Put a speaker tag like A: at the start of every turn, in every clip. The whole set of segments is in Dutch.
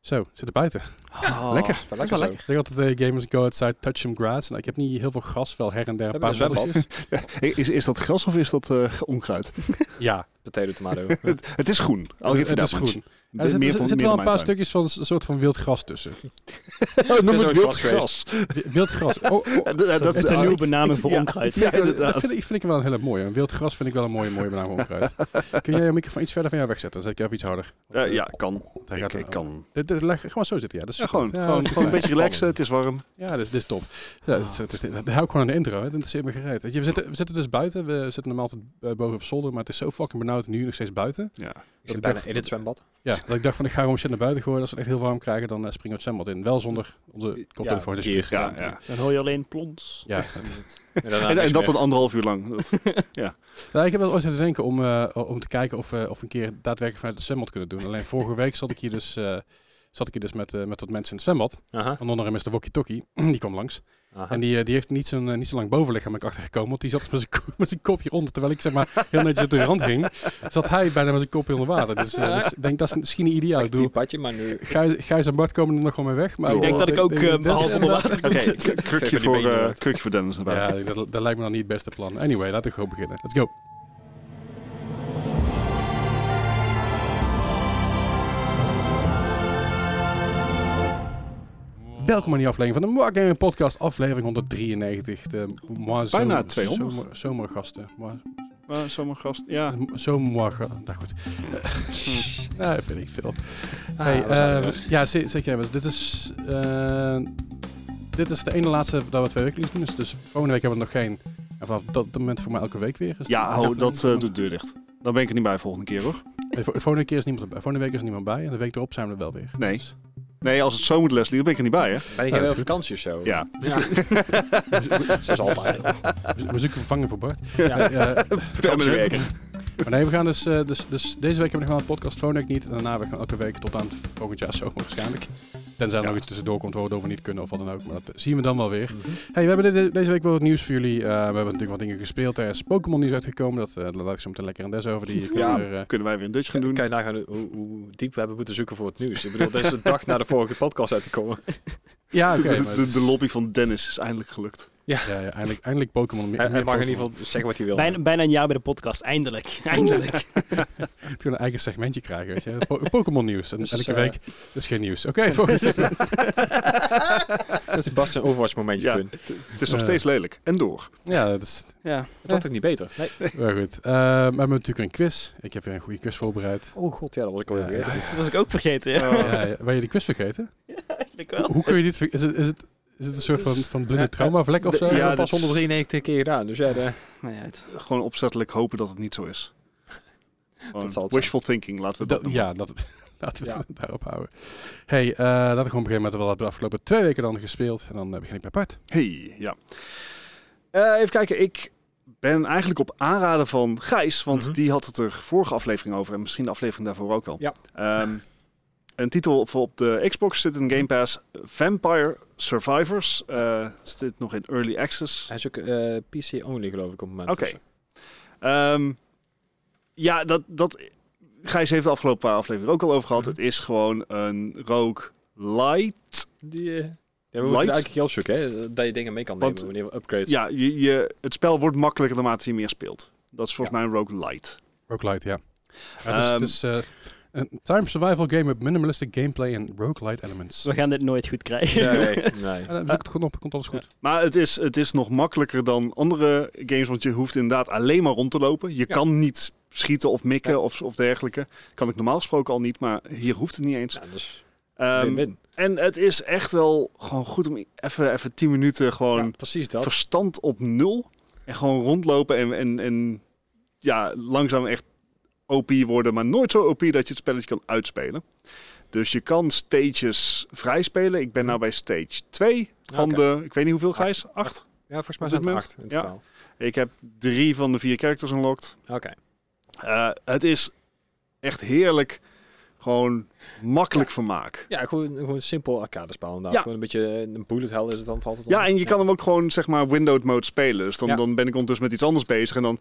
A: Zo, zit er buiten.
B: Oh,
A: Lekker.
B: is
A: Dat is wel
B: zo.
A: lekker. Ik zeg altijd, eh, gamers go outside, touch some grass. Nou, ik heb niet heel veel gras, wel her en der.
B: We
A: een
B: hebben een
A: paar
B: zwembad.
A: bolletjes.
C: Is, is dat gras of is dat eh, onkruid?
A: Ja,
B: Potato tomato.
C: het, het is groen. Al
A: het,
C: Oh, geef je
A: het
C: dat
A: is
C: much.
A: groen.
C: Meer
A: Er zitten
C: van-
A: zit
C: meer
A: wel
C: dan
A: een
C: mijn
A: paar
C: tuin.
A: stukjes van een soort van wild gras tussen.
C: Noem
B: Er is
C: het
B: ooit
C: wild
B: gras geweest.
C: gras.
A: Wi- Wild gras. Oh, oh,
C: Eh, dat- dat-
A: is
D: een
C: ah,
D: nieuwe
C: ik-
D: benaming
C: ik-
D: voor
C: ja,
D: onkruid.
C: Ja,
A: dat
C: inderdaad.
A: vind ik, vind ik wel een hele mooie. Een wild gras vind ik wel een mooie, mooie benaming onkruid. Kun jij je microfoon iets verder van jou wegzetten? Dan zet ik even iets harder.
C: Eh, Ja, kan.
A: Hij
C: Ik
A: gaat-
C: ik kan.
A: Dit, dit, leg- gewoon zo zitten, ja. Dat is
C: Ja,
A: super.
C: gewoon,
A: Ja,
C: gewoon,
A: dat is
C: gewoon een
A: fijn.
C: beetje relaxen. Het is warm.
A: Ja, dat is, dit is top. Ja,
C: Ah,
A: dat, dat, dat- dat hou ik gewoon aan de intro. hè. Dat interesseert me gereed. Weet je, we, zitten, we zitten dus buiten. We zitten normaal altijd eh, boven op zolder. Maar het is zo fucking benauwd nu nog steeds buiten.
C: Ja.
B: Ik zit
A: ik
B: bijna
A: dacht-
B: in het zwembad.
A: Ja, dat ik dacht van ik ga gewoon shit naar buiten gooien. Als we het echt heel warm krijgen, dan eh, springen we het zwembad in. Wel zonder onze koptelefoon. dus
B: hier,
C: Ja, ja.
D: Dan hoor je alleen plons.
A: ja,
B: En, daarna
C: En, en
B: niks
C: dat
B: meer.
C: dan anderhalf uur lang. Dat-
A: Nou, ik heb wel ooit aan te denken om, eh, om te kijken of, eh, of we een keer daadwerkelijk vanuit het zwembad kunnen doen. Alleen vorige week zat ik hier dus, eh, zat ik hier dus met, eh met wat mensen in het zwembad.
B: Aha,
A: Onder andere Mr. Wokkie Tokkie, die kwam langs.
B: aha.
A: En die, eh, die heeft niet, zo'n, eh, niet zo lang bovenlichaam ben ik achtergekomen. Want die zat met zijn, ko- met zijn kopje onder. Terwijl ik zeg maar heel netjes op de rand ging. Zat hij bijna met zijn kopje onder water. Dus eh, dus ik denk dat is misschien niet ideaal. Ik
B: Echt
A: bedoel,
B: diep padje, maar nu...
A: Gijs, Gijs en Bart komen er nog gewoon mee weg. Maar
C: Ik denk
A: eh,
D: dat ik ook,
A: eh,
D: eh,
A: dit is
D: behalve onder
A: inderdaad-
D: water
C: Oké,
D: moet.
C: k- krukje
B: Even die
C: voor,
B: benen
C: eh,
B: uit.
C: krukje voor Dennis erbij.
A: Ja, dat, dat lijkt me dan niet het beste plan. Anyway, laten we gewoon beginnen. Let's go. Welkom aan die aflevering van de Wargaming Podcast, aflevering 193. De moi- zo-
C: Bijna 200.
A: zomer- Zomergasten. Moi-
C: Maar zomaar gast. Ja.
A: Zomergasten. Nou goed. Nou, dat vind ik veel. Hey,
B: Ah, we zijn er
A: eh,
B: weer.
A: ja, ze- zeker. hebben. Dit is, eh, dit is de ene laatste dat we twee wekelijks doen. Dus, dus volgende week hebben we er nog geen. En vanaf dat moment voor mij elke week weer. Is
C: Ja,
A: het-
C: hou, dat eh, doet de deur dicht. Dan ben ik er niet bij volgende keer hoor.
A: Nee, vo- volgende, keer is niemand, erbij. volgende week is er niemand bij. En de week erop zijn we er wel weer.
C: Nee.
A: Dus-
C: Nee, als het zo moet, Leslie, dan ben ik er niet bij hè.
B: Ben ik
A: dat
B: weer
A: is
B: op
A: goed.
B: vakantie of zo?
C: Ja.
B: Zoals altijd.
A: we, we zoeken vervanger voor Bart.
B: Ja.
A: Nee, eh,
C: Permanent.
A: maar nee, we gaan dus, eh, dus, dus deze week hebben we nog wel een podcast. Volgende week niet. En daarna we gaan elke week tot aan volgend jaar zomer waarschijnlijk. Tenzij er
C: Ja.
A: nog iets tussendoor komt waardoor we niet kunnen of wat dan ook. Maar dat zien we dan wel weer. Hey, we hebben dit- deze week wel wat nieuws voor jullie. Eh, we hebben natuurlijk wat dingen gespeeld. Er is Pokémon nieuws uitgekomen. Dat, eh daar laat ik zo meteen lekker aan Des over. Die kunnen
B: Ja.
A: we er, eh,
C: Kunnen wij weer een dutje gaan
B: Kan
C: doen?
B: je nagaan hoe, hoe diep we hebben moeten zoeken voor het nieuws. Ik bedoel, deze dag na de vorige podcast uit te komen.
A: ja, oké.
C: De-
A: maar
C: de,
A: het-
C: de lobby van Dennis is eindelijk gelukt.
A: Ja, ja, eindelijk, eindelijk Pokémon. meer-
B: Hij, hij
A: meer
B: mag in
A: Pokémon.
B: ieder geval zeggen wat hij wil.
D: Bijna, bijna een jaar bij de podcast. Eindelijk. Eindelijk.
A: Het kan een eigen segmentje krijgen. Weet je. Po- Pokémon nieuws. En
B: Dus,
A: elke
B: eh,
A: week is geen nieuws. Oké, volgende segment.
B: Dat is Bart zijn Overwatch momentje
C: Ja.
B: toen.
C: Het is nog
A: Ja.
C: steeds lelijk. En door.
A: Ja, dat is
C: Ja.
B: Het wordt ook niet beter. Nee.
A: wel goed. Eh, we hebben natuurlijk een quiz. Ik heb weer een goede quiz voorbereid.
B: Oh god, ja, dat was ik al
A: Ja,
B: weer.
A: het is-
D: Dat was ik ook vergeten. Ja,
B: Oh.
A: Ja, ja. Ben je de quiz vergeten?
D: eigenlijk wel.
A: Hoe kun je dit... ver- Is het, is het, is het een soort van, van blinde traumavlek of eh, zo?
C: Ja,
B: Ja,
C: dat
B: pas
C: is-
B: 193 keer gedaan. Dus ja, de-
D: Maar ja, het-
C: Gewoon opzettelijk hopen dat het niet zo is. Gewoon
B: zal het
C: wishful thinking, laten we dat,
A: Dat-
C: noemen.
A: ja, laten we, laten we
B: Ja.
A: het daarop houden. hey, eh, laten we gewoon beginnen met wat we de afgelopen twee weken dan gespeeld. En dan eh, begin ik bij Bart.
C: Hey, ja. Eh, even kijken, ik ben eigenlijk op aanraden van Gijs, want
B: Mhm.
C: die had het er vorige aflevering over en misschien de aflevering daarvoor ook wel.
B: Ja.
C: Ehm, een titel voor op de Xbox zit in Game Pass, Vampire Survivors. Eh zit nog in Early Access.
B: hij is ook eh, PC-only, geloof ik, op het moment. dus, eh,
C: Oké. Ehm, ja, dat, dat. Gijs heeft de afgelopen paar afleveringen ook al over gehad.
B: Mhm.
C: Het is gewoon een rogue light.
B: Die, eh, ja, we
C: Light?
B: moeten er eigenlijk heel op zoek, hè? Dat je dingen mee kan nemen
C: Want-
B: wanneer we upgrades.
C: Ja, je, je, het spel wordt makkelijker naarmate je meer speelt. Dat is volgens mij een rogue light.
A: Roguelite, ja. ja het is, het
C: Ehm.
A: is, eh, een time survival game met minimalistic gameplay en roguelite elements.
D: We gaan dit nooit goed krijgen.
B: Nee, nee, nee.
A: Ja, dan zoek het gewoon op, komt alles goed.
C: Maar het is, het is nog makkelijker dan andere games, want je hoeft inderdaad alleen maar rond te lopen. Je
B: Ja.
C: kan niet schieten of mikken
B: Ja.
C: of, of dergelijke. Kan ik normaal gesproken al niet, maar hier hoeft het niet eens.
B: Nou, dus
C: Ehm,
B: win-win.
C: en het is echt wel gewoon goed om even, even 10 minuten gewoon
B: Ja, precies dat.
C: verstand op nul. En gewoon rondlopen en, en, en ja, langzaam echt OP worden. Maar nooit zo OP dat je het spelletje kan uitspelen. Dus je kan stages vrijspelen. Ik ben nou bij stage 2 van
B: Mhm. Oké.
C: de, ik weet niet hoeveel, Gijs? 8?
B: Ja, volgens mij zijn
C: Op dit
B: het
C: moment?
B: acht in
C: Ja.
B: totaal.
C: Ik heb drie van de vier characters unlocked.
B: Oké.
C: Eh, het is echt heerlijk. Gewoon makkelijk vermaak.
B: Ja, gewoon, gewoon een simpel arcadespel inderdaad.
C: Ja.
B: Gewoon een beetje eh, een bullet hell is het dan, valt het
C: Ja,
B: dan?
C: en je kan hem ook gewoon, zeg maar, windowed mode spelen. Dus dan,
B: Ja.
C: dan ben ik ondertussen met iets anders bezig. En dan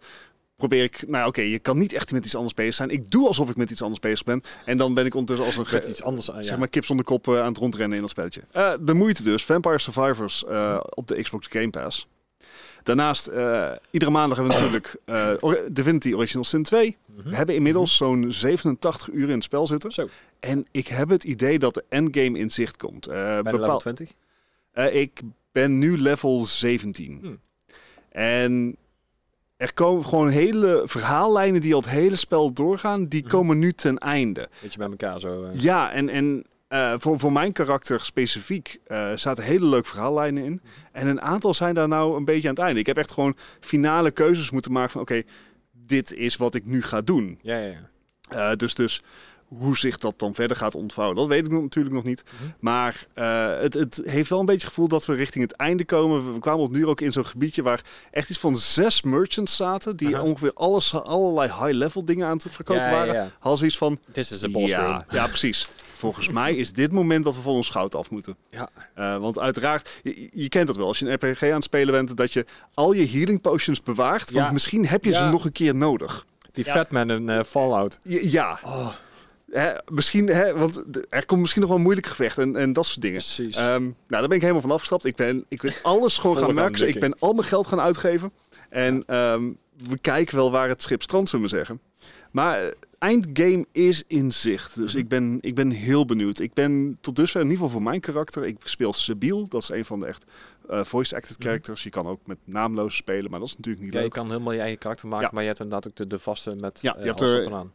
C: probeer ik, nou oké, je kan niet echt met iets anders bezig zijn. Ik doe alsof ik met iets anders bezig ben. En dan ben ik ondertussen als een
B: Met iets anders aan, ja.
C: eh, zeg maar kip zonder kop eh, aan het rondrennen in dat spelletje. Eh, de moeite dus, Vampire Survivors eh, op de Xbox Game Pass. Daarnaast, eh, iedere maandag hebben we natuurlijk eh, Ori- Divinity Original Sin 2.
B: Mhm.
C: We hebben inmiddels zo'n 87 uur in het spel zitten.
B: Zo,
C: En ik heb het idee dat de endgame in zicht komt. Eh,
B: bij de
C: bepaal-
B: level 20.
C: eh, ik ben nu level 17.
B: Hmm.
C: En er komen gewoon hele verhaallijnen die al het hele spel doorgaan, die
B: Mhm.
C: komen nu ten einde.
B: Beetje bij elkaar zo. eh.
C: Ja, en, en eh, voor, voor mijn karakter specifiek eh, zaten hele leuke verhaallijnen in. En een aantal zijn daar nou een beetje aan het einde. Ik heb echt gewoon finale keuzes moeten maken van oké, dit is wat ik nu ga doen.
B: Ja, ja, ja.
C: Eh, dus, dus hoe zich dat dan verder gaat ontvouwen, dat weet ik nog- natuurlijk nog niet.
B: Mhm.
C: Maar eh, het, het heeft wel een beetje het gevoel dat we richting het einde komen. We, we kwamen op nu ook in zo'n gebiedje waar echt iets van zes merchants zaten. Die
B: Aha.
C: ongeveer alles, allerlei high-level dingen aan te verkopen
B: ja,
C: waren.
B: Ja, ja.
C: Had zoiets van,
B: This is the boss room.
C: ja, ja, precies. Volgens mij is dit moment dat we van ons goud af moeten.
B: Ja.
C: Eh, want uiteraard, je, je kent dat wel. Als je een RPG aan het spelen bent, dat je al je healing potions bewaart. Want
B: Ja.
C: misschien heb je ze
B: Ja.
C: nog een keer nodig.
B: Die
D: Ja.
B: Fatman en eh, Fallout.
C: Ja, ja.
B: Oh.
C: Hè, misschien, hè, want d- er komt misschien nog wel een moeilijk gevecht en, en dat soort dingen.
B: Precies.
C: Ehm, nou, daar ben ik helemaal van afgestapt. Ik ben, ik ben alles gewoon
B: Volle
C: gaan merken. Ik
B: duiking.
C: ben al mijn geld gaan uitgeven. En ehm, we kijken wel waar het schip strandt, zullen we zeggen. Maar eh, eindgame is in zicht.
B: Mhm.
C: Dus ik ben, ik ben heel benieuwd. Ik ben tot dusver, in ieder geval voor mijn karakter, ik speel Sabiel. Dat is een van de echt eh, voice-acted characters. Je kan ook met naamloze spelen, maar dat is natuurlijk niet
B: Mhm. ja, je
C: leuk.
B: kan helemaal je eigen karakter maken,
C: Ja.
B: maar je hebt inderdaad ook de, de vaste met
C: Ja,
B: eh,
C: je hebt
B: alles
C: er-
B: op en aan.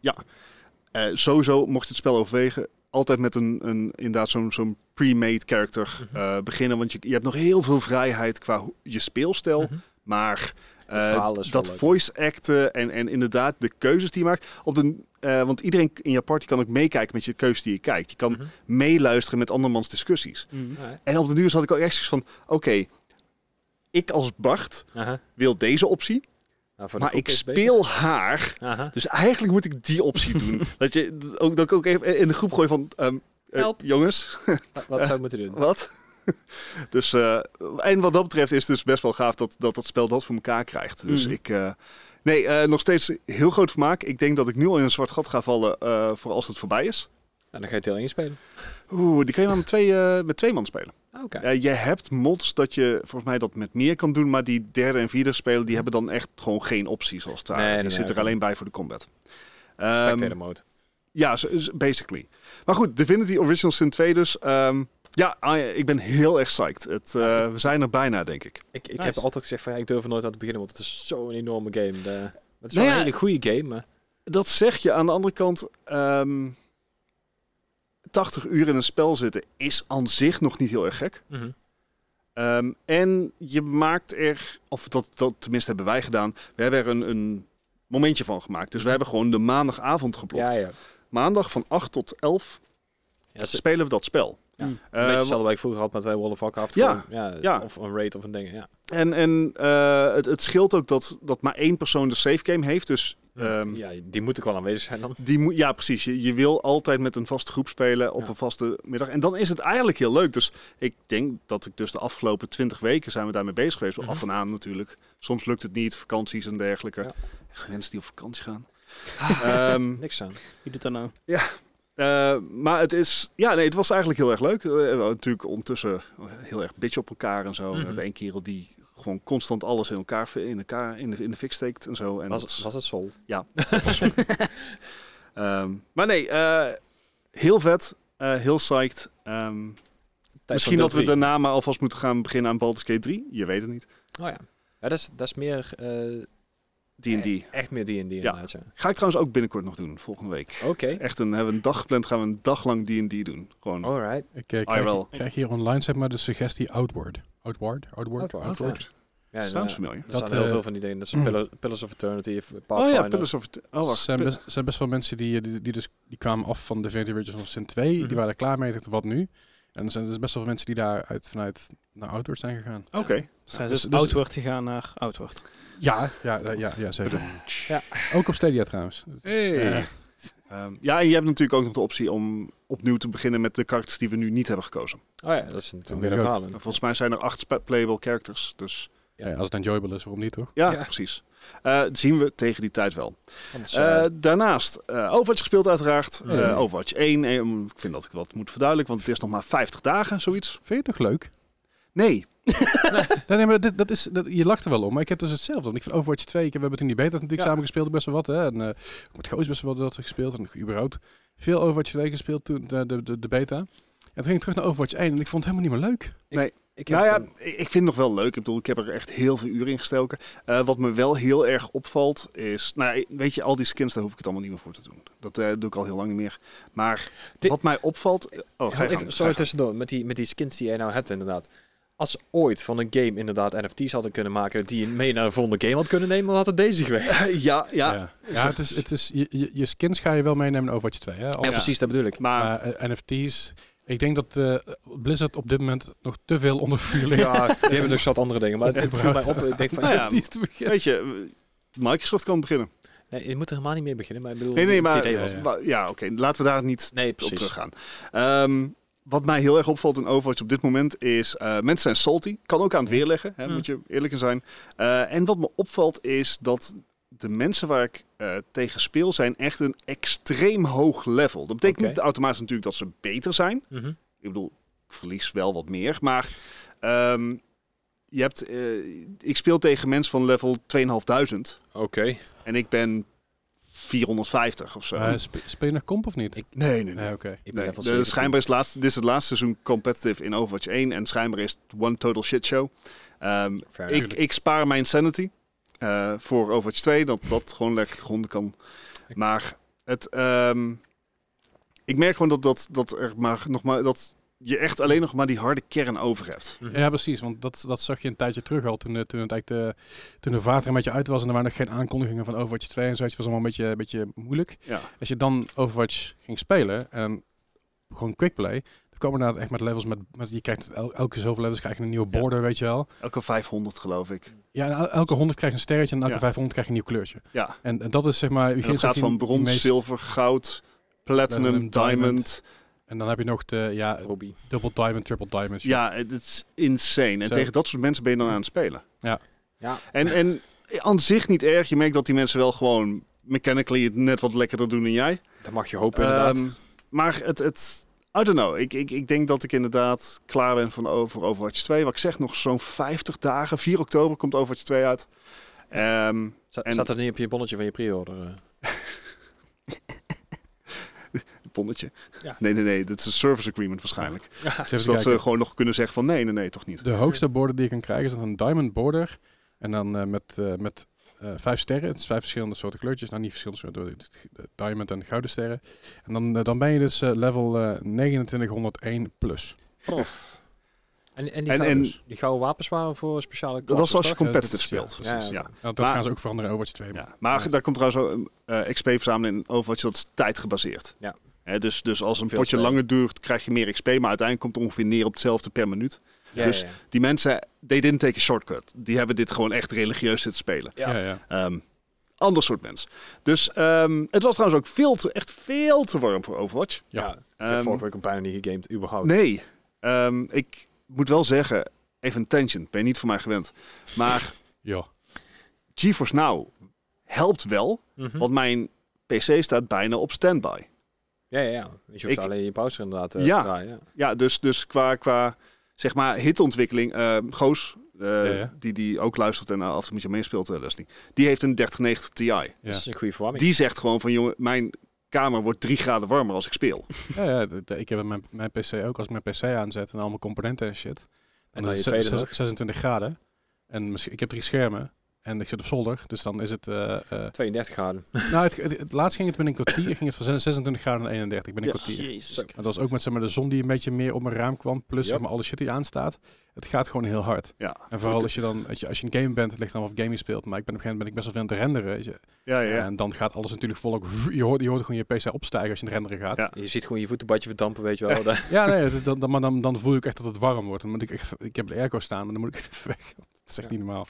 C: Eh, sowieso mocht je het spel overwegen, altijd met een, een inderdaad zo'n zo'n pre-made character
B: Mhm.
C: eh, beginnen. Want je, je hebt nog heel veel vrijheid qua ho- je speelstijl.
B: Mhm.
C: Maar eh,
B: verhaal is wel
C: dat
B: leuk.
C: voice acten en, en inderdaad de keuzes die je maakt. Op de, eh, want iedereen in je party kan ook meekijken met je keuzes die je kijkt. Je kan
B: Mhm.
C: meeluisteren met andermans discussies.
D: Mm.
B: Ja,
C: En op de duur zat ik ook echt zoiets van, oké, ik als Bart
B: aha.
C: wil deze optie,
B: Nou, voor de
C: maar
B: groep
C: ik
B: is het
C: speel haar
B: beter. Aha.
C: dus eigenlijk moet ik die optie doen. dat, je, dat ook, dat ik ook even in de groep gooi van... ehm, eh,
D: Help.
C: jongens,
B: Wat- Wat zou ik moeten doen?
C: wat? dus, eh, en wat dat betreft is het dus best wel gaaf dat dat, dat spel dat voor elkaar krijgt. Dus
B: Mm.
D: Mhm.
C: ik... eh, nee, eh, nog steeds heel groot vermaak. Ik denk dat ik nu al in een zwart gat ga vallen eh, voor als het voorbij is.
B: Nou, dan ga je het heel eens spelen.
C: Oeh, die kun je maar met twee, eh, met twee man spelen.
B: Ah, Oké.
C: Eh, je hebt mods dat je volgens mij dat met meer kan doen, maar die derde en vierde spelen die hebben dan echt gewoon geen opties als het ware.
B: Nee,
C: die
B: nee, nee,
C: zitten er
B: oké.
C: alleen bij voor de combat.
B: Spectator
C: Ehm,
B: mode.
C: Ja, zo- zo- basically. Maar goed, Divinity Original Sin 2 dus. ehm, ja, ah, ik ben heel erg psyched. Het, eh, we zijn er bijna, denk ik.
B: Ik, ik
D: Nice.
B: heb altijd gezegd van ja, ik durf er nooit aan te beginnen, want het is zo'n enorme game. De, het is
C: Nou
B: wel
C: ja.
B: een hele goede game, maar
C: Dat zeg je. Aan de andere kant, ehm, 80 uur in een spel zitten is aan zich nog niet heel erg gek.
B: Mhm.
C: Ehm, en je maakt er, of dat, dat tenminste hebben wij gedaan, we hebben er een, een momentje van gemaakt. Dus we hebben gewoon de maandagavond
B: ja,
C: geplokt.
B: ja.
C: Maandag van 8 tot 11
B: ja ze-
C: spelen we dat spel.
B: Ja.
D: Mm.
B: Een
C: Eh,
B: beetje hetzelfde wat ik vroeger had met eh, World of Warcraft.
C: Ja,
B: gewoon, ja,
C: ja.
B: Of een raid of een ding. Ja.
C: En, en eh, het, het scheelt ook dat, dat maar één persoon de save game heeft. Dus ehm,
B: ja, die moet ik wel aanwezig zijn dan.
C: die moet, ja, precies. Je, je wil altijd met een vaste groep spelen op
B: Ja.
C: een vaste middag. En dan is het eigenlijk heel leuk. Dus ik denk dat ik dus de afgelopen twintig weken zijn we daarmee bezig geweest.
B: Mhm.
C: Af en aan natuurlijk. Soms lukt het niet, vakanties en dergelijke.
B: Ja.
C: Echt Mensen die op vakantie gaan. Ehm,
B: Niks aan.
D: Wie doet dat nou?
C: eh, maar het is, ja, nee, het was eigenlijk heel erg leuk. Eh, We hebben natuurlijk ondertussen heel erg bitch op elkaar en zo. We
B: Mhm.
C: hebben één kerel die gewoon constant alles in elkaar, in elkaar in de, in de fik steekt en zo. En dat
B: Was,
C: is-
B: was het Sol?
C: ehm, maar nee, eh, heel vet, eh, heel psyched. Ehm, misschien dat we daarna maar alvast moeten gaan beginnen aan Baldur's Gate 3. Je weet het niet.
B: Oh ja. ja dat, is, dat is meer... eh, e-
C: D&D.
B: echt meer D&D inderdaad, ja.
C: Ga ik trouwens ook binnenkort nog doen, volgende week.
B: Oké.
C: Echt, een, hebben we een dag gepland, gaan we een dag lang D&D doen. Gewoon,
B: Alright.
A: Ik eh,
C: IRL.
A: krijg, krijg hier online zeg maar de suggestie Outward. Outward? Outward?
B: Outward, ja. Ja,
C: sounds
B: en, eh,
C: familiar.
B: er
A: Dat,
B: staan heel
A: eh,
B: veel van die dingen. Dat
A: mm.
B: zijn Pillar- Pillars of Eternity, eh,
C: Oh ja,
B: Pathfinder.
C: Pillars of... Etern- Oh,
A: Er
C: wacht.
A: zijn, best, zijn best wel mensen die, eh, die, die, dus, die kwamen af van de Vanity Original Sin 2.
B: Mhm.
A: Die waren er klaar mee. dachten, wat nu? En er zijn dus best wel veel mensen die daar uit, vanuit naar Outward zijn gegaan.
C: Oké.
D: Ze zijn
A: dus-
D: dus,
A: dus-
D: outward gegaan naar outward.
A: Ja, ja, ja, ja, ja zeker.
B: Ja.
A: Ook op Stadia trouwens.
C: Hey.
A: Eh,
C: Ehm, ja, en je hebt natuurlijk ook nog de optie om opnieuw te beginnen met de karakters die we nu niet hebben gekozen.
B: Oh ja, dat is natuurlijk weer
A: weet
B: een
A: ik ook.
B: verhaal.
C: En volgens mij zijn er acht spe- playable characters. Dus
A: ja, als het enjoyable is, waarom niet toch?
C: ja,
B: Ja.
C: precies. Eh, dat zien we tegen die tijd wel.
B: Anders, eh,
C: Eh, daarnaast, eh, Overwatch gespeeld uiteraard.
A: Ja.
C: Eh, Overwatch 1. eh, om- ik vind dat ik wat moet verduidelijken, want het is nog maar 50 dagen, zoiets.
A: Vind je het nog leuk?
C: Nee,
A: Nee, nee, maar dit, dat is, dat, je lacht er wel om, maar ik heb dus hetzelfde. Want ik vind Overwatch 2, ik heb, we hebben toen die beta natuurlijk
B: Ja.
A: samen gespeeld, best wel wat. Hè? En, eh, met Goos best wel wat gespeeld en überhaupt veel Overwatch 2 gespeeld toen, de, de, de, de beta. En toen ging ik terug naar Overwatch 1 en ik vond het helemaal niet meer leuk.
B: ik heb
C: nou ja,
B: een-
C: ik ik vind het nog wel leuk. Ik bedoel, ik heb er echt heel veel uren in gestoken. Eh, wat me wel heel erg opvalt is... Nou, ja, weet je, al die skins, daar hoef ik het allemaal niet meer voor te doen. Dat eh, doe ik al heel lang niet meer. Maar
B: Di-
C: wat mij opvalt... Oh, ga je
B: Even- sorry
C: gang, ga je
B: tussendoor, met die, met die skins die jij nou hebt inderdaad. Als ze ooit van een game inderdaad NFT's hadden kunnen maken die je mee naar de volgende game had kunnen nemen, dan had het deze geweest.
C: gang. ja, ja,
A: ja. Ja, het is, het is, je, je, je skins ga je wel meenemen in Overwatch 2. Hè? Al-
B: Ja, precies, dat bedoel ik.
C: Maar
A: Maar eh, NFT's, ik denk dat eh, Blizzard op dit moment nog te veel onder vuur ligt.
B: Ja, die hebben nog zat andere dingen, maar het, het voelt mij op. Ik denk van,
C: Nou ja.
A: NFT's te beginnen.
C: weet je, Microsoft kan beginnen.
B: nee, je moet er helemaal niet mee beginnen, maar ik bedoel,
C: Nee, nee,
B: het
C: maar...
B: idee
A: ja,
B: was-
A: ja.
C: wa- Ja, oké. laten we daar niet
B: Nee,
C: op
B: precies.
C: teruggaan. Ehm, wat mij heel erg opvalt in Overwatch op dit moment is... eh, mensen zijn salty. Kan ook aan het weer leggen. Hè,
B: Mm.
C: Moet je eerlijk in zijn. Eh, en wat me opvalt is dat de mensen waar ik eh, tegen speel... zijn echt een extreem hoog level. Dat betekent
B: Oké.
C: niet automatisch natuurlijk dat ze beter zijn.
B: Mhm.
C: Ik bedoel, ik verlies wel wat meer. Maar ehm, je hebt, eh, ik speel tegen mensen van level 2500.
B: Oké.
C: En ik ben 450 of zo.
A: Eh, sp- speel je nog comp of niet?
B: Ik-
C: nee, Oh. nee,
A: Nee, oké.
B: Ik ben
C: Nee,
B: level
C: de-
B: 17.
C: schijnbaar is het laatste, dit is het laatste seizoen competitive in Overwatch 1 en schijnbaar is het one total shit show. Ehm,
B: Fair enough.
C: ik, ik spaar mijn sanity eh, voor Overwatch 2, dat dat gewoon lekker te gronden kan.
B: Ik-
C: Maar het, ehm, ik merk gewoon dat, dat, dat, er maar nog maar, dat je echt alleen nog maar die harde kern over hebt.
B: Mhm.
A: Ja, precies. Want dat, dat zag je een tijdje terug al. Toen, eh, toen, het eigenlijk de, toen de vaart er een beetje uit was en er waren nog geen aankondigingen van Overwatch 2 en zoiets. was allemaal een beetje, een beetje moeilijk.
C: Ja.
A: Als je dan Overwatch ging spelen en gewoon quickplay, dan kwam er echt met levels met... met je krijgt el- elke zoveel levels krijg je een nieuwe
C: Ja.
A: border, weet je wel.
C: Elke 500 geloof ik.
A: Ja, en el- elke 100 krijg je een sterretje en elke
C: Ja.
A: 500 krijg je een nieuw kleurtje.
C: Ja.
A: En, en dat is zeg maar... je
C: En dat
A: geeft ook
C: gaat
A: die-
C: van
A: die
C: brons,
A: meest-
C: zilver, goud, platinum,
A: Platinum,
C: diamond.
A: diamond. En dan heb je nog de ja,
B: Robbie.
A: double diamond, triple diamond. shit.
C: Ja, het is insane. En
A: Zo.
C: tegen dat soort mensen ben je dan aan het spelen.
B: Ja.
C: En, en aan zich niet erg. Je merkt dat die mensen wel gewoon mechanically het net wat lekkerder doen dan jij.
B: Dat mag je hopen inderdaad.
C: Ehm, maar het, het, I don't know. Ik, ik, ik denk dat ik inderdaad klaar ben van over Overwatch 2. Wat ik zeg, nog zo'n 50 dagen. 4 oktober komt Overwatch 2 uit. Ehm,
B: Zat,
C: en-
B: zat dat niet op je bonnetje van je pre-order? eh?
C: bonnetje.
B: Ja.
C: Nee, nee, nee. Dit is een service agreement waarschijnlijk.
A: Dus even
C: Zodat
A: kijken.
C: ze gewoon nog kunnen zeggen van nee, nee, nee, toch niet.
A: De hoogste border die je kan krijgen is dan een diamond border. En dan eh, met, eh, met eh, vijf sterren. Het is vijf verschillende soorten kleurtjes. Nou, niet verschillende soorten. eh, de Diamond en gouden sterren. En dan, eh, dan ben je dus eh, level eh, 2901 plus.
B: En, en, die,
C: En-
B: gouden,
C: en-
B: dus die gouden wapens waren voor speciale
C: Dat was
B: klassen,
C: als je
B: toch?
C: competitive
A: Eh, dat
C: speelt.
A: is- ja, precies,
C: ja.
B: oké.
A: Nou, dat
C: Maar-
A: gaan ze ook veranderen in Overwatch 2. maar-
C: Ja, maar daar komt trouwens ook eh, XP verzamelen in Overwatch, dat is tijdgebaseerd.
B: Ja.
C: Hè, dus, dus als een
B: Veel
C: potje
B: spelen.
C: langer duurt, krijg je meer XP, maar uiteindelijk komt het ongeveer neer op hetzelfde per minuut.
B: Ja,
C: Dus-
B: ja, ja.
C: Die mensen, they didn't take a shortcut. Die hebben dit gewoon echt religieus zitten spelen.
B: Ja.
A: Ja, ja.
C: Ehm, ander soort mens. Dus ehm, het was trouwens ook veel te, echt veel te warm voor Overwatch.
A: Ja.
B: Ja, ik heb
C: Ehm,
B: vorige week ook bijna niet gegamed, überhaupt.
C: Nee, Ehm, ik moet wel zeggen, even een tangent, ben je niet van mij gewend. Maar
A: Ja.
C: GeForce Now helpt wel,
B: Mhm.
C: want mijn PC staat bijna op standby.
B: Ja, ja, ja. Dus je hoeft
C: Ik-
B: alleen je browser inderdaad eh,
C: Ja.
B: te draaien. ja.
C: Ja, dus, dus qua, qua zeg maar hitontwikkeling, eh, Goos, eh,
A: Ja, ja.
C: Die, die ook luistert en af en toe met je meespeelt, eh, Leslie, die heeft een 3090 Ti.
A: Ja.
B: Dat is een goede verwarming.
C: Die zegt gewoon van, jongen, mijn kamer wordt drie graden warmer als ik speel.
A: Ja, ja, d- d- ik heb mijn, mijn PC ook. Als ik mijn PC aanzet en allemaal componenten en shit. Dan
B: dan je
A: is het
B: tweede
A: zes-
B: nog.
A: 26 graden. En misschien, ik heb drie schermen. En ik zit op zolder. Dus dan is het... eh, eh,
B: 32 graden.
A: nou, het, het, het laatst ging het met een kwartier. Ging het van 26 graden naar 31. Ik ben een
C: Ja.
A: kwartier.
D: Jezus.
A: Maar dat was ook met zeg maar, de zon die een beetje meer op mijn raam kwam. Plus
B: Ja.
A: zeg maar, alle shit die aanstaat. Het gaat gewoon heel hard.
C: Ja.
A: En vooral als je dan, als je, als je een game bent, het ligt dan af of game je speelt. Maar ik ben op een gegeven moment ben ik best wel veel aan het renderen. weet je.
C: Ja, ja.
A: En dan gaat alles natuurlijk volop. Je hoort, je hoort gewoon je PC opstijgen als je aan het renderen gaat.
C: Ja.
B: Je ziet gewoon je voetenbadje verdampen, weet je wel. Dat-
A: Ja, nee, dat- dan, dan, maar dan, dan voel ik echt dat het warm wordt. Dan moet ik, echt, ik heb de airco staan, maar dan moet ik echt even weg. Dat is echt
B: Ja.
A: niet normaal.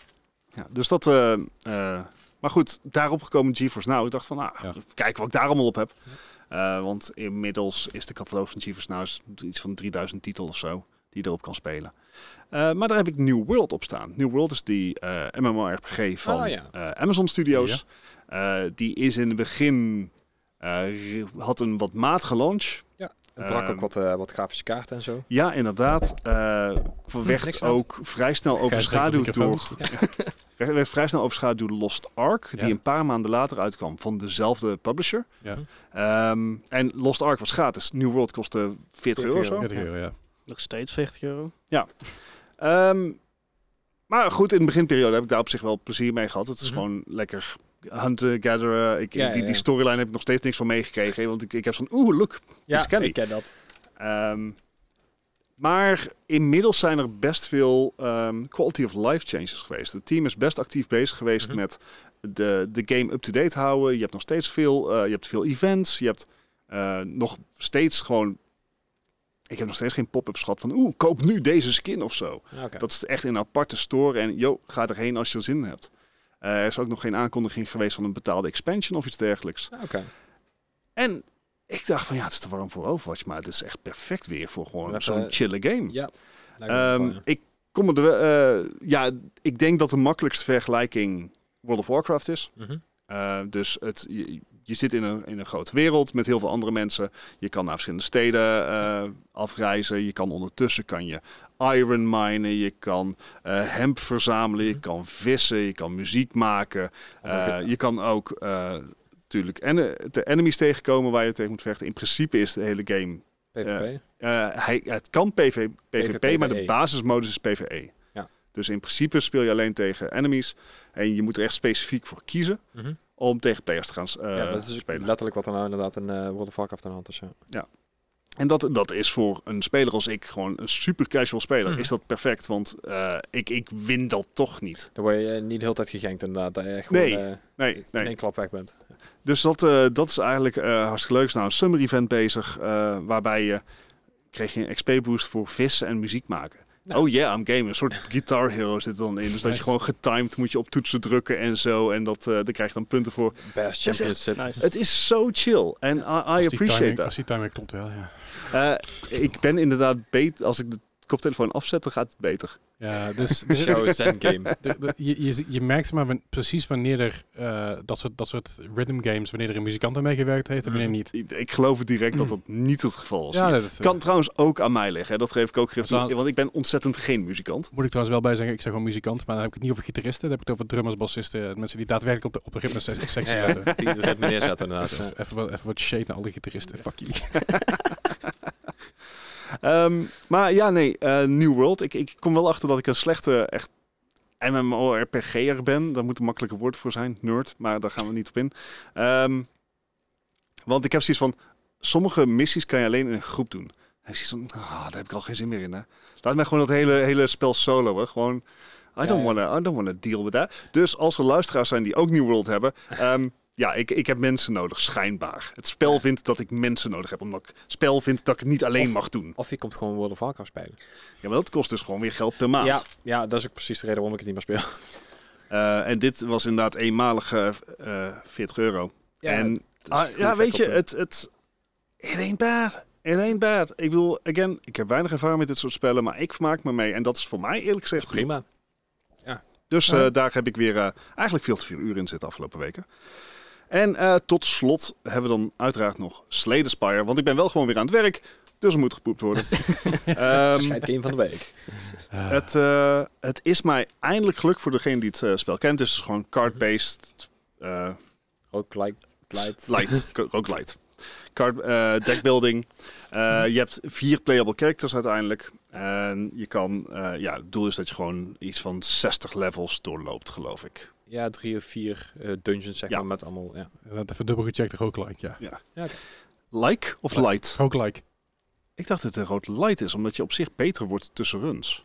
C: Ja, dus dat... eh, eh, maar goed, daarop gekomen GeForce Now. Ik dacht van, nou,
A: Ja.
C: kijk wat ik daar allemaal op heb. Eh, want inmiddels is de catalogus van GeForce Now is iets van 3000 titel of zo. die je erop kan spelen. Eh, maar daar heb ik New World op staan. New World is die eh, MMORPG van
B: Ah, ja.
C: eh, Amazon Studios. Eh, die is in het begin eh, had een wat matige launch.
B: Het brak
C: Ehm,
B: ook wat, eh, wat grafische kaarten en zo.
C: Ja, inderdaad. eh
B: Hm, niks
C: werd
B: aan het-
C: ook vrij snel overschaduwd door werd, werd vrij snel overschaduwd door Lost Ark,
A: Ja.
C: die een paar maanden later uitkwam van dezelfde publisher.
A: Ja.
C: Ehm, en Lost Ark was gratis. New World kostte 40 euro. of zo.
A: 40 euro, ja.
D: Nog steeds 40 euro.
C: Ehm, maar goed, in de beginperiode heb ik daar op zich wel plezier mee gehad. Het is
B: Mhm.
C: gewoon lekker hunten, gatheren. Ik,
B: Ja,
C: die,
B: ja,
C: die
B: ja.
C: storyline heb ik nog steeds niks van meegekregen. Want ik, ik heb zo'n, oeh, look,
B: Ja,
C: is Kenny.
B: ik ken dat.
C: Ehm, maar inmiddels zijn er best veel ehm, quality of life changes geweest. Het team is best actief bezig geweest
B: Mhm.
C: met de, de game up-to-date houden. Je hebt nog steeds veel, eh, je hebt veel events. Je hebt eh, nog steeds gewoon. Ik heb nog steeds geen pop-ups gehad van oeh, koop nu deze skin of zo.
B: Ah, oké.
C: Dat is echt een aparte store en yo, ga erheen als je er zin in hebt. Eh, er is ook nog geen aankondiging geweest van een betaalde expansion of iets dergelijks.
B: Ah, oké.
C: En ik dacht van ja, het is te warm voor Overwatch, maar het is echt perfect weer voor gewoon
B: Even-
C: zo'n chille game.
B: eh, Ja. lijkt me
C: Hm. Ehm,
B: wel, ja.
C: ik kom er, wel- eh, ja, ik denk dat de makkelijkste vergelijking World of Warcraft is.
B: Mhm.
C: Eh, dus het, je, je zit in een, in een grote wereld met heel veel andere mensen. Je kan naar verschillende steden eh, afreizen. Je kan ondertussen kan je iron minen, je kan eh hemp verzamelen, je
B: Mhm.
C: kan vissen, je kan muziek maken. Eh,
B: Oké.
C: je kan ook eh natuurlijk en, eh, de enemies tegenkomen waar je tegen moet vechten. In principe is de hele game.
B: PvP.
C: eh, hij, het kan PV, PvP, maar de
B: PvE.
C: basismodus is PvE.
B: E. Ja.
C: Dus in principe speel je alleen tegen enemies. En je moet er echt specifiek voor kiezen
B: Mhm.
C: om tegen players te gaan eh,
B: ja, dat is dus
C: spelen.
B: letterlijk wat er nou inderdaad in eh World of Warcraft aan de hand is. Ja.
C: En dat, dat is voor een speler als ik, gewoon een super casual speler,
B: Mhm.
C: is dat perfect. Want eh, ik, ik win dat toch niet.
B: Dan word je eh, niet de hele tijd gegankt inderdaad. Dat je echt gewoon
C: Nee,
B: eh,
C: Nee, nee.
B: in één klap weg bent.
C: Dus dat, eh, dat is eigenlijk eh, hartstikke leuk. Er is nou een summer event bezig, eh, waarbij je kreeg je een XP boost voor vissen en muziek maken.
B: Nou.
C: Oh yeah, I'm gaming. Een soort Guitar Hero zit er dan in. Dus dat je
A: Nice.
C: gewoon getimed moet je op toetsen drukken en zo. En dat, eh daar krijg je dan punten voor.
B: Best
C: echt-
B: championship.
D: Nice.
C: Het is zo chill. En I, I
A: Als die
C: appreciate
A: timing-
C: that.
A: Als die timing klopt wel, ja.
C: Eh, ik ben inderdaad beter. Als ik de koptelefoon afzet, dan gaat het beter.
A: Ja, dus
B: Show Zen game.
A: de- de- je, je, je merkt maar wan- precies wanneer er eh, dat, soort, dat soort rhythm games, wanneer er een muzikant aan meegewerkt heeft en wanneer niet.
C: Ik, ik geloof direct dat dat niet het geval is.
A: Ja, dat eh,
C: kan trouwens ook aan mij liggen. hè. Dat geef ik ook
A: Zou-
C: gif. Want ik ben ontzettend geen muzikant.
A: moet ik trouwens wel bij zeggen. Ik zeg gewoon muzikant, maar dan heb ik het niet over gitaristen. Dan heb ik het over drummers, bassisten, eh, mensen die daadwerkelijk op de, op de ritmesectie
B: Ja,
A: zitten. Dus
B: ja. Die het ritme neerzetten inderdaad. ja.
A: Even, even, wat- even wat shade naar alle gitaristen. Fuck you.
C: Ehm, maar ja, nee, eh, New World. Ik, ik kom wel achter dat ik een slechte echt MMORPG'er ben. Daar moet een makkelijke woord voor zijn, nerd. Maar daar gaan we niet op in. Ehm, want ik heb zoiets van, sommige missies kan je alleen in een groep doen. En ik zoiets van, ah, daar heb ik al geen zin meer in. Hè. Laat mij gewoon dat hele, hele spel solo. Hè. Gewoon, I
B: Ja,
C: don't
B: ja.
C: wanna, I don't wanna deal with that. Dus als er luisteraars zijn die ook New World hebben... ehm, ja, ik, ik heb mensen nodig, schijnbaar. Het spel vindt dat ik mensen nodig heb. Omdat ik het spel vindt dat ik het niet alleen
B: Of-
C: mag doen.
B: Of je komt gewoon World of Warcraft spelen.
C: Ja, maar dat kost dus gewoon weer geld per maand.
B: Ja, ja, dat is ook precies de reden waarom ik het niet meer speel.
C: Eh, en dit was inderdaad eenmalig eh, eh, 40 euro. en
B: het is
C: ah,
B: goed
C: ja, weet je,
B: verkopen.
C: het, het it ain't bad. It ain't bad. Ik bedoel, again, ik heb weinig ervaring met dit soort spellen, maar ik vermaak me mee. En dat is voor mij eerlijk gezegd genoeg.
B: prima.
C: Dus eh, daar heb ik weer eh, eigenlijk veel te veel uren in zitten afgelopen weken. En eh, tot slot hebben we dan uiteraard nog Slay the Spire. Want ik ben wel gewoon weer aan het werk, dus er moet gepoept worden. Ehm,
B: Scheid game van de week.
A: Eh,
C: Het, eh, het is mij eindelijk gelukt voor degene die het eh, spel kent. Het is gewoon card-based. eh
B: Ook like light.
C: light. Ko- Ook light. Card, eh, deckbuilding. Eh, je hebt vier playable characters uiteindelijk. En je kan, eh, ja, het doel is dat je gewoon iets van 60 levels doorloopt, geloof ik.
B: Ja, drie of vier eh, dungeons zeg
C: Ja.
B: maar met allemaal. Ja.
A: dat even dubbel gecheckt, roguelike, ja.
C: Like of light?
A: Roguelike.
C: Ik dacht dat het een rood light is, omdat je op zich beter wordt tussen runs.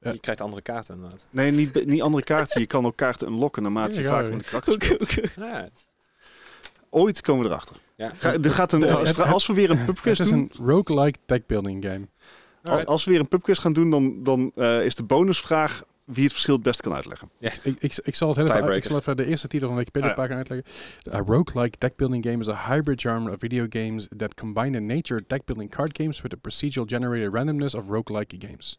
A: Ja.
B: Je krijgt andere kaarten inderdaad.
C: Nee, niet, be- niet andere kaarten. Je kan ook kaarten unlocken naarmate je
A: Ja,
C: vaker
A: ja.
C: met de karakter speelt.
B: Ja,
C: Ooit komen we erachter.
B: ja.
C: Ga, er gaat een,
A: Eh,
C: als,
A: het-
C: als we weer een
A: Het
C: pubquiz
A: is
C: doen,
A: een roguelike deckbuilding game.
C: Al- Als we weer een pubquiz gaan doen, dan, dan eh, is de bonusvraag wie het verschil het best kan uitleggen.
A: Ik, ik, ik zal het heel even,
B: Tiebreaker.
A: ik zal even de eerste titel van Wikipedia
C: Ah, ja.
A: pagina uitleggen. A roguelike deck building game is a hybrid genre of video games that combine the nature of deck building card games with the procedural generated randomness of roguelike games.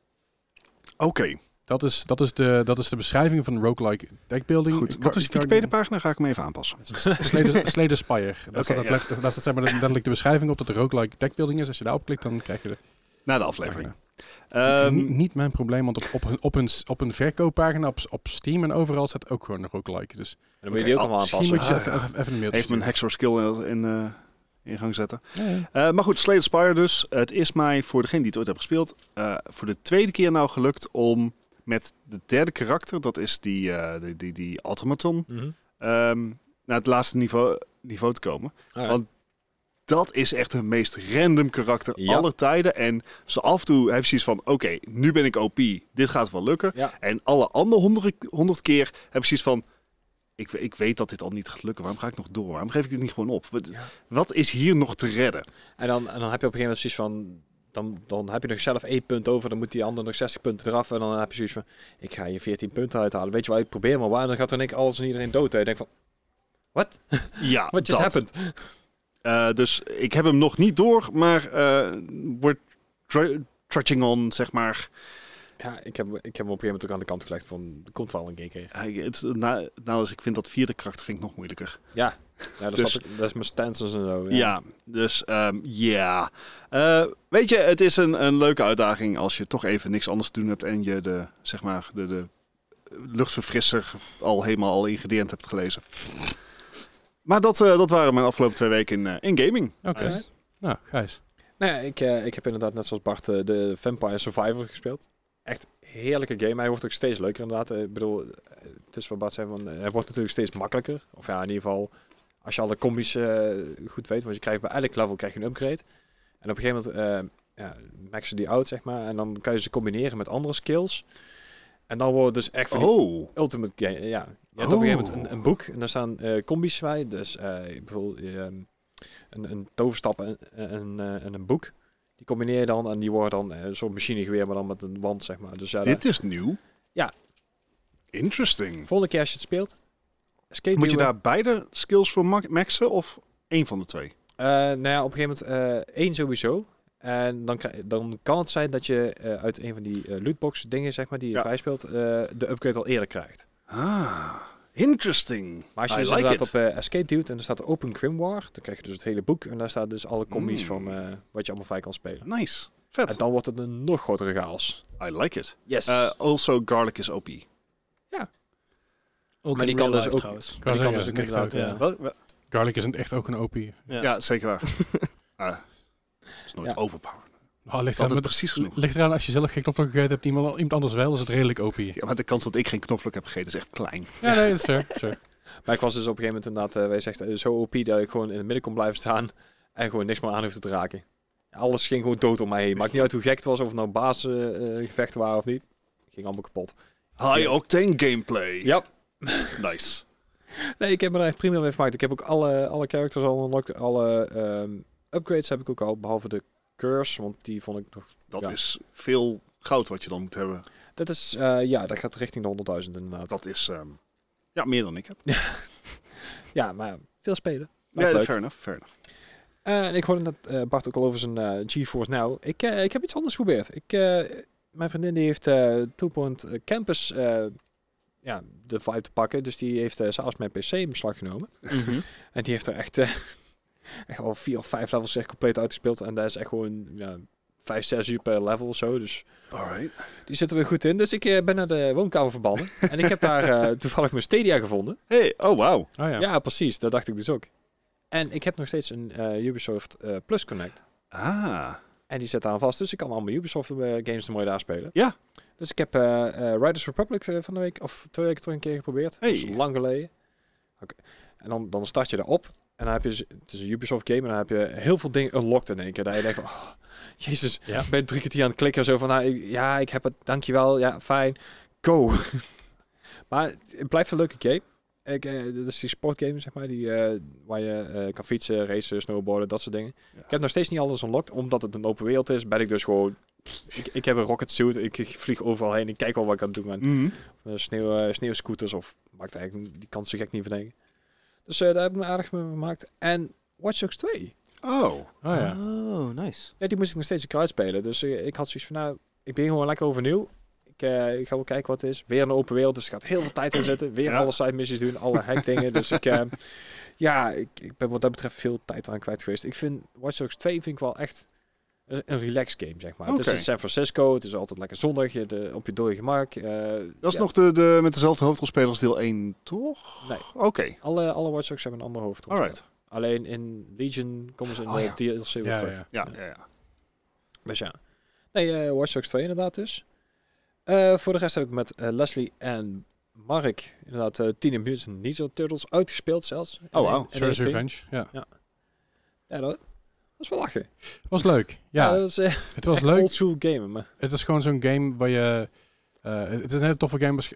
C: Oké,
A: Dat is, dat, is de, dat is de beschrijving van roguelike deck building.
C: goed. Wat is de Wikipedia-pagina? Ga ik hem even aanpassen.
A: Slater Slater Spire. Dat
C: Oké,
A: staat
C: ja.
A: let- daar staat zeg maar letterlijk de beschrijving op dat er roguelike deckbuilding is. Als je daarop klikt, dan krijg je de
C: Na de aflevering.
A: pagina.
C: Ehm,
A: Niet- niet mijn probleem, want op, op, hun, op, hun, op hun verkooppagina, op, op Steam en overal staat ook gewoon roguelike. Dus
B: dan moet je die ook
C: Oké,
B: allemaal
A: misschien
B: aanpassen.
A: moet je
C: Ah,
A: even,
C: ja.
A: even, even een mailtje
C: even mijn Hexor skill in, eh, in gang zetten.
A: sturen. Ja, ja.
C: Eh, maar goed, Slay the Spire dus. Het is mij, voor degene die het ooit hebben gespeeld, eh, voor de tweede keer nou gelukt om met de derde karakter, dat is die, eh, die, die, die automaton,
B: Mhm.
C: ehm, naar het laatste niveau, niveau te komen.
B: Ah, ja.
C: Want- Dat is echt hun meest random karakter
B: Ja.
C: aller tijden. En ze af en toe hebben ze zoiets van, oké, nu ben ik OP, dit gaat wel lukken.
B: Ja.
C: En alle andere honderd, honderd keer hebben ze zoiets van, ik, we- ik weet dat dit al niet gaat lukken, waarom ga ik nog door? Waarom geef ik dit niet gewoon op? Wat, wat is hier nog te redden?
B: En, dan, en dan heb je op een gegeven moment zoiets van... Dan, dan heb je nog zelf één punt over. Dan moet die ander nog 60 punten eraf. En dan heb je zoiets van... Ik ga je 14 punten uithalen. Weet je wel, ik probeer maar waar. Dan gaat er niks alles en iedereen dood. En je denkt van... ah, What?
C: Ja,
B: What just
C: dat.
B: happened?
C: Eh, dus ik heb hem nog niet door, maar eh wordt tr- trudging on, zeg maar.
B: Ja, ik heb, ik heb hem op een gegeven moment ook aan de kant gelegd van... er Komt wel een keer keer.
C: Eh, het, na, nou, dus ik vind dat vierde kracht vind ik nog moeilijker.
B: Ja. ja dat,
C: Dus-
B: snap ik. dat is mijn stances en zo.
C: Ja, dus ehm, ja. Eh, weet je, het is een, een leuke uitdaging als je toch even niks anders te doen hebt en je de, zeg maar, de, de luchtverfrisser al helemaal al ingrediënt hebt gelezen. Maar dat, eh, dat waren mijn afgelopen twee weken in, eh, in gaming.
A: Oké.
B: Nice.
A: Nou, Gijs.
B: Nou ja, ik, eh, ik heb inderdaad net zoals Bart eh, de Vampire Survivor gespeeld. Echt heerlijke game. Hij wordt ook steeds leuker inderdaad. Eh, Ik bedoel, eh, het is wat Bart zei, van, eh, hij wordt natuurlijk steeds makkelijker. Of ja, in ieder geval, als je alle combis eh, goed weet. Want je krijgt bij elk level krijg je een upgrade. En op een gegeven moment eh ja, max je die out, zeg maar. En dan kan je ze combineren met andere skills. En dan worden dus echt van die
C: Oh,
B: Ultimate Game, eh, ja. Je hebt op een gegeven moment
C: Oh.
B: een, een boek en daar staan eh combis bij. Dus eh bijvoorbeeld eh, een, een toverstap en, en, eh, en een boek. Die combineer je dan en die worden dan eh, een soort machinegeweer, maar dan met een wand, zeg maar. Dus ja,
C: dit is nieuw.
B: Ja.
C: Interesting.
B: de volgende keer als je het speelt, escape
C: Moet je
B: duwen.
C: daar beide skills voor ma- maxen of één van de twee?
B: Eh, nou ja, op een gegeven moment eh, één sowieso. En dan, kri- dan kan het zijn dat je eh, uit een van die eh, lootbox dingen, zeg maar, die je
C: Ja.
B: vrij speelt, eh, de upgrade al eerder krijgt.
C: Ah, interesting.
B: Maar als je
C: I
B: dus
C: like
B: inderdaad
C: it.
B: op eh, Escape duwt en er staat Open Grimoire, dan krijg je dus het hele boek. En daar staat dus alle combi's
C: Mm.
B: van eh, wat je allemaal vrij kan spelen.
C: Nice.
B: En
C: Vet.
B: dan wordt het een nog grotere chaos.
C: I like it.
B: Yes.
C: Eh, also, garlic is OP.
D: Ook
B: Maar
D: in
B: die kan dus
D: real life
B: ook- eh,
D: trouwens.
A: kan zeggen, dat is echt
D: inderdaad,
A: ook,
D: ja.
C: Wel- wel-
A: Garlic is een, echt ook een Ah, OP.
C: ja. zeker waar. Ah, is nooit
B: Ja.
C: overpowered.
A: Oh, ligt,
C: Is altijd
A: eraan, met-
C: precies genoeg.
A: ligt eraan als je zelf geen knoflook gegeten hebt, iemand, iemand anders wel, is het redelijk OP. Ja,
C: Ja, maar de kans dat ik geen knoflook heb gegeten is echt klein.
A: nee, dat is fair. fair.
B: Maar ik was dus op een gegeven moment inderdaad, eh, wij zegt, eh, zo OP dat ik gewoon in het midden kon blijven staan. En gewoon niks meer aan hoefde te raken. Alles ging gewoon dood om mij heen. Maakt niet uit hoe gek het was, of het nou baasgevechten waren of niet. Ging allemaal kapot.
C: High octane gameplay.
B: Ja.
C: Nice.
B: Nee, ik heb me daar echt prima mee vermaakt. Ik heb ook alle, alle characters al unlocked. Alle ehm, upgrades heb ik ook al, behalve de curse. Want die vond ik nog
C: Dat
B: Ja.
C: is veel goud wat je dan moet hebben.
B: Dat is, eh, ja, dat gaat richting de 100.000 inderdaad.
C: Dat is ehm, ja, meer dan ik heb.
B: Ja, maar ja, veel spelen. Lijkt
C: Ja,
B: leuk.
C: fair enough. Fair enough.
B: Eh, en ik hoorde net eh, Bart ook al over zijn eh, GeForce Now. Ik, eh, ik heb iets anders geprobeerd. Ik, eh, mijn vriendin die heeft eh Two Point Campus eh, ja, de vibe te pakken. Dus die heeft eh s'avonds mijn PC in beslag genomen.
C: Mhm.
B: En die heeft er echt, eh, echt al vier of vijf levels echt compleet uitgespeeld. En daar is echt gewoon ja, vijf, zes uur per level of zo. Dus
C: Alright.
B: die zitten we goed in. Dus ik eh, ben naar de woonkamer verbannen. en ik heb daar eh, toevallig mijn Stadia gevonden.
C: Hey, oh wow.
A: Oh, ja.
B: Ja. precies. Dat dacht ik dus ook. En ik heb nog steeds een eh, Ubisoft eh, Plus Connect.
C: Ah,
B: En die zit aan vast, dus ik kan allemaal Ubisoft eh, games er mooi daar spelen.
C: Ja.
B: Dus ik heb eh, eh, Riders Republic eh, van de week, of twee weken terug een keer geprobeerd.
C: Hey.
B: Dat is lang geleden. Oké. En dan, dan start je erop. En dan heb je, dus- het is een Ubisoft game, en dan heb je heel veel dingen unlocked in één keer. Dat je denkt van, oh, jezus,
A: Ja.
B: ik ben drie kwartier aan het klikken. Zo van, nou, ik- ja, ik heb het, dankjewel, ja, fijn, go. maar het blijft een leuke game. Ik, eh, dat is die sportgame, zeg maar, die, eh, waar je eh, kan fietsen, racen, snowboarden, dat soort dingen.
C: Ja.
B: Ik heb nog steeds niet alles unlocked. Omdat het een open wereld is, ben ik dus gewoon Ik, ik heb een rocket suit, ik ik vlieg overal heen, ik kijk al wat ik aan het doen ben.
C: Mhm.
B: Eh, sneeuw, eh, sneeuwscooters of maakt eigenlijk die kans zo gek niet verdenken. Dus eh, daar heb ik me aardig mee gemaakt. En Watch Dogs 2.
C: Oh,
A: Oh ja.
D: Oh, nice.
B: Ja, die moest ik nog steeds een keer uitspelen. Dus eh, ik had zoiets van, nou, ik begin gewoon lekker overnieuw. Ik, eh, ik ga wel kijken wat het is. Weer een open wereld, dus er gaat heel veel tijd in zitten. Weer
C: Ja.
B: alle side missies doen, alle hackdingen. dus ik, eh, ja, ik, ik ben wat dat betreft veel tijd aan kwijt geweest. Ik vind Watch Dogs 2 vind ik wel echt een een relaxed game, zeg maar. Het is
C: Oké.
B: in San Francisco, het is altijd lekker zonnig, je, de, op je dode gemak. eh,
C: dat is
B: ja,
C: nog de, de, met dezelfde hoofdrolspeler als deel 1, toch?
B: Nee.
C: Oké,
B: Alle, alle Watch Dogs hebben een andere hoofd.
C: alright.
B: Alleen in Legion komen ze in
C: Oh,
B: de
C: ja.
B: DLC weer
A: Ja,
B: terug.
A: ja.
C: Ja, ja, ja.
B: Dus ja. Nee, eh, Watch Dogs 2 inderdaad dus. Eh, voor de rest heb ik met eh, Leslie en Mark inderdaad eh Teenage Mutant Ninja Turtles uitgespeeld zelfs.
C: Oh, wauw.
B: En- en-
A: Shredder's
B: en-
A: Revenge. Ja.
B: Ja, dat was wel lachen.
A: Was leuk.
B: Ja,
A: Ja,
B: dat was, eh
A: het was
B: echt
A: leuk.
B: old school game. Maar
A: Het is gewoon zo'n game waar je... eh, het is een hele toffe game, waarsch-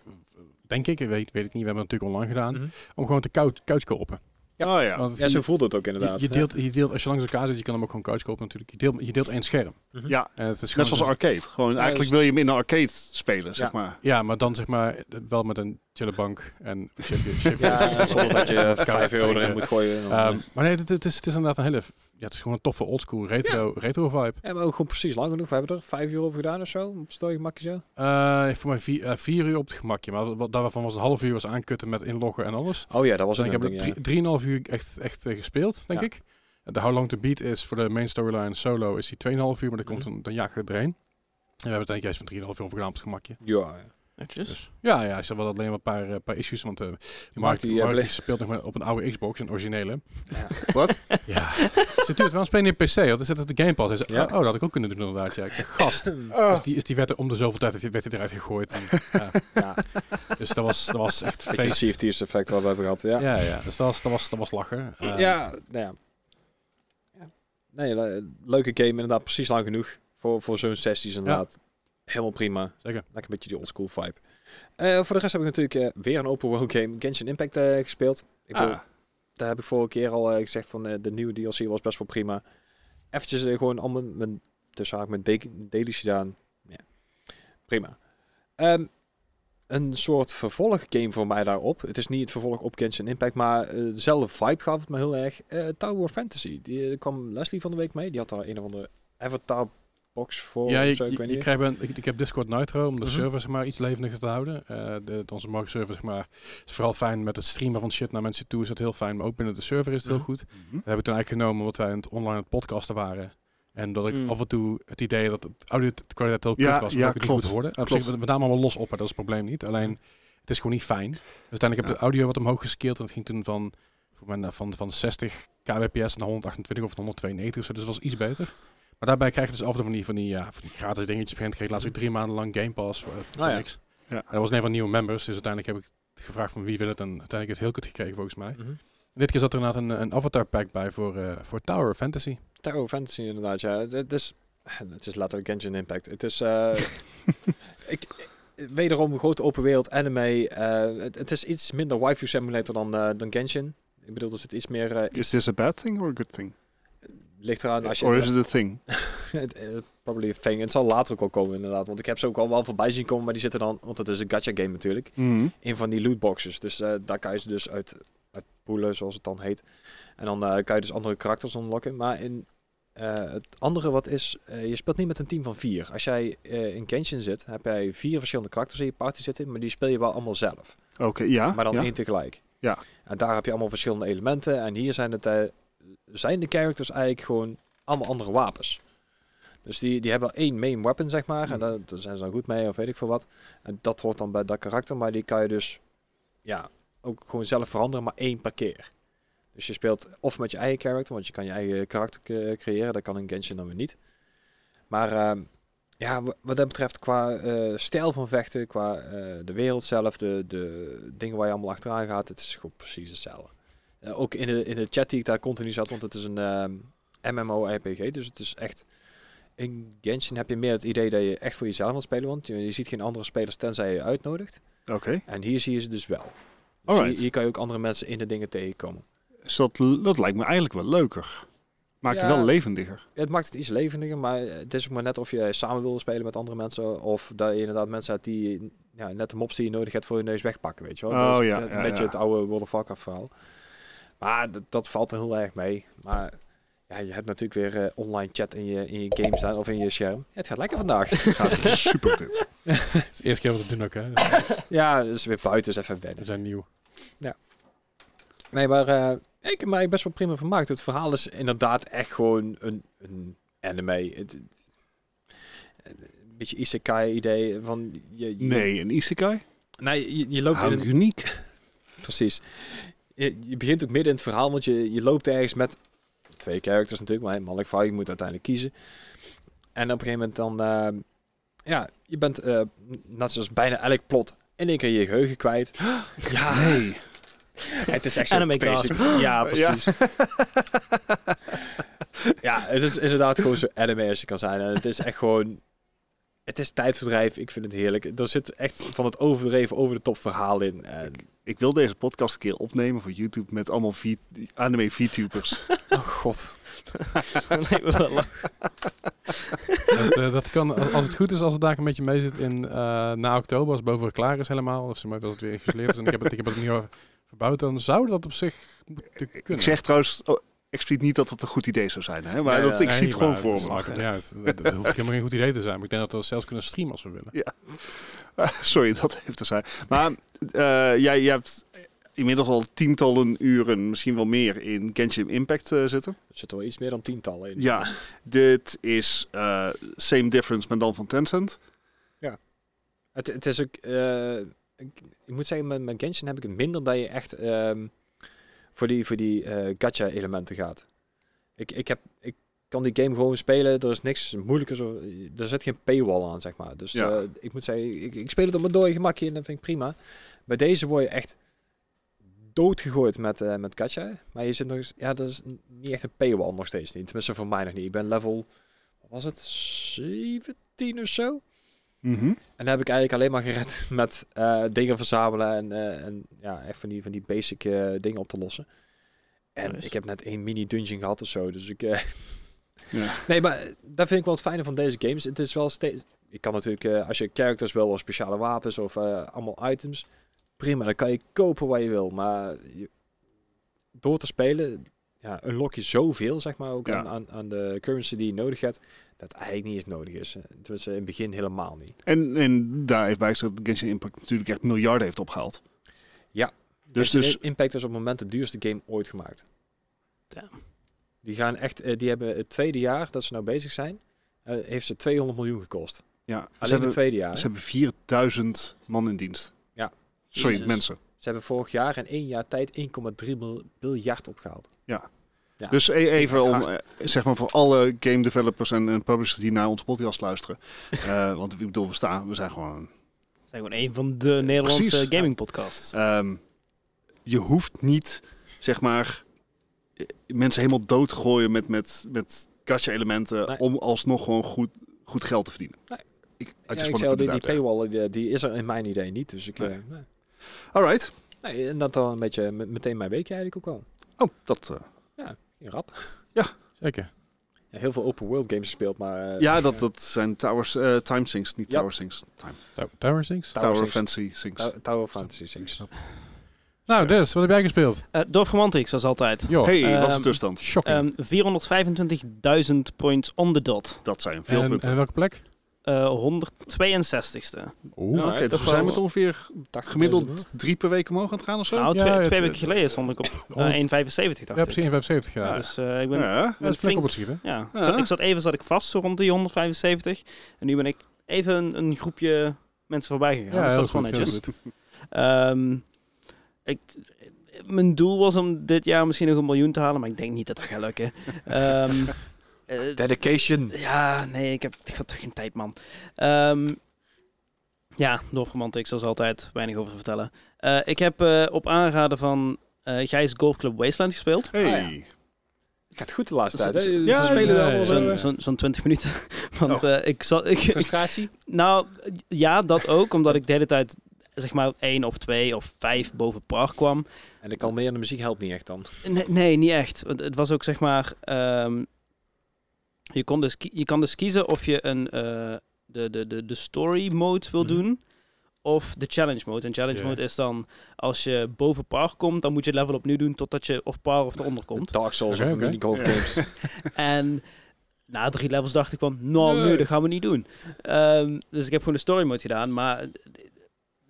A: denk ik. Ik Weet, weet ik niet, we hebben het natuurlijk online gedaan.
B: Mhm.
A: Om gewoon te couch, couchkopen.
C: Oh ja.
A: Want
B: ja,
A: je-
B: zo voelde het ook
A: je,
B: inderdaad.
A: je, deelt, je deelt, als je langs elkaar zit, je kan hem ook gewoon couchkopen natuurlijk. Je deelt, je deelt één scherm.
C: Ja,
A: En het is
C: net
A: gewoon
C: zoals
A: zo'n-
C: arcade. Gewoon,
B: Ja,
C: eigenlijk
B: dus-
C: wil je hem in een arcade spelen, zeg
B: Ja.
C: maar.
A: Ja, maar dan zeg maar eh, wel met een chille bank en chipje. chipje
B: Ja, ja, zonder dat je
A: Koud
B: 5 euro erin
A: drinken.
B: moet gooien. en dan,
A: Ehm, maar nee, het, het, is, het is inderdaad een hele... f- Ja, het is gewoon een toffe oldschool retro, retro vibe.
B: eh. Ja, maar ook gewoon precies lang genoeg. We hebben er 5 uur over gedaan of zo. Op story gemakje zo.
A: Eh, voor mij vier, eh, vier uur op het gemakje. Maar wat, daarvan was het half uur was aankutten met inloggen en alles.
B: Oh ja, dat was
A: Dus ik
B: een
A: heb
B: ding,
A: drie-
B: ja.
A: drieënhalf uur echt, echt eh, gespeeld, denk
B: Ja.
A: ik. En De How Long To Beat is voor de main storyline solo is die 2,5 uur, maar dan komt
B: Mhm.
A: een, dan jagen we erheen. En we hebben het eigenlijk juist van 3,5 uur over gedaan op het gemakje.
B: Ja, ja.
D: Netjes.
A: Dus ja, ja, ze hadden alleen maar een paar, eh, paar issues, want eh Mark,
B: maakt die, eh,
A: die, Mark
B: bele-
A: die speelt nog maar op een oude Xbox, een originele.
C: Wat?
A: Ja, ze doet het wel spelen in PC, want dan zit het de Game Pass. Hij zei,
B: Ja. Oh.
A: oh, dat had ik ook kunnen doen inderdaad. Ja, ik zeg, gast.
B: Ah.
A: Dus die, is die werd er om de zoveel tijd werd hij eruit gegooid. En, ja.
B: Ja.
A: Dus dat was, dat was echt
B: Beetje
A: feest.
B: CFT's effect wat we hebben gehad.
A: Ja, ja. Dus dat was, dat was, dat was lachen. Eh,
B: ja, nou ja. Nee, le- leuke game inderdaad. Precies lang genoeg voor, voor zo'n sessies inderdaad. Helemaal prima.
A: Zeker.
B: Lekker een beetje die oldschool vibe. Eh, voor de rest heb ik natuurlijk eh, weer een open world game, Genshin Impact, eh, gespeeld. Ik bedoel,
C: Ah,
B: daar heb ik vorige keer al eh, gezegd van eh, de nieuwe DLC was best wel prima. Eventjes eh, gewoon allemaal dus mijn, tussen haak mijn de- dailies gedaan. Ja. Prima. Ehm, een soort vervolggame voor mij daarop. Het is niet het vervolg op Genshin Impact, maar eh, dezelfde vibe gaf het me heel erg. Eh, Tower of Fantasy, die eh, kwam Leslie van de week mee. Die had daar een of andere avatar box voor
A: Ja,
B: of zo,
A: je,
B: oh, ik
A: je,
B: weet
A: je
B: niet.
A: krijgt een- ik, ik heb Discord Nitro om de
B: Mhm.
A: server zeg maar, iets levendiger te houden. Eh, de, de- onze marktserver zeg maar, is vooral fijn met het streamen van shit naar mensen toe. Is dat heel fijn, maar ook binnen de server is het
B: Mhm.
A: heel goed.
C: mhm.
A: We hebben het toen eigenlijk genomen omdat wij aan het online aan het podcasten waren. En dat ik
D: Mm.
A: af en toe het idee dat het audio t- kwaliteit heel
C: Ja,
A: kut was,
C: ja,
A: ja, ik het niet
C: klopt.
A: goed hoorde. Nou, op zich, we, we namen allemaal los op, hè, dat is het probleem niet. Alleen, het is gewoon niet fijn. Dus uiteindelijk heb ik de audio wat omhoog geskeeld. En dat ging toen van, voor mij, nou, van, van 60 kbps naar 128 of 192 of zo. Dus dat was iets beter. Maar daarbij krijg je dus af en toe van die, van die, ja, van die gratis dingetjes. begint kreeg ik laatst ook drie maanden lang Game Pass voor, eh, voor
B: Ah, ja.
A: niks.
C: Ja.
A: En dat was een van de nieuwe members. Dus uiteindelijk heb ik gevraagd van wie wil het. En uiteindelijk heeft heel kut gekregen volgens mij.
B: Mhm.
A: En Dit keer zat er inderdaad een, een avatar pack bij voor, eh, voor Tower of Fantasy.
B: Tower of Fantasy inderdaad, ja. Het- Het is, het is letterlijk Genshin Impact. Het is... eh, ik, eh, wederom een grote open wereld anime. eh, het, het is iets minder waifu simulator dan, eh, dan Genshin. Ik bedoel, er zit iets meer... eh,
C: Is this a bad thing or a good thing?
B: ligt eraan als je...
C: Or is it a thing?
B: het, eh, probably a thing. Het zal later ook wel komen inderdaad. Want ik heb ze ook al wel voorbij zien komen. Maar die zitten dan... Want het is een gacha game natuurlijk.
C: Mhm.
B: een van die lootboxes. Dus eh, daar kan je ze dus uit, uit poelen, zoals het dan heet. En dan eh, kan je dus andere karakters unlocken. Maar in eh, het andere wat is, eh, je speelt niet met een team van vier. Als jij eh, in Genshin zit, heb jij vier verschillende karakters in je party zitten, maar die speel je wel allemaal zelf.
C: Oké, ja.
B: maar dan
C: ja.
B: één tegelijk.
C: Ja.
B: En daar heb je allemaal verschillende elementen. En hier zijn, het, eh, zijn de characters eigenlijk gewoon allemaal andere wapens. Dus die, die hebben één main weapon, zeg maar. En
C: Mm.
B: daar, daar zijn ze dan goed mee, of weet ik veel wat. En dat hoort dan bij dat karakter. Maar die kan je dus ja, ook gewoon zelf veranderen, maar één per keer. Dus je speelt of met je eigen karakter, want je kan je eigen karakter eh, creëren. Dat kan in Genshin dan weer niet. Maar ehm, ja, wa- wat dat betreft, qua eh, stijl van vechten, qua eh, de wereld zelf, de, de dingen waar je allemaal achteraan gaat, het is gewoon precies hetzelfde. Eh, ook in de, in de chat die ik daar continu zat, want het is een ehm, MMORPG, dus het is echt... In Genshin heb je meer het idee dat je echt voor jezelf wilt spelen, want je, je ziet geen andere spelers tenzij je je uitnodigt.
C: Oké.
B: En hier zie je ze dus wel. Dus
C: Alright.
B: hier, hier kan je ook andere mensen in de dingen tegenkomen.
C: Dus dat, dat lijkt me eigenlijk wel leuker. Maakt
B: Ja.
C: het wel levendiger.
B: Het maakt het iets levendiger, maar eh, het is ook maar net of je samen wil spelen met andere mensen. Of dat je inderdaad mensen hebt die ja, net de mops die je nodig hebt voor je neus wegpakken, weet je wel.
C: Oh,
B: dat is
C: ja,
B: net
C: ja,
B: een beetje
C: ja.
B: het oude World of Warcraft verhaal. Maar dat, dat valt er heel erg mee. Maar ja, je hebt natuurlijk weer eh, online chat in je, in je game staan of in je scherm. Het gaat lekker vandaag.
C: Gaat super dit.
A: Het is de eerste keer wat we doen ook, hè.
B: ja, dus weer buiten is even
A: We
B: wennen.
A: zijn nieuw.
B: Nee, maar eh, ik heb mij best wel prima vermaakt. Het verhaal is inderdaad echt gewoon een, een anime. Het, een beetje isekai-idee van... Je, je-
C: Nee, een isekai?
B: Nee, je, je loopt in
C: Hou
B: een-
C: uniek.
B: Precies. Je, je begint ook midden in het verhaal, want je, je loopt ergens met twee characters natuurlijk, maar een mannelijk vrouw, je moet uiteindelijk kiezen. En op een gegeven moment dan, eh, ja, je bent, eh, net zoals bijna elk plot, in één keer je geheugen kwijt. Ja,
C: Nee.
B: het is echt
D: Anime
B: basic. Ja, precies. Ja. het is inderdaad gewoon zo anime als je kan zijn. En het is echt gewoon... Het is tijdverdrijf. Ik vind het heerlijk. Er zit echt van het overdreven over de top verhaal in. En,
C: Ik wil deze podcast een keer opnemen voor YouTube met allemaal v- anime VTubers.
B: oh god.
D: nee, maar wel lang.
A: Dat, eh, dat kan, als als het goed is, als het daar een beetje mee zit in eh, na oktober, als boven klaar is helemaal, of ze maar dat het weer geïsoleerd is en ik heb het, ik heb het niet al verbouwd, dan zou dat op zich moeten kunnen.
C: Ik zeg trouwens oh, expliciet niet dat dat een goed idee zou zijn, hè? maar
B: Nee,
C: dat, ik
A: Nee,
C: zie het
A: niet
C: gewoon
A: waar,
C: voor
A: is-
C: me.
A: maakt niet uit. Dat, dat hoeft helemaal geen goed idee te zijn, maar ik denk dat we dat zelfs kunnen streamen als we willen.
C: Sorry, dat heeft te zijn. Maar eh, jij, jij hebt inmiddels al tientallen uren, misschien wel meer, in Genshin Impact eh, zitten.
B: Er zitten wel iets meer dan tientallen in.
C: Ja, dit is eh, same difference, maar dan van Tencent.
B: Het, het is ook... eh, ik, ik moet zeggen, met, met Genshin heb ik het minder dat je echt ehm, voor die, voor die eh, gacha-elementen gaat. Ik, ik, heb, ik kan die game gewoon spelen. Er is niks moeilijkers. Of, er zit geen paywall aan, zeg maar. Dus
C: Ja.
B: eh, ik moet zeggen, ik, ik speel het op mijn dode gemakje en dat vind ik prima. Bij deze word je echt doodgegooid met, eh met gacha. Maar je zit nog eens... Ja, dat is n- niet echt een paywall nog steeds niet. Tenminste, voor mij nog niet. Ik ben level... wat Was het 17 of zo? En dan heb ik eigenlijk alleen maar gered met eh, dingen verzamelen en, eh, en ja, echt van die, van die basic eh, dingen op te lossen. En
D: Nice.
B: ik heb net één mini dungeon gehad of zo, dus ik... eh,
C: Ja.
B: Nee, maar dat vind ik wel het fijne van deze games. Het is wel steeds... Je kan natuurlijk, eh, als je characters wil, of speciale wapens of eh, allemaal items, prima, dan kan je kopen waar je wil. Maar je- door te spelen, ja, unlock je zoveel, zeg maar, ook
C: Ja.
B: aan, aan, aan de currency die je nodig hebt, dat eigenlijk niet eens nodig is. Eh, Tenminste, in het begin helemaal niet.
C: En, en daar heeft bij gezegd dat Genshin Impact natuurlijk echt miljarden heeft opgehaald.
B: Ja.
C: Dus,
B: Genshin
C: dus
B: Impact is op het moment de duurste game ooit gemaakt.
D: Damn.
B: Die gaan echt, eh, die hebben het tweede jaar dat ze nou bezig zijn, eh, heeft ze 200 miljoen gekost.
C: ja, ze,
B: Alleen
C: hebben,
B: het tweede jaar.
C: ze
B: Ze,
C: hebben 4000 man in dienst.
B: Ja.
C: Sorry,
D: Jezus.
C: mensen.
B: hebben vorig jaar in één jaar tijd 1,3 mil- miljard opgehaald. Ja.
C: Dus e- even
B: Echt
C: om,
B: hard.
C: eh, zeg maar voor alle game developers en, en publishers die naar onze podcast luisteren. Eh, want ik bedoel, we, staan, we zijn gewoon
D: We zijn gewoon een van de Nederlandse
C: Precies.
D: gaming podcasts.
C: Ehm, je hoeft niet, zeg maar, eh, mensen helemaal doodgooien met, met, met gacha-elementen
B: Nee.
C: om alsnog gewoon goed, goed geld te verdienen.
B: Nee.
C: Ik, I
B: Ja,
C: just
B: ik
C: wanted
B: zei
C: to
B: al, die,
C: put
B: die
C: it out
B: paywall eh, die, is er in mijn idee niet. Dus ik, eh,
C: Nee.
B: nee.
C: there. Alright.
B: Nee, en dat dan een beetje met- meteen mijn weekje eigenlijk ook al.
C: Oh, dat, eh,
B: Rap.
A: Zeker.
B: Ja, heel veel open world games gespeeld, maar... eh,
C: ja, dat, dat zijn towers, eh, time sinks, niet
B: Ja.
C: tower sinks. Time.
A: Tower, Tower Sinks?
B: Tower
C: Tower,
B: sinks.
C: fancy sinks.
B: Tower- Tower of Fantasy 6.
A: Nou, Des, wat heb jij gespeeld?
D: Eh Dorf Romantic, zoals altijd.
A: Joh,
C: hey,
D: Ehm,
C: wat is de tussenstand?
A: shocking.
D: Ehm, 425.000 points on the dot.
C: Dat zijn veel
A: en,
C: punten.
A: en welke plek?
D: Eh 162ste.
A: Oeh.
C: Oké,
B: nou,
C: dus
B: toch
C: we zijn
B: wel-
C: met ongeveer gemiddeld drie per week omhoog aan het gaan of zo?
D: Nou,
A: Ja,
D: twee,
A: het-
D: twee weken geleden stond ik op eh, 1,75
A: ja,
D: dacht ik.
A: precies, 175 ja.
D: Ja, Dus eh, ik ben... Ja.
B: Ah,
C: ja.
A: dat is flink
D: flink.
A: op het schieten.
D: Ik,
C: Ja.
D: zat, ik zat even zat ik vast, zo rond die 175. En nu ben ik even een, een groepje mensen voorbij gegaan.
A: Ja,
D: dus dat
A: heel
D: is wel
A: goed, heel
D: netjes.
A: goed.
D: Ehm, ik, mijn doel was om dit jaar misschien nog een miljoen te halen, maar ik denk niet dat dat gaat lukken. Ehm, eh,
B: Dedication.
D: ja, nee, ik heb ik had toch geen tijd, man. Ehm ja, Dorfromantic, zoals altijd, weinig over te vertellen. Eh, ik heb eh, op aanraden van eh Gijs Golf Club Wasteland gespeeld.
C: Hey.
B: Ah, Gaat goed de laatste tijd.
C: Ja,
B: hè? Ze
C: ja,
B: spelen
A: ja, Oh.
B: wel,
A: ja.
B: eh,
D: Zo'n zo'n- zo'n 20 minuten. Want eh, ik zat. Ik,
B: Frustratie?
D: nou, ja, dat ook, omdat ik de hele tijd zeg maar één of twee of vijf boven par kwam.
B: En de kalmerende muziek helpt niet echt dan.
D: Nee, nee, niet echt. Want het was ook zeg maar. ehm, je, kon dus ki- je kan dus kiezen of je een, eh, de, de, de, de story mode wil
A: Mhm.
D: doen. Of de challenge mode. En challenge
A: Ja.
D: mode is dan als je boven par komt, dan moet je het level opnieuw doen totdat je of par of eronder komt.
B: Dark Souls
A: Oké,
B: of
A: oké.
B: mini golf
C: Ja.
B: games.
D: en na drie levels dacht ik van, nou, nee,
A: Nee.
D: dat gaan we niet doen. Ehm, dus ik heb gewoon de story mode gedaan. Maar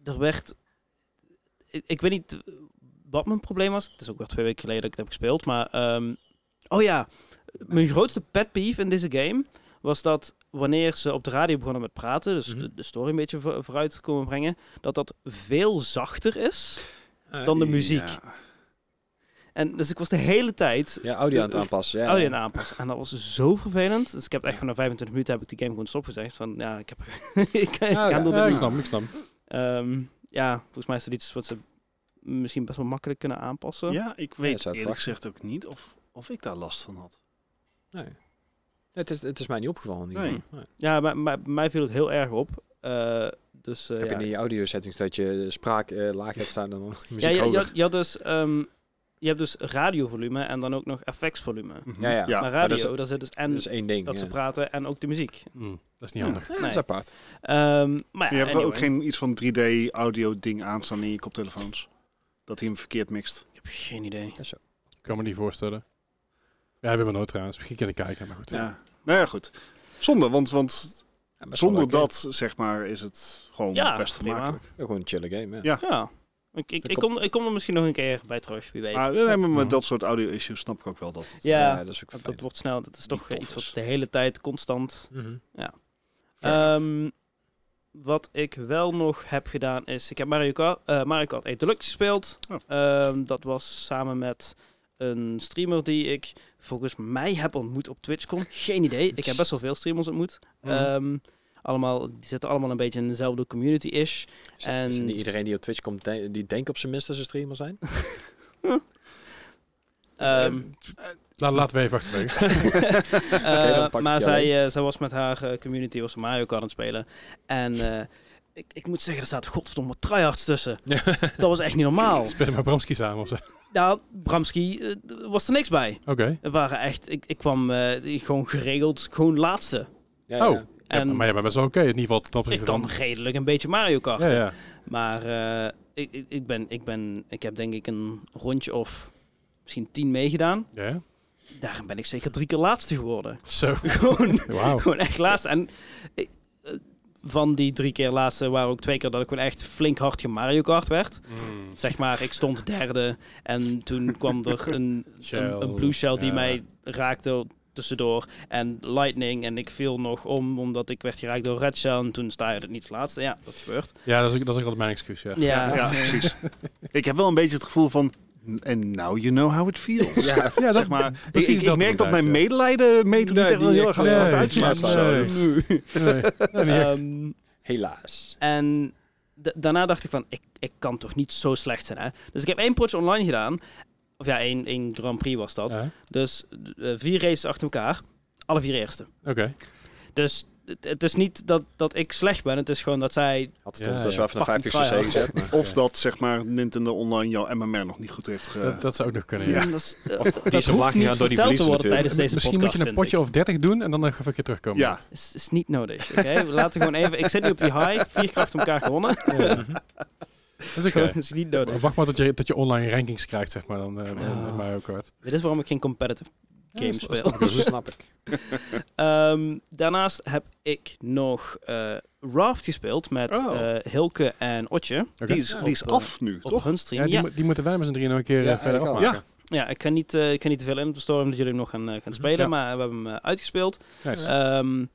D: er werd... Ik, ik weet niet wat mijn probleem was. Het is ook weer twee weken geleden dat ik het heb gespeeld. Maar, ehm, oh ja, mijn grootste pet peeve in deze game was dat wanneer ze op de radio begonnen met praten, dus
B: Mhm.
D: de, de story een beetje voor- vooruit komen brengen, dat dat veel zachter is. Dan de muziek.
C: Ja.
D: En dus ik was de hele tijd
B: Ja, audio aan het aanpassen. Ja.
D: Oh, die aanpassen. En dat was zo vervelend. Dus ik heb echt gewoon na 25 minuten heb ik die game gewoon stopgezegd. Van ja, ik heb. ik kan ik
B: Oh, ja.
D: kan dat
A: Ja,
D: niet.
A: ik snap, ik snap.
D: Ehm, ja, volgens mij is dat iets wat ze misschien best wel makkelijk kunnen aanpassen.
C: Ja, ik
B: Ja,
C: weet
B: zou het
C: eerlijk
B: verwachten.
C: gezegd ook niet of, of ik daar last van had.
B: Nee. Nee, Het, is, het is mij niet opgevallen. in ieder
C: Nee.
B: geval. Nee.
D: Ja, maar, maar bij mij viel het heel erg op. Eh, dus eh,
B: Heb
D: ja.
B: je in je audio settings dat je spraak eh, laag hebt staan dan muziek
D: ja, je, je,
B: hoger?
D: had, je had dus. ehm, je hebt dus radiovolume en dan ook nog effectsvolume.
B: Ja, ja.
D: maar
B: maar dat
D: radio,
B: is-
D: daar zit dus en
B: Dat
D: dat,
B: is één ding. ja.
D: ze praten en ook de muziek.
A: Mm, dat is niet handig.
B: Ja, dat
D: Nee.
B: is apart.
D: Ehm, maar ja,
C: je hebt er ook
D: anyway.
C: geen iets van 3D-audio-ding aanstaan in je koptelefoons. Dat hij hem verkeerd mixt.
D: Ik heb geen idee.
A: Ik kan me niet voorstellen. Ja, we hebben nooit trouwens. Misschien kunnen kijken, maar goed.
C: Ja. Nou ja, goed. Zonde, want, want
B: Ja, best wel
C: zonder
B: leuk, hè.
C: dat, zeg maar, is het gewoon
D: Ja,
C: best
D: prima.
C: gemakkelijk.
B: Ook gewoon een chille game, ja.
C: Ja.
D: Ja. Ik, ik, ik, kom, ik kom er misschien nog een keer bij terug, wie weet.
C: Maar, eh, nee, maar
A: Ja.
C: met dat soort audio-issues snap ik ook wel dat het
D: Ja,
B: dat is ook
D: dat,
B: vervelend.
D: wordt snel. Dat is
C: Die
D: toch eh, iets
C: toffers.
D: wat de hele tijd constant.
B: Mhm.
C: Fair enough.
D: Ehm, wat ik wel nog heb gedaan is, ik heb Mario Kart, eh, Mario Kart 8 Deluxe gespeeld.
C: Oh.
D: Ehm, dat was samen met een streamer die ik volgens mij heb ontmoet op TwitchCon. Geen idee. Ik heb best wel veel streamers ontmoet.
A: Mhm.
D: Ehm, allemaal, die zitten allemaal een beetje in dezelfde community-ish.
B: Is, is
D: En-
B: niet iedereen die op Twitch komt, de- die denkt op zijn minst dat ze streamer zijn?
D: Ehm,
A: La- laten we even achterwege.
D: Eh,
B: dan pak ik
D: maar
B: die
D: zij, eh, zij was met haar eh, community was Mario Kart aan het spelen. En eh, ik, ik moet zeggen, er staat godverdomme tryhards tussen. Dat was echt niet normaal.
A: Speel maar Bramski samen of zo.
D: Nou, Bramski eh, d- was er niks bij.
A: Oké.
D: Er waren echt, ik, ik kwam eh, gewoon geregeld, gewoon laatste.
B: Ja,
A: Oh.
B: ja.
A: Ja,
D: En
A: maar jij bent best wel oké. In ieder geval ten
D: ik
A: opzichte
D: kan
A: van...
D: redelijk een beetje Mario Kart.
A: Ja, ja.
D: Maar eh, ik, ik- ik, ben, ik, ben, ik heb denk ik een rondje of misschien tien meegedaan.
A: Ja?
D: Daarin ben ik zeker drie keer laatste geworden.
A: Zo.
D: Gewoon
A: Wauw.
D: Gewoon echt laatste. En eh, eh, van die drie keer laatste waren ook twee keer dat ik gewoon echt flink hard gemario kart werd.
A: Mm.
D: Zeg maar, ik stond derde en toen kwam er een,
A: Shell,
D: een, een blue shell die
A: ja.
D: mij raakte tussendoor. En lightning en ik viel nog om omdat ik werd geraakt door red shell en toen sta je er niet als laatste. Ja, dat gebeurt.
A: Ja, dat is, ook- dat is ook altijd mijn excuus, ja.
D: Ja,
C: Ja, precies. ik heb wel een beetje het gevoel van... And now you know how it feels.
B: Ja,
A: Ja, dat,
C: zeg maar, ik-
A: precies
C: ik, ik
A: dat
C: merk dat mijn
A: inderdaad, ja.
C: medelijden meter
B: Nee,
C: niet echt
B: die
C: wel heel
B: echt,
C: erg aan het
A: nee,
C: uitslaat.
A: maar
C: zo.
A: nee.
C: Dus-
A: Nee, nee, niet echt.
D: Ehm,
B: helaas.
D: En da- daarna dacht ik van, ik, ik kan toch niet zo slecht zijn, hè? Dus ik heb één potje online gedaan. Of ja, één, één Grand Prix was dat.
A: Ja,
D: Dus eh, vier races achter elkaar. Alle vier eerste.
A: Oké.
D: Dus het, het is niet dat, dat ik slecht ben. Het is gewoon dat zij...
B: Had het
A: Ja,
B: ons dus
A: ja.
B: wel even naar
D: Fucking
B: 50 cc
D: tryhard.
B: gezet. maar-
C: Of dat, zeg maar, Nintendo Online jouw MMR nog niet goed heeft ge...
A: Dat, dat zou ook nog kunnen, eh, ja.
D: Ja. Mm, Dat, is- dat-
B: die
D: dat
B: is omlaag
D: hoeft niet
B: gegaan door die
D: verteld te
B: verliezen
D: worden tijdens deze
A: Misschien
D: podcast,
A: moet je een
D: vind
A: potje
D: ik.
A: of 30 doen en dan nog even een keer terugkomen.
C: ja,
D: Is, is niet nodig, oké? We laten gewoon even... Ik zit nu op die high. Vier keer achter elkaar gewonnen.
A: Dat is oké.
D: is niet nodig.
A: Eh, Wacht maar tot je, tot je online rankings krijgt, zeg maar, dan eh
D: Ja.
A: dan Mario Kart.
D: Dit is waarom ik geen competitive
A: Ja,
D: game
A: dat is- dat is
D: speel.
A: toch
B: Dat snap ik.
D: Ehm, daarnaast heb ik nog eh, Raft gespeeld met
C: Oh.
D: eh, Hilke en Otje
A: Oké.
C: die is, die is
D: Op,
C: af nu,
D: op
C: toch?
D: hun
A: Ja,
D: stream.
A: die,
D: Ja,
A: mo- die moeten wij met z'n drieën nog een keer
B: Ja,
A: eh, verder
B: eigenlijk
A: afmaken.
B: wel.
A: Ja.
D: ja, ik kan niet, eh, ik kan niet te veel in storen omdat jullie hem nog gaan, eh, gaan spelen,
A: Mhm. Ja.
D: maar we hebben hem eh, uitgespeeld.
A: Nice.
D: Ehm,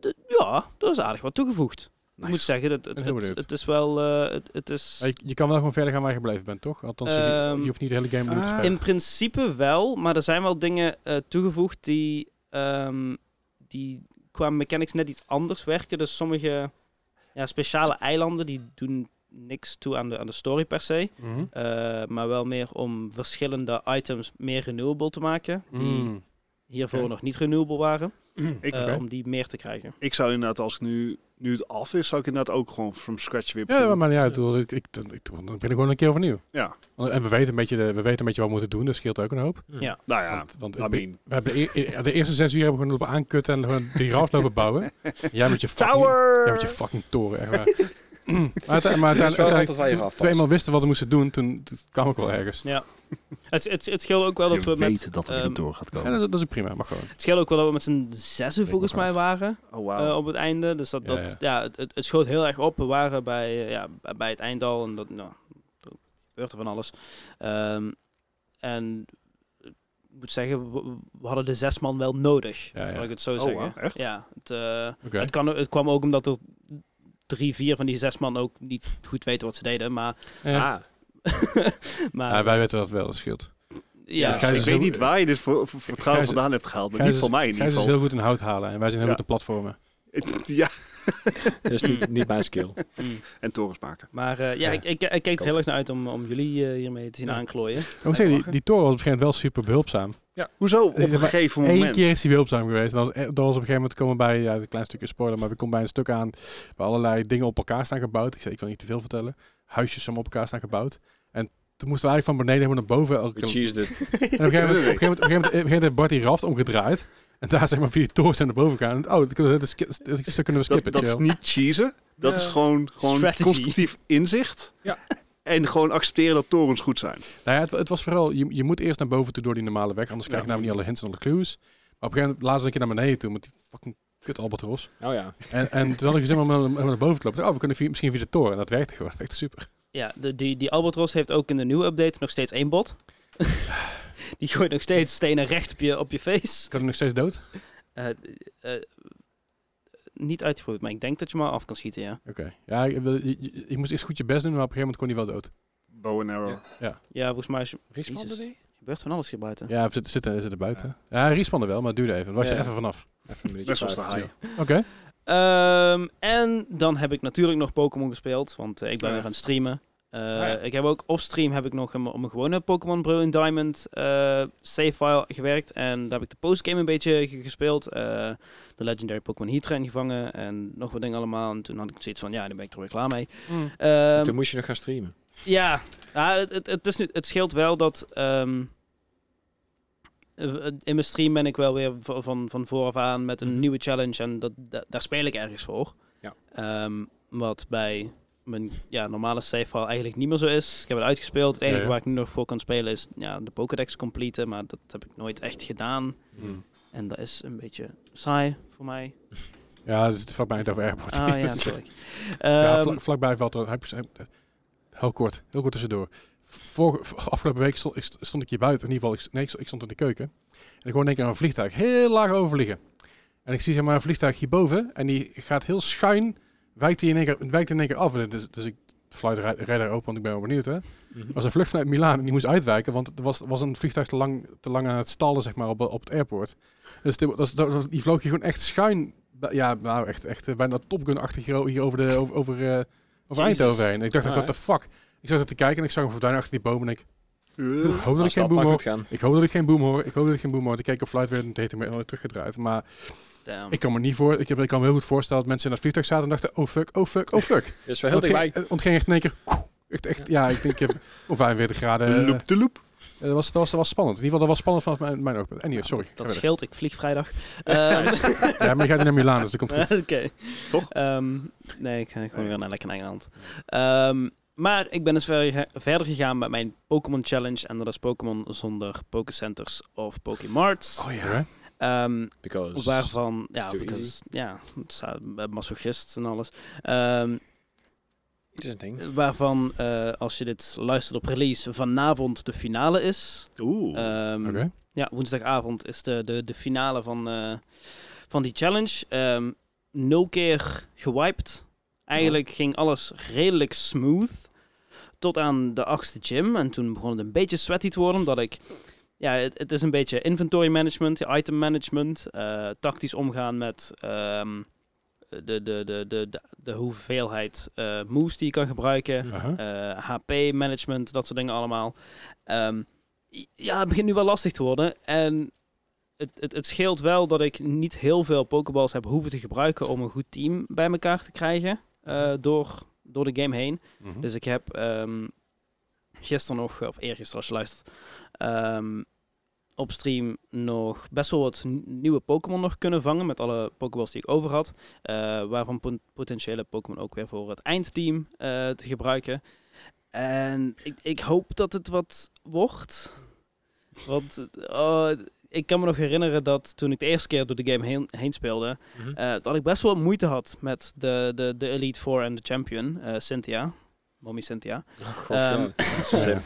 D: d- ja, dat is aardig wat toegevoegd. Ik moet zeggen, dat het,
A: ben heel
D: het,
A: benieuwd. Ah,
D: het is wel, eh, het, het is
A: Ja, je, je kan wel gewoon verder gaan waar je gebleven bent, toch? Althans, je-
D: Ehm,
A: je hoeft niet de hele game opnieuw te
C: ah.
A: spelen.
D: in principe wel, maar er zijn wel dingen eh, toegevoegd die, ehm, die qua mechanics net iets anders werken. Dus sommige ja, speciale eilanden die doen niks toe aan de, aan de story per se.
A: Mhm.
D: Eh, maar wel meer om verschillende items meer renewable te maken. Die
A: Mm.
D: hiervoor
A: Ja.
D: nog niet renewable waren.
C: Ik,
D: eh,
A: Oké.
D: Om die meer te krijgen.
C: ik zou inderdaad, als het nu, nu het af is, zou ik inderdaad ook gewoon from scratch weer
A: Ja,
C: beginnen.
A: maar, maar ja, ik, bedoel, ik, ik, dan- ik, dan ben ik gewoon een keer overnieuw.
C: Ja.
A: En we weten, een beetje de, we weten een beetje wat we moeten doen, dat scheelt ook een hoop.
D: Ja.
C: Nou ja,
A: Want, want
C: I
A: ik be-
C: mean.
A: we hebben e- e- de eerste zes uur hebben we gewoon lopen aankutten en gewoon die raaf lopen bouwen. En jij met je fucking,
C: Tower!
A: jij met je fucking toren, echt waar. maar uite- maar
B: Er is wel
A: uiteindelijk,
B: altijd waar je
A: toen-
B: afpast.
A: toen we eenmaal wisten wat we moesten doen, toen, toen kwam ik wel ergens.
D: Het, het, het scheelde ook wel dat we
E: je weet
D: met...
E: dat er weer
D: ehm,
E: een toren gaat
A: Ja,
E: komen.
A: dat, is, dat is prima, maar gewoon.
D: Het scheelde ook wel dat we met z'n zessen
E: Weet
D: volgens
E: nog
D: mij
E: af.
D: waren
C: Oh,
D: eh,
C: wauw.
D: op het einde. Dus dat,
A: Ja,
D: dat, ja. het, het- het schoot heel erg op. We waren bij, eh, ja, bij- bij het eind al en dat nou, er gebeurde van alles. Ehm, en ik moet zeggen, we, we hadden de zes man wel nodig,
A: Ja, ja.
D: zal ik het zo
C: Oh,
D: zeggen.
C: wauw, echt?
D: Ja, het, eh,
A: Oké.
D: het, kan, het kwam ook omdat er drie, vier van die zes man ook niet goed weten wat ze deden. Maar,
A: Ja.
B: Ah,
D: maar
A: Ja, wij weten dat wel, dat scheelt.
D: ja,
A: Gijs
C: ik
A: is
C: weet
A: heel-
C: niet waar je dit voor, voor vertrouwen
A: Gijs is-
C: vandaan hebt gehaald, maar
A: Gijs
C: niet
A: is-
C: van mij in ieder
A: Gijs is
C: geval.
A: heel goed in hout halen en wij zijn heel
C: Ja.
A: goed in platformen.
C: Ja,
B: dat is niet, niet mijn skill.
D: mm.
C: en torens maken.
D: Maar eh, ja,
A: Ja.
D: Ik, ik, ik kijk er
B: ook.
D: heel erg naar uit om, om jullie eh, hiermee te zien
A: Ja.
D: aanklooien.
A: Ik moet zeggen, die, die toren was op een gegeven moment wel super behulpzaam.
C: Hoezo? Op
A: Er is
C: een
A: maar
C: gegeven
A: Eén
C: moment.
A: keer is hij behulpzaam geweest. Dat was, e- dat was op een gegeven moment komen bij, ja, het is een klein stukje spoiler, maar we komen bij een stuk aan waar allerlei dingen op elkaar staan gebouwd. Ik zei, ik wil niet te veel vertellen. Huisjes om op elkaar staan gebouwd. En toen moesten we eigenlijk van beneden helemaal naar boven. Elke, en op een
B: Cheese dit.
A: gegeven moment, op een gegeven moment, op een gegeven moment, op een gegeven moment heeft Bart die raft omgedraaid. En daar zeg maar via die torens zijn naar boven gegaan. En, oh, dat, kunnen we- dat, is- dat is- dat kunnen we
C: Dat,
A: skippen.
C: dat is
A: chill.
C: niet cheesen. Dat is gewoon, gewoon
D: Strategy.
C: constructief inzicht.
B: Ja.
C: En gewoon accepteren dat torens goed zijn.
A: Nou ja, het, het was vooral, je, je moet eerst naar boven toe door die normale weg, anders krijg je namelijk niet alle hints en alle clues. Maar op een gegeven moment laatst een keer naar beneden toe met die fucking kut albatros.
B: Oh ja.
A: En, en toen had ik gezin om naar, om naar boven te lopen. Oh, we kunnen via- misschien via de toren. En dat werkte gewoon. Dat werkte super.
D: Ja, de, die, die Albatros heeft ook in de nieuwe update nog steeds één bot. die gooit nog steeds stenen recht op je, op je face.
A: Kan ik nog steeds dood?
D: Eh, eh, niet uitgeprobeerd, maar ik denk dat je maar af kan schieten, ja.
A: Oké. Ja, ik wil- je, je- je moest eerst goed je best doen, maar op een gegeven moment kon hij wel dood.
C: Bow and arrow.
B: Ja.
D: Ja, volgens mij is,
B: Riesman
D: Jezus.
B: erbij?
D: gebeurt van alles hier buiten.
A: Ja, zit, zit, er, zit er buiten. Ja, hij respawnde wel, maar het duurde even. Dan was je
B: Ja.
A: even vanaf.
B: Even een
C: Best
B: minuutje
C: wel saai.
B: vijf.
A: Oké.
D: Ehm, en dan heb ik natuurlijk nog Pokémon gespeeld, want eh, ik ben
C: Ja.
D: weer aan het streamen. Eh,
B: ja.
D: Ik heb ook off-stream heb ik nog om een gewone Pokémon Brilliant Diamond eh save file gewerkt. En daar heb ik de postgame een beetje ge- gespeeld. eh, de Legendary Pokémon Heatran gevangen en nog wat dingen allemaal. En toen had ik zoiets van, ja, nu ben ik er weer klaar mee. Ehm,
B: Toen moest je nog gaan streamen.
D: ja, nou, het, het, het, is nu, het scheelt wel dat. ehm, eh, in mijn stream ben ik wel weer v- van, van vooraf aan met een
B: Mhm.
D: nieuwe challenge en dat, da- daar speel ik ergens voor.
B: Ja.
D: Ehm, wat bij mijn ja, normale save file eigenlijk niet meer zo is. Ik heb het uitgespeeld. Het enige
A: Ja, ja.
D: waar ik nu nog voor kan spelen is ja, de Pokédex completen, maar dat heb ik nooit echt gedaan.
A: Hmm.
D: En dat is een beetje saai voor mij.
A: Ja, dus het vlak bij het over airport.
D: Ah ja,
A: Dus,
D: natuurlijk.
A: ja,
D: Ehm,
A: vlak, vlakbij valt er... Heb, heb- heel kort. Heel kort tussendoor. Vor, vor- afgelopen week stond, ik st- stond ik hier buiten. In ieder geval, ik, st- nee, ik st- ik stond in de keuken. En ik hoorde in één keer een vliegtuig heel laag overvliegen. En ik zie zeg maar een vliegtuig hierboven. En die gaat heel schuin. Wijkt die in één keer, wijkt in één keer af. En Dus, dus ik flight ra- radar open, want ik ben wel benieuwd. Hè.
B: Mhm.
A: Het was een vlucht vanuit Milaan en die moest uitwijken. Want er was, was een vliegtuig te lang, te lang aan het stallen zeg maar, op, op het airport. Dus die, dat, dat- die vloog hier gewoon echt schuin. bij- Ja, nou echt, echt eh, bijna Top Gun-achtig hier, o- hier over, de, over, over, eh, over
D: Jezus.
A: Eindhoven heen. Ik dacht,
B: Ja,
A: what the fuck? Ik zat er te kijken en ik zag hem verdwijnen achter die boom. En ik
C: Eh,
A: ik hoop dat ik geen
B: Als dat
A: boom
B: maar
A: hoor.
B: goed gaan.
A: Ik hoop dat ik geen boom hoor. Ik hoop dat ik geen boom hoor. Ik keek op flight weer en het heeft hem weer teruggedraaid. Maar
D: damn.
A: ik kan me niet voor. Ik, heb, ik kan me heel goed voorstellen dat mensen in dat vliegtuig zaten en dachten: oh fuck, oh fuck, oh fuck.
B: Dus we heel
A: Want het
B: dichtbij.
A: ging- eh, want het ging echt in één keer. koe, Echt, echt, ja, ik denk ik heb of 45 graden. eh,
C: Loop de loop.
A: ja, Dat was, dat, was, dat was spannend. In ieder geval, dat was spannend vanaf mijn, mijn oogpunt. Anyway, sorry.
D: Dat
A: ga verder.
D: scheelt, ik vlieg vrijdag. Ehm,
A: Ja, maar je gaat nu naar Milaan, dus dat komt goed.
D: Oké.
C: Toch?
D: Ehm, nee, ik ga gewoon weer naar lekker naar Engeland. Ehm, maar ik ben dus ver- verder gegaan met mijn Pokémon Challenge. En dat is Pokémon zonder Pokécenters of Pokémarts.
A: Oh ja.
D: Ehm,
B: Because...
D: waarvan, ja,
B: too
D: because-
B: easy.
D: ja, het staat bij masochist en alles. Ehm,
B: Dit is een ding.
D: waarvan, eh, als je dit luistert op release, vanavond de finale is.
C: Oeh.
D: Ehm,
A: Oké.
D: ja, woensdagavond is de, de, de finale van, eh, van die challenge. Ehm, nul keer gewiped. Eigenlijk ging alles redelijk smooth. Tot aan de achtste gym. En toen begon het een beetje sweaty te worden. Omdat ik... Ja, het, het is een beetje inventory management, item management. eh, tactisch omgaan met ehm, de, de, de, de, de, de hoeveelheid eh, moves die je kan gebruiken.
A: Aha.
D: Eh, HP management, dat soort dingen allemaal. Ehm, i- ja, het begint nu wel lastig te worden. En het, het, het scheelt wel dat ik niet heel veel pokeballs heb hoeven te gebruiken om een goed team bij elkaar te krijgen eh, door, door de game heen.
A: Mhm.
D: Dus ik heb ehm gisteren nog, of eergisteren als je luistert, ehm, op stream nog best wel wat n- nieuwe Pokémon nog kunnen vangen. Met alle Pokéballs die ik over had. eh, waarvan pot- potentiële Pokémon ook weer voor het eindteam eh, te gebruiken. En ik, ik hoop dat het wat wordt. Want eh, oh, ik kan me nog herinneren dat toen ik de eerste keer door de game heen, heen speelde,
B: Mhm. Ehm,
D: eh, dat ik best wel moeite had met de, de, de Elite Four en de Champion, eh, Cynthia. Mommy Cynthia.
B: Oh,
D: Ehm,
A: Ja.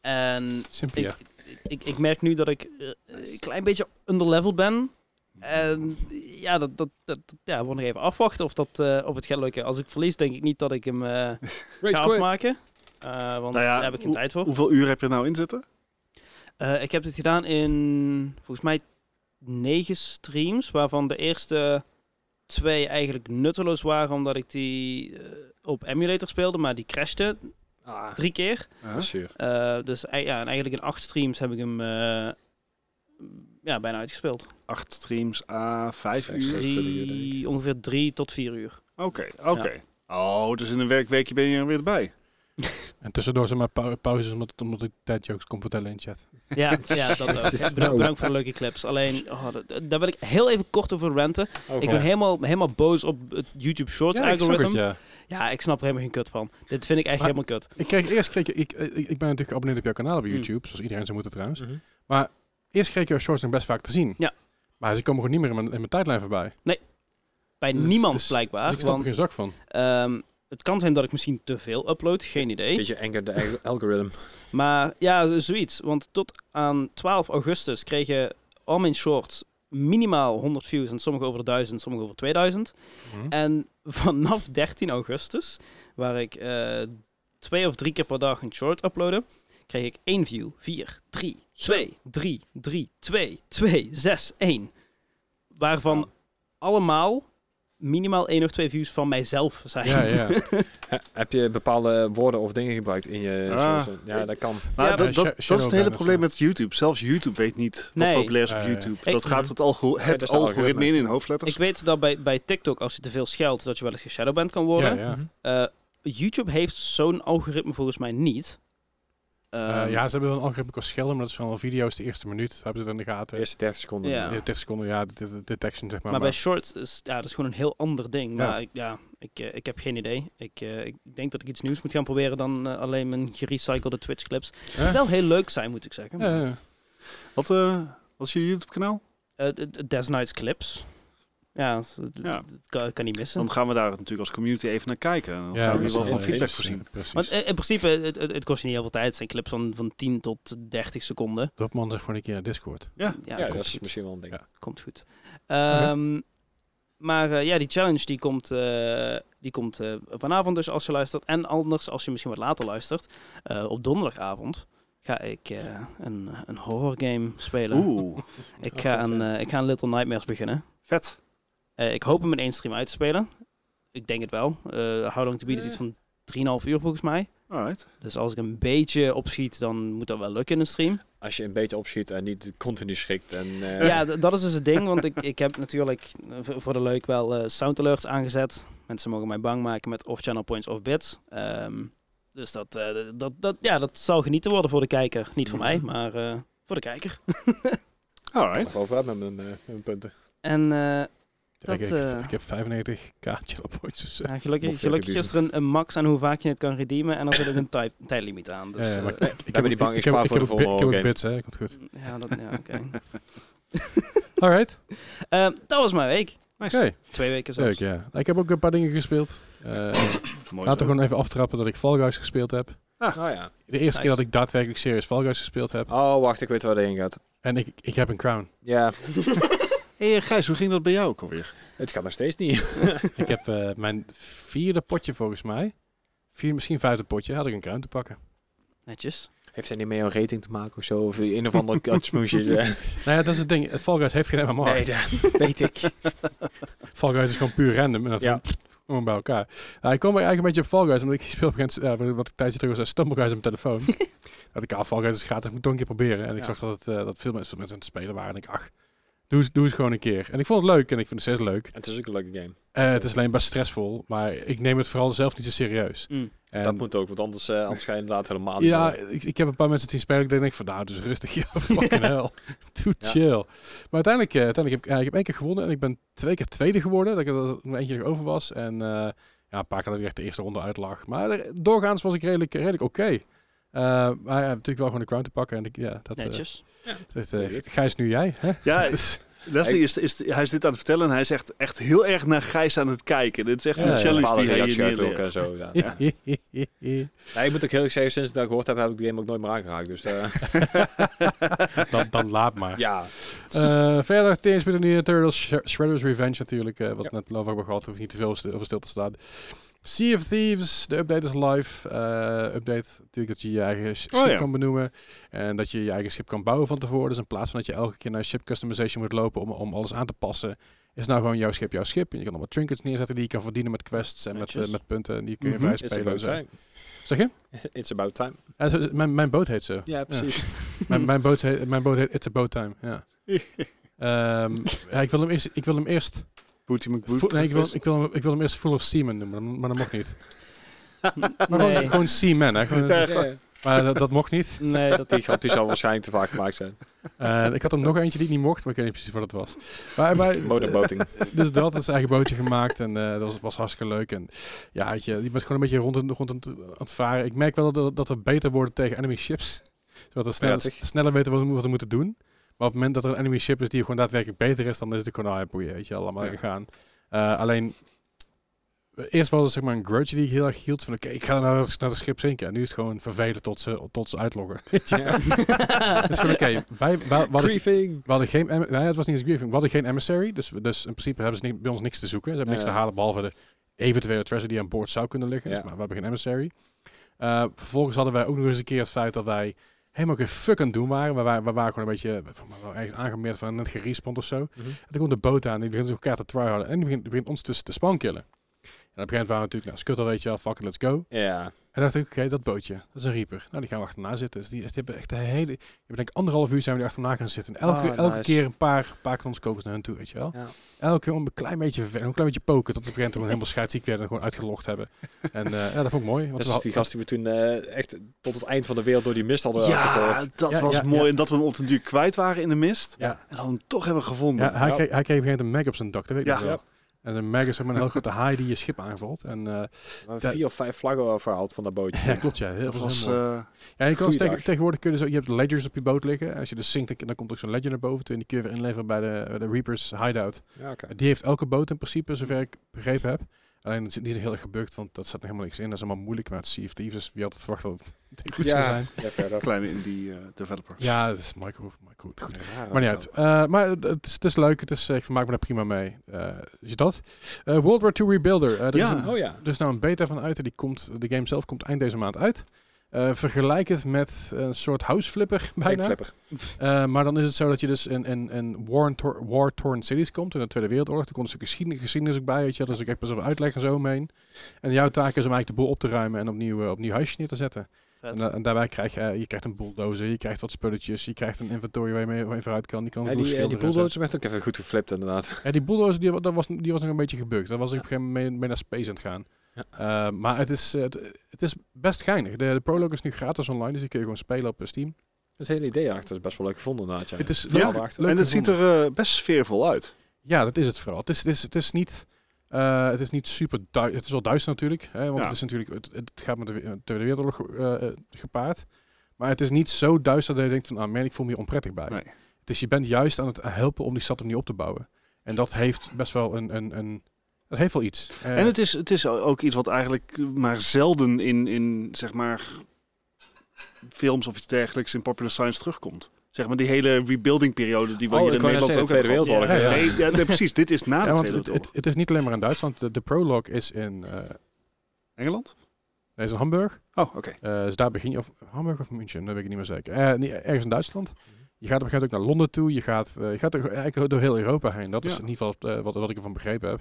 D: En ik,
A: Simpia.
D: ik, ik, ik merk nu dat ik eh, een klein beetje underleveled ben. En ja, dat, dat, dat, dat- ja, we nog even afwachten of, dat, eh, of het gaat lukken. Als ik verlies, denk ik niet dat ik hem eh, ga afmaken. Eh, want
C: Nou ja,
D: daar heb ik geen
C: hoe-
D: tijd voor.
C: Hoeveel uur heb je er nou in zitten?
D: Eh, ik heb dit gedaan in volgens mij negen streams, waarvan de eerste twee eigenlijk nutteloos waren, omdat ik die eh, op emulator speelde, maar die crashte
B: Ah,
D: drie keer.
C: Huh?
B: zuur.
D: Eh, dus ei- ja, en eigenlijk in acht streams heb ik hem eh, ja, bijna uitgespeeld.
C: Acht streams, a vijf
B: Zes.
C: uur.
B: Drie- uur, denk
D: Drie, ongeveer drie tot vier uur.
C: Oké, oké. Oh, dus in een werkweekje ben je er weer bij.
A: En tussendoor zijn maar pau- pauzes omdat, het- omdat ik tijdjokes kon vertellen in chat.
D: Ja, ja dat ook.
B: Het is
D: Bedankt,
B: nou-
D: bedankt voor de leuke clips. Alleen, oh, dat- daar wil ik heel even kort over ranten.
B: Oh,
D: Ik ben helemaal, helemaal boos op het YouTube Shorts
A: ik snap het,
D: algorithm.
A: ja.
D: Ja, ik snap er helemaal geen kut van. Dit vind ik echt
A: Maar-
D: helemaal kut.
A: Ik kreeg eerst, kreeg, ik, ik, eh, ik ben natuurlijk geabonneerd op jouw kanaal op YouTube, zoals iedereen zou moeten
B: Ehm, Mm.
A: trouwens. Eerst kreeg ik jouw shorts nog best vaak te zien.
D: Ja.
A: Maar ze komen gewoon niet meer in mijn, in mijn tijdlijn voorbij.
D: Bij
A: Dus-
D: niemand
A: dus-
D: blijkbaar.
A: dus ik snap er
D: want
A: geen zak van.
D: ehm, het kan zijn dat ik misschien te veel upload, geen idee.
B: Beetje anger de alg- algorithm.
D: Maar ja, z- zoiets. Want tot aan 12 augustus kregen al mijn shorts minimaal 100 views. En sommige over de 1000, sommige over 2000.
A: Mhm.
D: En vanaf 13 augustus, waar ik eh, twee of drie keer per dag een short uploadde, kreeg ik 1 view, 4, 3, 2, 3, 3, 2, 2, 6, 1. Waarvan allemaal minimaal één of twee views van mijzelf zijn.
A: Ja, ja.
B: He- heb je bepaalde woorden of dingen gebruikt in je
C: Ah.
B: source? Ja, dat kan.
C: Maar
D: Ja,
A: eh, Sha-
C: dat, dat, dat is
A: Shadow
C: het
A: Ban
C: hele
A: of
C: probleem
A: zo.
C: met YouTube. Zelfs YouTube weet niet
D: Nee.
C: wat populair is op
A: Ah, ja, ja.
C: YouTube.
D: Ik-
C: dat gaat het, algo
B: dat
C: het
B: is het
C: algoritme
B: algoritme.
C: in, in hoofdletters.
D: Ik weet dat bij, bij TikTok, als je te veel scheldt, dat je wel eens geshadowband kan worden.
A: ja, ja.
D: Eh, YouTube heeft zo'n algoritme volgens mij niet.
A: Eh,
D: Ehm,
A: ja, ze hebben wel een algoritme qua schelden, maar dat zijn al video's de eerste minuut. Hebben ze het in de
B: De
A: gaten.
B: eerste 30 seconden.
D: Ja.
A: De eerste 30 seconden, ja, de, de- de detection zeg maar.
D: maar, bij shorts is ja, dat is gewoon een heel ander ding.
A: Ja.
D: Maar ik, ja, ik, eh, ik heb geen idee. Ik, eh, ik denk dat ik iets nieuws moet gaan proberen dan eh, alleen mijn gerecyclede Twitch clips.
A: Ja.
D: Wel heel leuk zijn, moet ik zeggen.
A: Ja, ja, ja.
C: Wat, eh, wat is je YouTube kanaal?
D: Eh, d- d- Des Nights clips. Ja, s- d-
C: Ja.
D: d- kan, kan niet missen.
C: Dan gaan we daar natuurlijk als community even naar kijken. Dan
A: Ja,
C: gaan we
A: dat
C: hier
A: is
C: wel
A: wel
C: van
B: een
C: feedback
B: feest.
C: voorzien.
A: Precies.
D: Want eh, in principe, het, het, het kost je niet heel veel tijd. Het zijn clips van, van 10 tot 30 seconden.
A: Dopman zegt gewoon een keer naar Discord.
B: Ja,
D: komt
B: dat is
D: goed.
B: misschien wel een ding.
A: Ja.
D: komt goed. Ehm, Maar eh, ja, die challenge die komt, eh, die komt eh, vanavond dus als je luistert. En anders als je misschien wat later luistert. eh, op donderdagavond ga ik eh, een, een horror game spelen.
C: Oeh,
D: ik, ga
B: Oh, goed,
D: aan, eh, ik ga aan Little Nightmares beginnen.
C: vet.
D: Eh, ik hoop hem in één stream uit te spelen. Ik denk het wel. Eh How Long To Beat is iets van 3,5 uur volgens mij.
C: Alright.
D: Dus als ik een beetje opschiet, dan moet dat wel lukken in een stream.
B: Als je een beetje opschiet en niet continu schikt. En, eh,
D: Ja, d- dat is dus het ding, want ik, ik heb natuurlijk eh, voor voor de leuk wel eh, sound alerts aangezet. Mensen mogen mij bang maken met of channel points of bits. Ehm, dus dat, eh, dat, dat, ja, dat zal genieten worden voor de kijker. Niet voor mij,
B: Mhm.
D: maar eh, voor de kijker.
B: Ik
C: Alright.
B: ga over hebben met mijn, eh, mijn punten.
D: En eh,
A: Ja,
D: Dat,
A: ik, ik-
D: eh,
A: ik heb 95 kaartje op ooit. Dus, eh,
D: ja, nou, gelukkig,
B: Nog
D: gelukkig
B: 40.000.
D: is er een, een max aan hoe vaak je het kan redeemen. En dan zit er een tijd- tijdlimiet aan. Dus,
A: ja, ja,
D: eh,
A: maar ik- ik
B: die bank, ik
A: heb-
B: spaar
A: ik
B: voor
A: heb
B: de
A: ook bi- Ik heb
B: volgende
A: ook bits, hè. Komt goed.
D: ja, dat, ja, oké.
A: Alright.
D: Ehm, dat was mijn week.
C: Nice.
A: Oké,
D: Twee weken zo.
A: leuk, ja. Ik heb ook een paar dingen gespeeld. Eh,
C: Mooi
A: laten
C: zo.
A: we gewoon even aftrappen dat ik Fall Guys gespeeld heb.
B: Oh ja.
A: De eerste
D: Nice. Ah.
A: keer dat ik daadwerkelijk serieus Fall Guys gespeeld heb.
B: Oh, wacht, ik weet waar dat heen gaat.
A: En ik, ik heb een crown.
B: Ja,
C: hey, Gijs, hoe ging dat bij jou ook alweer?
B: het gaat nog steeds niet.
A: ik heb eh, mijn vierde potje volgens mij. Vier, misschien vijfde potje had ik een crown te pakken.
D: Netjes.
B: Heeft hij niet mee een rating te maken of zo? Of een of ander kutsmoesje?
A: Nou ja, dat is het ding. Fall Guys heeft geen MMR.
B: nee, dat weet ik.
A: Fall Guys is gewoon puur random. En dat
B: Ja.
A: ja. gewoon bij elkaar. Nou, ik kwam eigenlijk een beetje op Fall Guys, omdat ik speel op een gegeven moment, eh, wat ik een tijdje terug was, Stumble Guys op mijn telefoon. dat ik, ah, Fall Guys is gratis, moet ik toch een keer proberen. En ik
C: Ja.
A: zag dat, het, eh, dat veel mensen, veel mensen aan het spelen waren. En ik, ach, Doe, eens- doe eens gewoon een keer. En ik vond het leuk en ik vind het steeds leuk.
B: het is ook een leuke game.
A: Eh, het is alleen best stressvol, maar ik neem het vooral zelf niet zo serieus.
D: Mm.
A: En-
B: dat moet ook, want anders, eh anders ga je inderdaad helemaal niet
A: Ja,
B: door.
A: ik, ik heb een paar mensen zien spelen. Ik denk, ik van, nou, dus rustig. Ja, fucking hell. Doe
B: Ja.
A: chill. Maar uiteindelijk, eh, uiteindelijk heb ik, ja, ik heb één keer gewonnen. En ik ben twee keer tweede geworden. Dat ik er nog eentje nog over was. En eh, ja, een paar keer dat ik echt de eerste ronde uitlag. Maar er- doorgaans was ik redelijk, redelijk oké. Eh, maar ja, natuurlijk wel gewoon de crown te pakken. En ik, ja, dat, eh,
D: Netjes.
A: dat, eh, Gijs, nu jij. Hè? Dus-
C: Ja,
A: Dat is-
C: Leslie is, is, hij is dit aan het vertellen en hij is echt, echt heel erg naar Gijs aan het kijken. Dit is echt
A: Ja,
C: een
A: ja.
C: challenge
B: Bepaalde
C: die hij
B: reactie
C: hier
B: uitrokken
C: neerlegt.
B: en zo. Ja.
C: Ja.
B: Nee, ik moet ook heel erg zeggen, sinds ik dat gehoord heb, heb ik de game ook nooit meer aangeraakt. Dus eh,
A: dan, dan laat maar.
B: ja,
A: Eh, verder, Tears Mutant Ninja Turtles, Sh- Shredder's Revenge natuurlijk, eh, wat we net over hebben gehad, hoef ik niet te veel stil- over stil te staan. Sea of Thieves, de update is live. Eh, update natuurlijk dat je je eigen sh-
C: Oh,
A: schip
C: ja.
A: kan benoemen en dat je je eigen schip kan bouwen van tevoren. Dus in plaats van dat je elke keer naar ship customization moet lopen om, om alles aan te passen, is nou gewoon jouw schip jouw schip. En je kan allemaal trinkets neerzetten die je kan verdienen met quests en met,
D: Netjes.
A: eh, met punten. En die kun je
C: Mhm.
A: vrij
B: it's
A: spelen. en
B: about
A: zo.
B: time.
A: Zeg je?
B: It's about time.
A: Ja, zo- zo- mijn, mijn boot heet zo.
B: Ja, precies.
A: mijn, mijn, boot heet, mijn boot heet It's a Boat Time. Ja. Ehm, ja, ik wil hem eerst, ik wil hem eerst
C: Booty McBoot.
A: Vo- nee, ik wil, ik, wil hem, ik wil hem eerst Full of Seaman noemen, maar dat- maar dat mocht niet. Maar
D: nee.
A: gewoon, gewoon Seaman, hè. Gewoon-
C: Ja,
B: Ja, ja.
A: Maar dat, dat mocht niet.
D: nee, dat
B: Die grap die zal waarschijnlijk te vaak gemaakt zijn.
A: Eh, ik had er nog eentje die ik niet mocht, maar ik weet niet precies wat het was. Maar, maar,
B: Motorboating.
A: dus dat is zijn eigen bootje gemaakt en eh, dat was, was hartstikke leuk. En ja, weet je, je bent gewoon een beetje rond, en- rond aan, het, aan het varen. Ik merk wel dat, dat we beter worden tegen enemy ships. Zodat we sneller,
B: Prettig.
A: sneller weten wat we, wat we moeten doen. Maar op het moment dat er een enemy ship is die gewoon daadwerkelijk beter is, dan is het gewoon, ah, ja, boeien, weet je, wel, laat maar
C: Ja.
A: gaan. Eh, alleen, eerst was het zeg maar een grudge die ik heel erg hield van, oké, ik ga naar, het- naar het schip zinken. En nu is het gewoon vervelen tot ze, tot ze uitloggen.
B: Ja.
A: Het is gewoon, oké, wij, wij, we hadden-
B: Griefing.
A: we hadden geen, em- nou ja, het was niet eens grieving. We hadden geen emissary, dus, we- dus in principe hebben ze ni- bij ons niks te zoeken. Ze hebben niks
B: Ja.
A: te halen behalve de eventuele treasure die aan boord zou kunnen liggen. Dus,
B: Ja.
A: maar we hebben geen emissary. Eh, vervolgens hadden wij ook nog eens een keer het feit dat wij helemaal geen fuck aan het doen waren. We waren, we waren gewoon een beetje we waren ergens aangemeerd van net gerespond of zo.
B: Mhm.
A: En toen komt de boot aan, die begint dus elkaar te tryharden en die begint, die begint ons dus te, te spankillen. En op een gegeven moment waren we natuurlijk, nou, scuttle weet je wel, fucking let's go.
B: Ja.
A: En dacht ik, oké, dat bootje, dat is een reaper. Nou, die gaan we achterna zitten. Dus die, die hebben echt de hele... Ik heb denk ik anderhalf uur zijn we er achterna gaan zitten. En elke,
B: Ah,
A: elke
B: nice.
A: keer een paar, paar knonskogels naar hun toe, weet je wel.
B: Ja.
A: Elke keer om een klein beetje verven- een klein beetje poken. Tot op een gegeven moment gewoon helemaal scheidsziek werden en gewoon uitgelogd hebben. En eh, ja, dat vond ik mooi. Want
B: Dat
A: we
B: is
A: had-
B: die gast die we toen eh, echt tot het eind van de wereld door die mist hadden
C: Ja,
B: afgekoord.
C: dat
A: Ja,
C: was
A: ja,
C: mooi.
A: ja.
C: En dat we hem op den duur kwijt waren in de mist.
A: Ja.
C: En dat we hem toch hebben gevonden.
A: ja, hij,
B: Ja.
A: kreeg, hij kreeg op een gegeven moment een mag op zijn dak, dat weet ik
C: Ja.
A: nog wel. En een mag is zeg maar een heel grote haai die je schip aanvalt. En eh,
B: We hebben
A: Dat-
B: vier of vijf vlaggen verhaald van dat bootje.
A: ja, klopt, ja. Heel,
C: dat
A: dat
C: was...
A: heel mooi.
C: eh,
A: ja, je kan
B: goeie
A: tegen-
B: dag.
A: tegenwoordig kun je, zo, je hebt ledgers op je boot liggen. Als je dus zinkt, dan- dan komt ook zo'n ledger naar boven toe. En die kun je weer inleveren bij de, bij de Reaper's hideout.
B: Ja, oké.
A: Die heeft elke boot in principe, zover ik begrepen heb. Alleen dat zit- die is heel erg gebukt, want dat staat nog helemaal niks in. Dat is allemaal moeilijk met Sea of Thieves. Dus wie had het verwacht dat het goed zou
B: Ja,
A: zijn?
B: Ja, verder.
C: kleine indie eh, developer.
A: Ja, dat is Michael. Michael goed.
B: Rare
A: Maar niet
B: verhaal.
A: uit. Eh, maar het- het is, het is leuk. Het is, eh, ik vermaak me daar prima mee. Eh is dat? Eh, World War II Rebuilder. Eh, er, is
C: Ja.
A: een,
B: Oh ja.
A: er is nou een beta van uit. en Die komt, de game zelf komt eind deze maand uit. Eh, vergelijk het met een soort houseflipper bijna.
B: Flipper.
A: Eh, maar dan is het zo dat je dus in, in, in war-torn war-torn cities komt, in de Tweede Wereldoorlog. Er komt een stuk geschiedenis, geschiedenis ook bij, weet je. wel. Dus ik heb best wel uitleg en zo omheen. En jouw taak is om eigenlijk de boel op te ruimen en opnieuw, eh, opnieuw huisje neer te zetten. En, da- en daarbij krijg je, eh, je krijgt een bulldozer, je krijgt wat spulletjes, je krijgt een inventory waar je mee, waar je vooruit kan. Die kan
B: Ja,
A: een
B: die, eh,
A: boel
B: die
A: bulldozer?
B: bulldozer werd ook even goed geflipt inderdaad.
A: Ja, die bulldozer die, wa- dat was, die was nog een beetje gebukt. Daar was ik op een gegeven moment mee, mee naar space aan het gaan.
B: Ja.
A: Eh, maar het is, eh, het, het is best geinig. De, de prologue is nu gratis online, dus die kun je gewoon spelen op eh, Steam.
B: Dat hele idee achter is best wel leuk gevonden inderdaad. Ja.
A: Het is
C: Ja,
A: leuk-
B: en
A: leuk
C: en het
A: gevonden.
C: ziet er eh, best sfeervol uit.
A: Ja, dat is het vooral. Het is, het is, het is niet. eh, het is niet super duister. Het is wel duister natuurlijk. Hè, want
C: Ja.
A: het is natuurlijk. Het, het gaat met de we- eh, Tweede Wereldoorlog eh, eh, gepaard. Maar het is niet zo duister dat je denkt van ah man, ik voel me hier onprettig bij.
C: Nee.
A: Dus je bent juist aan het helpen om die stad opnieuw op te bouwen. En dat heeft best wel een. een, een dat heeft wel iets. Eh,
C: En het is, het is ook iets wat eigenlijk maar zelden in, in zeg maar, films of iets dergelijks in popular science terugkomt. Zeg maar die hele rebuilding periode die we
B: Oh,
C: hier
B: ik
C: in
B: wou net
C: Nederland ook
B: zeggen, Tweede
C: hebben
A: Wereldoorlog,
C: gehad. Ja,
A: ja.
C: Nee, ja, nee, precies. Dit is na
A: ja,
C: de
A: want
C: Tweede
A: het, het,
C: Wereldoorlog.
A: het is niet alleen maar in Duitsland. De, de prologue is in. eh
C: Engeland?
A: nee, is in Hamburg.
C: Oh, oké.
A: Eh, dus daar begin je, of Hamburg of München, dat weet ik niet meer zeker. Eh, nee, ergens in Duitsland. Je gaat op een gegeven moment ook naar Londen toe. Je gaat, eh, je gaat er eigenlijk door heel Europa heen. Dat is
C: Ja.
A: in ieder geval eh, wat, wat ik ervan begrepen heb.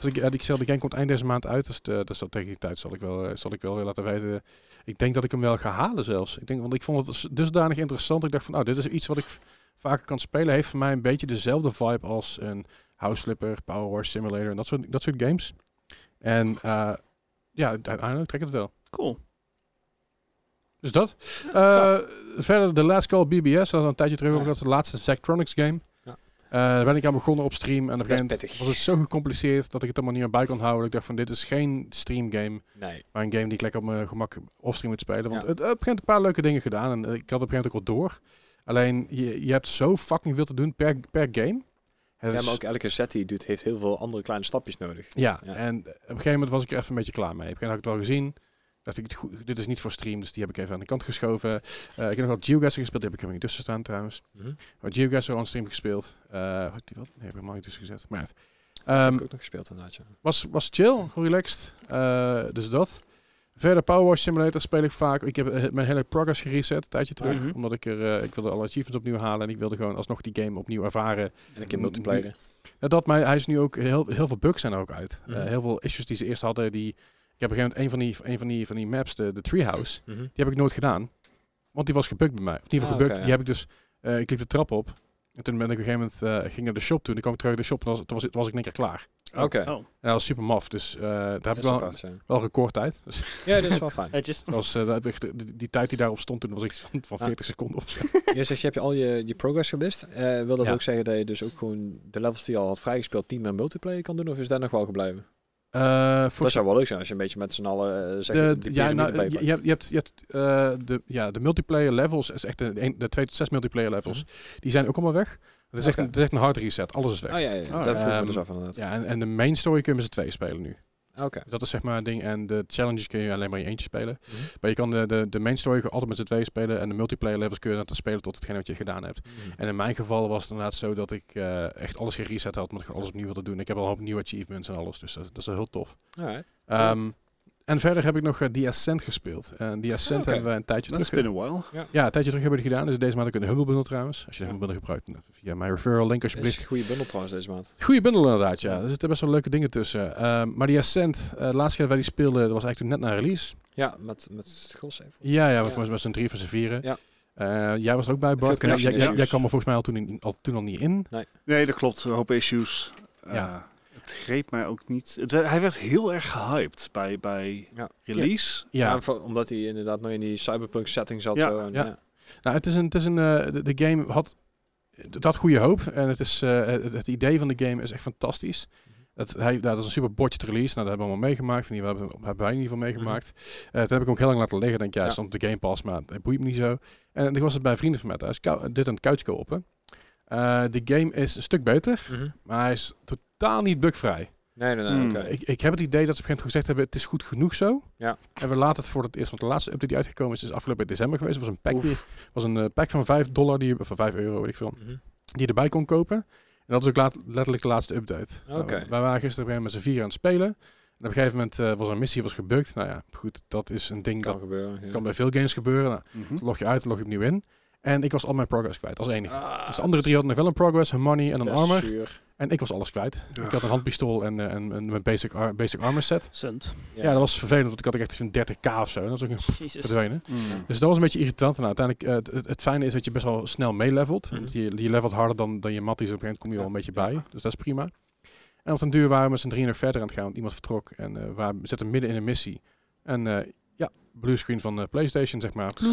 A: Dus ik, eh, ik zei, de game komt eind deze maand uit. Dus, de, dus dat tegen die tijd zal ik, wel, eh, zal ik wel weer laten weten. Ik denk dat ik hem wel ga halen zelfs. Ik denk, want ik vond het dus- dusdanig interessant. Ik dacht van, nou, dit is iets wat ik vaker kan spelen, heeft voor mij een beetje dezelfde vibe als een House Flipper, Power Horse Simulator en dat soort, dat soort games. En eh, ja, uiteindelijk trek het wel.
D: Cool.
A: Dus dat. Eh, verder de Last Call BBS. Dat is al een tijdje terug. ook Dat is de laatste Zachtronics game.
B: Ja.
A: Eh, daar ben ik aan begonnen op stream. En op een
B: Best
A: gegeven moment
B: pittig.
A: was het zo gecompliceerd dat ik het allemaal niet meer bij kon houden. Ik dacht van dit is geen stream game.
B: Nee.
A: Maar een game die ik lekker op mijn gemak offstream moet spelen. Want het,
B: Ja.
A: op een gegeven moment een paar leuke dingen gedaan. En eh, ik had op een gegeven moment ook al door. Alleen je, je hebt zo fucking veel te doen per, per game. Het
B: Ja,
A: is-
B: maar ook elke set die je doet, heeft heel veel andere kleine stapjes nodig.
A: ja,
B: Ja.
A: en op een gegeven moment was ik er even een beetje klaar mee. Op een gegeven moment had ik het wel gezien. Dacht ik, goed, dit is niet voor stream, dus die heb ik even aan de kant geschoven. Eh, ik heb nog wat Geoguessr gespeeld, die heb ik er niet tussen staan trouwens. Wat Geoguessr on stream gespeeld. Eh, had ik die wat? Nee, heb ik helemaal niet tussen gezet. Maar ja. Ehm,
B: Heb ik ook nog gespeeld inderdaad, ja.
A: was, was chill, relaxed. Eh, dus dat. Verder Power Wash Simulator speel ik vaak. Ik heb eh, mijn hele progress gereset een tijdje terug.
D: Mhm.
A: Omdat ik er, eh, ik wilde alle achievements opnieuw halen. En ik wilde gewoon alsnog die game opnieuw ervaren.
B: En ik heb multiplayer.
A: Ja, dat, maar hij is nu ook heel, heel veel bugs zijn er ook uit. Eh,
B: Mhm.
A: heel veel issues die ze eerst hadden. Die, ik heb op een gegeven moment een van die, een van die, van die maps, de, de Treehouse,
B: Mhm.
A: die heb ik nooit gedaan. Want die was gebukt bij mij. Of in ieder geval
B: Ah,
A: gebukt.
B: oké,
A: die
B: ja.
A: heb ik dus, eh, ik liep de trap op. En toen ben ik op een gegeven moment, eh, ging naar de shop toe. En toen kwam ik terug uit de shop en toen was, toen was ik toen was ik in één keer klaar.
B: Oké.
D: Oh,
A: En dat was super maf. Dus eh, daar heb
B: Dat
A: ik
B: is
A: wel,
B: apart, ja.
A: wel recordtijd. Dus
B: Ja, dat is wel fijn.
D: netjes.
A: dat was, eh, daar heb ik de- die, die tijd die daarop stond toen was ik van, van
B: Ja.
A: 40 seconden of zo.
B: Je zegt, je hebt al je, je progress gemist. Eh, wil dat
A: Ja.
B: ook zeggen dat je dus ook gewoon de levels die je al had vrijgespeeld niet meer multiplayer kan doen? Of is daar nog wel gebleven?
A: Eh, voor
B: Dat zou wel leuk zijn als je een beetje met z'n allen eh, zegt,
A: De,
B: die
A: ja,
B: piramide
A: nou,
B: erbij
A: je,
B: pakt.
A: je hebt, je hebt, je hebt, eh, de, ja, de multiplayer levels, is echt de, een- de 2 tot 6 multiplayer levels, die zijn ook allemaal weg. Het is, echt, een-
B: Mhm. Oké.
A: het is echt een hard reset, alles is weg.
B: Oh ja, ja, ja.
C: Oh,
B: dat vroeg ik
A: ehm,
B: me dus af inderdaad.
A: Ja, en, en de main story kun je met z'n twee spelen nu.
B: Oké.
A: Dat is zeg maar een ding. En de challenges kun je alleen maar in je eentje spelen.
B: Mhm.
A: Maar je kan de, de, de main story altijd met z'n twee spelen. En de multiplayer levels kun je dan spelen tot hetgeen wat je gedaan hebt. En in mijn geval was het inderdaad zo dat ik eh, echt alles gereset had. Omdat ik gewoon alles opnieuw wilde doen. Ik heb al een hoop nieuwe achievements en alles. Dus dat, dat is wel heel tof.
B: Alright.
A: Ehm, en verder heb ik nog eh, The Ascent gespeeld. En The Ascent
B: Ah, oké.
A: hebben we een tijdje
C: That's
A: terug...
C: been a while.
A: Ja, een tijdje terug hebben we die gedaan. Dus deze maand ook een Humble Bundle trouwens. Als je de
B: Ja.
A: Humble Bundle gebruikt, eh, via mijn referral link
B: Dat is
A: alsjeblieft.
B: een goede bundel trouwens deze maand.
A: Goeie bundle inderdaad, ja. Er zitten best wel leuke dingen tussen. Ehm, maar The Ascent, eh, de laatste keer dat wij die speelden, dat was eigenlijk toen net na release.
B: Ja, met, met Schulze.
A: Ja, ja, was
B: Ja.
A: met, met z'n drie van z'n vieren.
B: Ja.
A: Eh, jij was er ook bij, Bart.
B: connection
A: Jij- jij,
B: issues.
A: jij kwam er volgens mij al toen, in- al, toen al niet in.
C: Nee, dat klopt. Een hoop issues. Eh,
A: Ja.
C: Het greep mij ook niet. Het, hij werd heel erg gehyped bij, bij
B: Ja.
C: release.
A: Ja.
B: Ja, voor- omdat hij inderdaad nog in die cyberpunk setting zat.
C: Ja,
B: zo, en,
A: ja. Nou, het is een, het is een eh, de, de game had, het had goede hoop en het, is, eh, het, het idee van de game is echt fantastisch. Het, hij, nou, dat is een super botched release, nou, dat hebben we allemaal meegemaakt. En die hebben, hebben wij in ieder geval meegemaakt. Eh, dat heb ik ook heel lang laten liggen. Denk, ja,
B: Ja.
A: ja. stond op de Game Pass, maar het boeit me niet zo. En ik was het bij vrienden van mij thuis, kou- dit aan het couch kopen. Eh, de game is een stuk beter,
B: Mhm.
A: maar hij is totaal niet bugvrij.
B: Nee, nee, nee.
C: Hmm.
B: oké.
A: Ik, ik heb het idee dat ze op een gegeven moment gezegd hebben, het is goed genoeg zo.
B: Ja.
A: En we laten het voor het eerst, want de laatste update die uitgekomen is, is afgelopen december geweest. Het was een pack, die, was een eh, pack van 5 dollar, die, of van 5 euro, weet ik veel,
B: Mhm.
A: die je erbij kon kopen. En dat is ook laat, letterlijk de laatste update. Nou,
B: Oké.
A: wij waren gisteren op een gegeven moment met z'n vier aan het spelen. En op een gegeven moment eh, was er een missie, was gebukt. Nou ja, goed, dat is een ding
B: Kan
A: dat
B: gebeuren. Ja.
A: kan bij veel games gebeuren. Nou,
C: Mhm.
A: log je uit, log je opnieuw in. En ik was al mijn progress kwijt, als enige.
B: Ah,
A: Dus de andere drie hadden nog wel een progress, een money en een
B: dat is
A: armor.
B: zuur.
A: En ik was alles kwijt. Ik had een handpistool en, eh, en, en mijn basic, ar- basic armor set.
D: Sunt.
A: Ja. dat was vervelend, want ik had echt een 30k of zo. En dat is ook een
D: Jezus.
A: verdwenen.
C: Mm.
A: Dus dat was een beetje irritant. Nou, uiteindelijk, eh, het- het, het fijne is dat je best wel snel meelevelt.
B: Mhm.
A: Want je, je levelt harder dan, dan je matties. En op een gegeven moment kom je wel een beetje bij. Dus dat is prima. En op den duur waren we met z'n drieën nog verder aan het gaan. Want iemand vertrok en eh we zitten midden in een missie. En eh ja, bluescreen van eh, PlayStation, zeg maar.
D: Oh,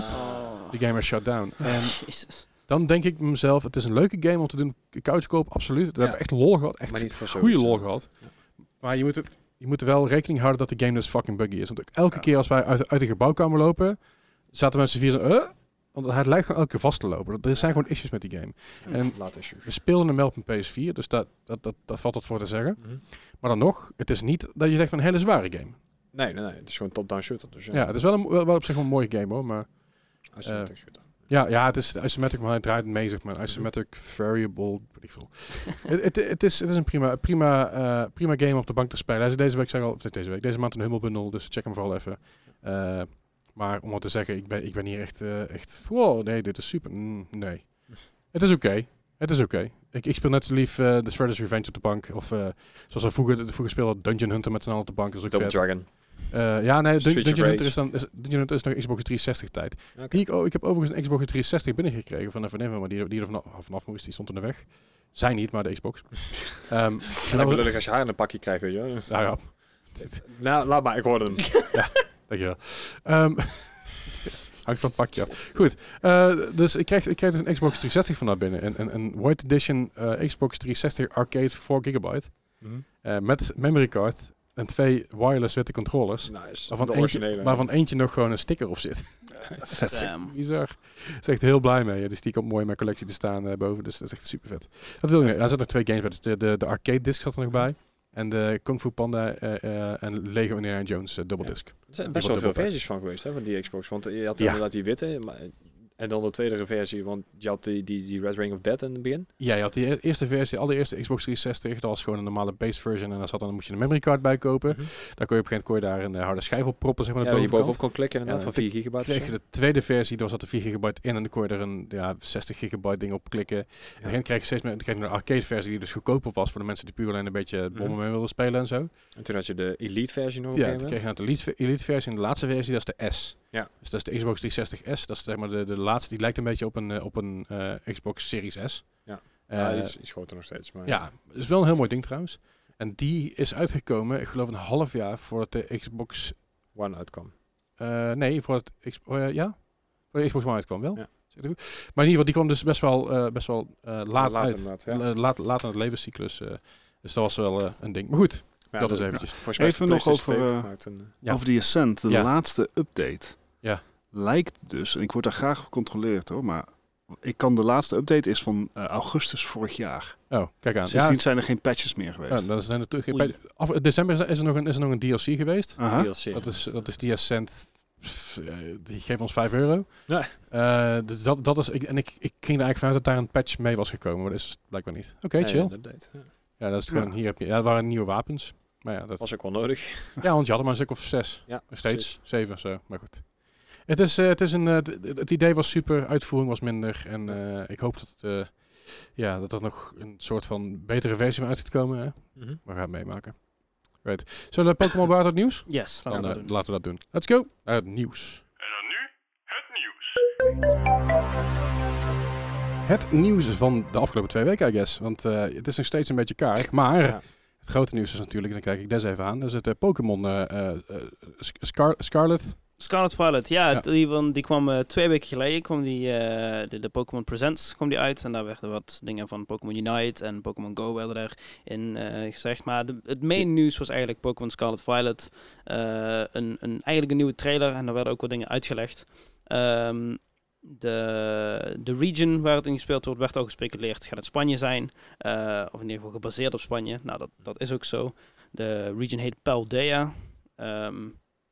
A: De game is shut down. En
D: Jezus.
A: dan denk ik bij mezelf, het is een leuke game om te doen. Couchkoop, absoluut. We
B: Ja.
A: hebben echt lol gehad. Echt
B: Maar niet voor
A: goede
B: zoiets,
A: lol
B: ja.
A: gehad. Maar je moet, het, je moet er wel rekening houden dat de game dus fucking buggy is. Want ook elke
C: Ja.
A: keer als wij uit, uit de gebouwkamer lopen, zaten mensen vier zo... eh? want het lijkt gewoon elke keer vast te lopen. Dat- Er zijn gewoon issues met die game. En
B: Laat issues.
A: we speelden hem wel op een PS4, dus dat, dat, dat, dat valt het voor te zeggen.
B: Mhm.
A: Maar dan nog, het is niet dat je zegt van een hele zware game.
B: Nee, nee, nee. Het is gewoon een top-down shooter. Dus ja,
A: Ja, het is eh, wel, een, wel, wel op zich wel een mooie game hoor, maar...
B: isometric shooter.
A: Ja, ja, het is isometric, maar hij draait mee, zeg maar. Een Isometric variable, weet ik veel. Het- Het het is, het is een prima, prima, eh, prima game om op de bank te spelen. Hij is deze week, zeg al, of deze week, deze maand een hummelbundel, dus check hem vooral even. Eh, maar om wat te zeggen, ik ben, ik ben hier echt, eh, echt, wow, nee, dit is super. Mm, nee. Het is oké. Het is oké. Ik, ik speel net zo lief eh The Shredder's Revenge op de bank. Of eh, zoals we vroeger, vroeger speelden, Dungeon Hunter met z'n allen op de bank. Dat is ook
B: Double
A: vet.
B: Dragon.
A: Eh, ja, nee, Dun-
B: Streets of
A: Dungeon Hunter,
B: Rage.
A: is dan, is, Dungeon Hunter is nog Xbox 360 tijd.
B: Oké.
A: Die ik, oh, ik heb overigens een Xbox 360 binnengekregen van een vriendin van me die, die er vanaf, vanaf moest. Die stond in de weg. Zij niet, maar de Xbox. Ehm
B: En dan lullig als je haar in een pakje krijgt, weet je wel.
A: nou ja,
B: Nou, laat maar, ik hoorde hem.
A: Dankjewel. Ehm hangt van het pakje af. Goed, eh, dus ik kreeg, ik kreeg dus een Xbox 360 van daar binnen. Een, een, een White Edition eh, Xbox 360 Arcade 4 gigabyte.
B: Mhm.
A: eh, met memory card en twee wireless witte controllers.
B: Nice.
A: Waarvan
B: de
A: eentje,
B: originele.
A: waarvan eentje nog gewoon een sticker op zit.
D: Damn.
A: Bizar. Is echt heel blij mee. Dus die komt mooi in mijn collectie te staan eh, boven. Dus dat is echt super vet. Dat wil ik. Er zaten nog twee games bij. Dus de, de, de arcade disc zat er nog bij. En de Kung Fu Panda eh, eh, en Lego Indiana Jones eh, double
B: Ja.
A: disc.
B: Er zijn best
A: Die
B: wel
A: wordt
B: veel
A: dubbel pack.
B: versies van geweest, hè, van die Xbox. Want eh, je had
A: Ja.
B: inderdaad die witte, maar, en dan de tweede versie, want je had die, die, die Red Ring of Death in het begin.
A: Ja, je had die e- eerste versie, de allereerste Xbox 360. Dat was gewoon een normale base version. En daar zat dan, moest je een memory card bij kopen.
B: Mhm.
A: Daar kon je op een gegeven moment kon je daar een eh, harde schijf op proppen, zeg maar,
B: Ja,
A: aan de
B: die
A: bovenkant.
B: bovenop kon klikken inderdaad,
A: Ja,
B: van 4 gigabyte. of
A: kreeg je
B: zo.
A: de tweede versie, daar zat er 4 gigabyte in en dan kon je er een ja, 60 gigabyte ding op klikken. En dan kreeg je steeds meer dan kreeg je een arcade versie die dus goedkoper was voor de mensen die puur alleen een beetje bommen
B: Mhm.
A: mee wilden spelen en zo.
B: En toen had je de Elite versie nog op een
A: Ja, toen
B: gegeven
A: kreeg
B: moment.
A: je nou de elite, elite versie en de laatste versie, dat is de S.
B: Ja.
A: Dus dat is de Xbox 360S, dat is zeg maar de, de laatste, die lijkt een beetje op een, eh, op een eh, Xbox Series S.
B: Ja.
A: Eh,
B: Ja, iets, iets groter nog steeds. Maar
A: ja, is wel een heel mooi ding trouwens. En die is uitgekomen, ik geloof een half jaar voordat de Xbox,
B: One uitkwam.
A: eh, nee, voordat X, eh, ja, voordat de Xbox One uitkwam wel.
B: Ja.
A: Zeg ik goed? Maar in ieder geval, die kwam dus best wel, eh, best wel eh, laat,
B: Later
A: uit.
B: inderdaad, ja.
A: Eh, Laat, laat in het levenscyclus. eh, dus dat was wel eh, een ding. Maar goed,
B: Maar
A: dat
B: ja,
A: is
B: de-
A: eventjes.
B: Volgens mij is
C: Even
B: de
C: nog
B: PlayStation
C: over,
B: 2
C: eh,
B: gemaakt en,
A: Ja.
C: Of die Ascent, de
A: Ja.
C: laatste update.
A: Ja.
C: Lijkt dus, en ik word daar graag op gecontroleerd hoor, maar ik kan de laatste update is van eh, augustus vorig jaar.
A: oh, kijk aan. Ja,
C: Sindsdien zijn er geen patches meer geweest.
A: ja, eh, dan zijn er terug-
D: Oei.
A: af, december is er, is er nog een, is er nog een DLC geweest.
C: Aha.
B: eh, DLC.
A: Dat is, dat is die Ascent. pff, eh, Die geeft ons 5 euro.
B: Ja.
A: Eh, dus dat, dat is, ik, en ik, ik ging er eigenlijk vanuit dat daar een patch mee was gekomen, maar dat is blijkbaar niet. Oké,
B: Nee,
A: chill.
B: een update, ja.
A: Ja, dat is gewoon,
C: Ja.
A: hier heb je, ja, dat waren nieuwe wapens. Maar ja, dat,
B: Was ook wel nodig.
A: ja, want je had er maar een stuk of zes.
B: Ja,
A: Nog steeds, zeven of zo, maar goed. Het, is, eh, het, is een, eh, d- d- het idee was super, uitvoering was minder. En eh, ik hoop dat, het, eh, ja, dat er nog een soort van betere versie van uit gaat komen. Hè?
B: Mhm.
A: We gaan het meemaken. Right. Zullen we Pokémon Bar het nieuws?
D: Yes,
A: Dan
D: laten we
A: eh,
D: dat doen.
A: laten we dat doen. Let's go naar het nieuws. En dan nu het nieuws. Het nieuws van de afgelopen twee weken, I guess. Want eh, het is nog steeds een beetje karig. Maar
B: Ja.
A: het grote nieuws is natuurlijk, en dan kijk ik des even aan, dus het eh, Pokémon eh, eh, eh, Sc- Scar- Scarlet.
D: Scarlet Violet, ja,
A: Ja.
D: Die, van, die kwam eh, twee weken geleden, kwam die, eh, de, de Pokémon Presents kwam die uit. En daar werden wat dingen van Pokémon Unite en Pokémon Go werden daarin eh gezegd. Maar de- het main nieuws was eigenlijk Pokémon Scarlet Violet. Eh, een, een, eigenlijk een nieuwe trailer en daar werden ook wat dingen uitgelegd. Ehm, de, de region waar het in gespeeld wordt, werd al gespeculeerd. Gaat het Spanje zijn? Eh, of in ieder geval gebaseerd op Spanje. Nou, dat, dat is ook zo. De region heet Paldea. Ehm,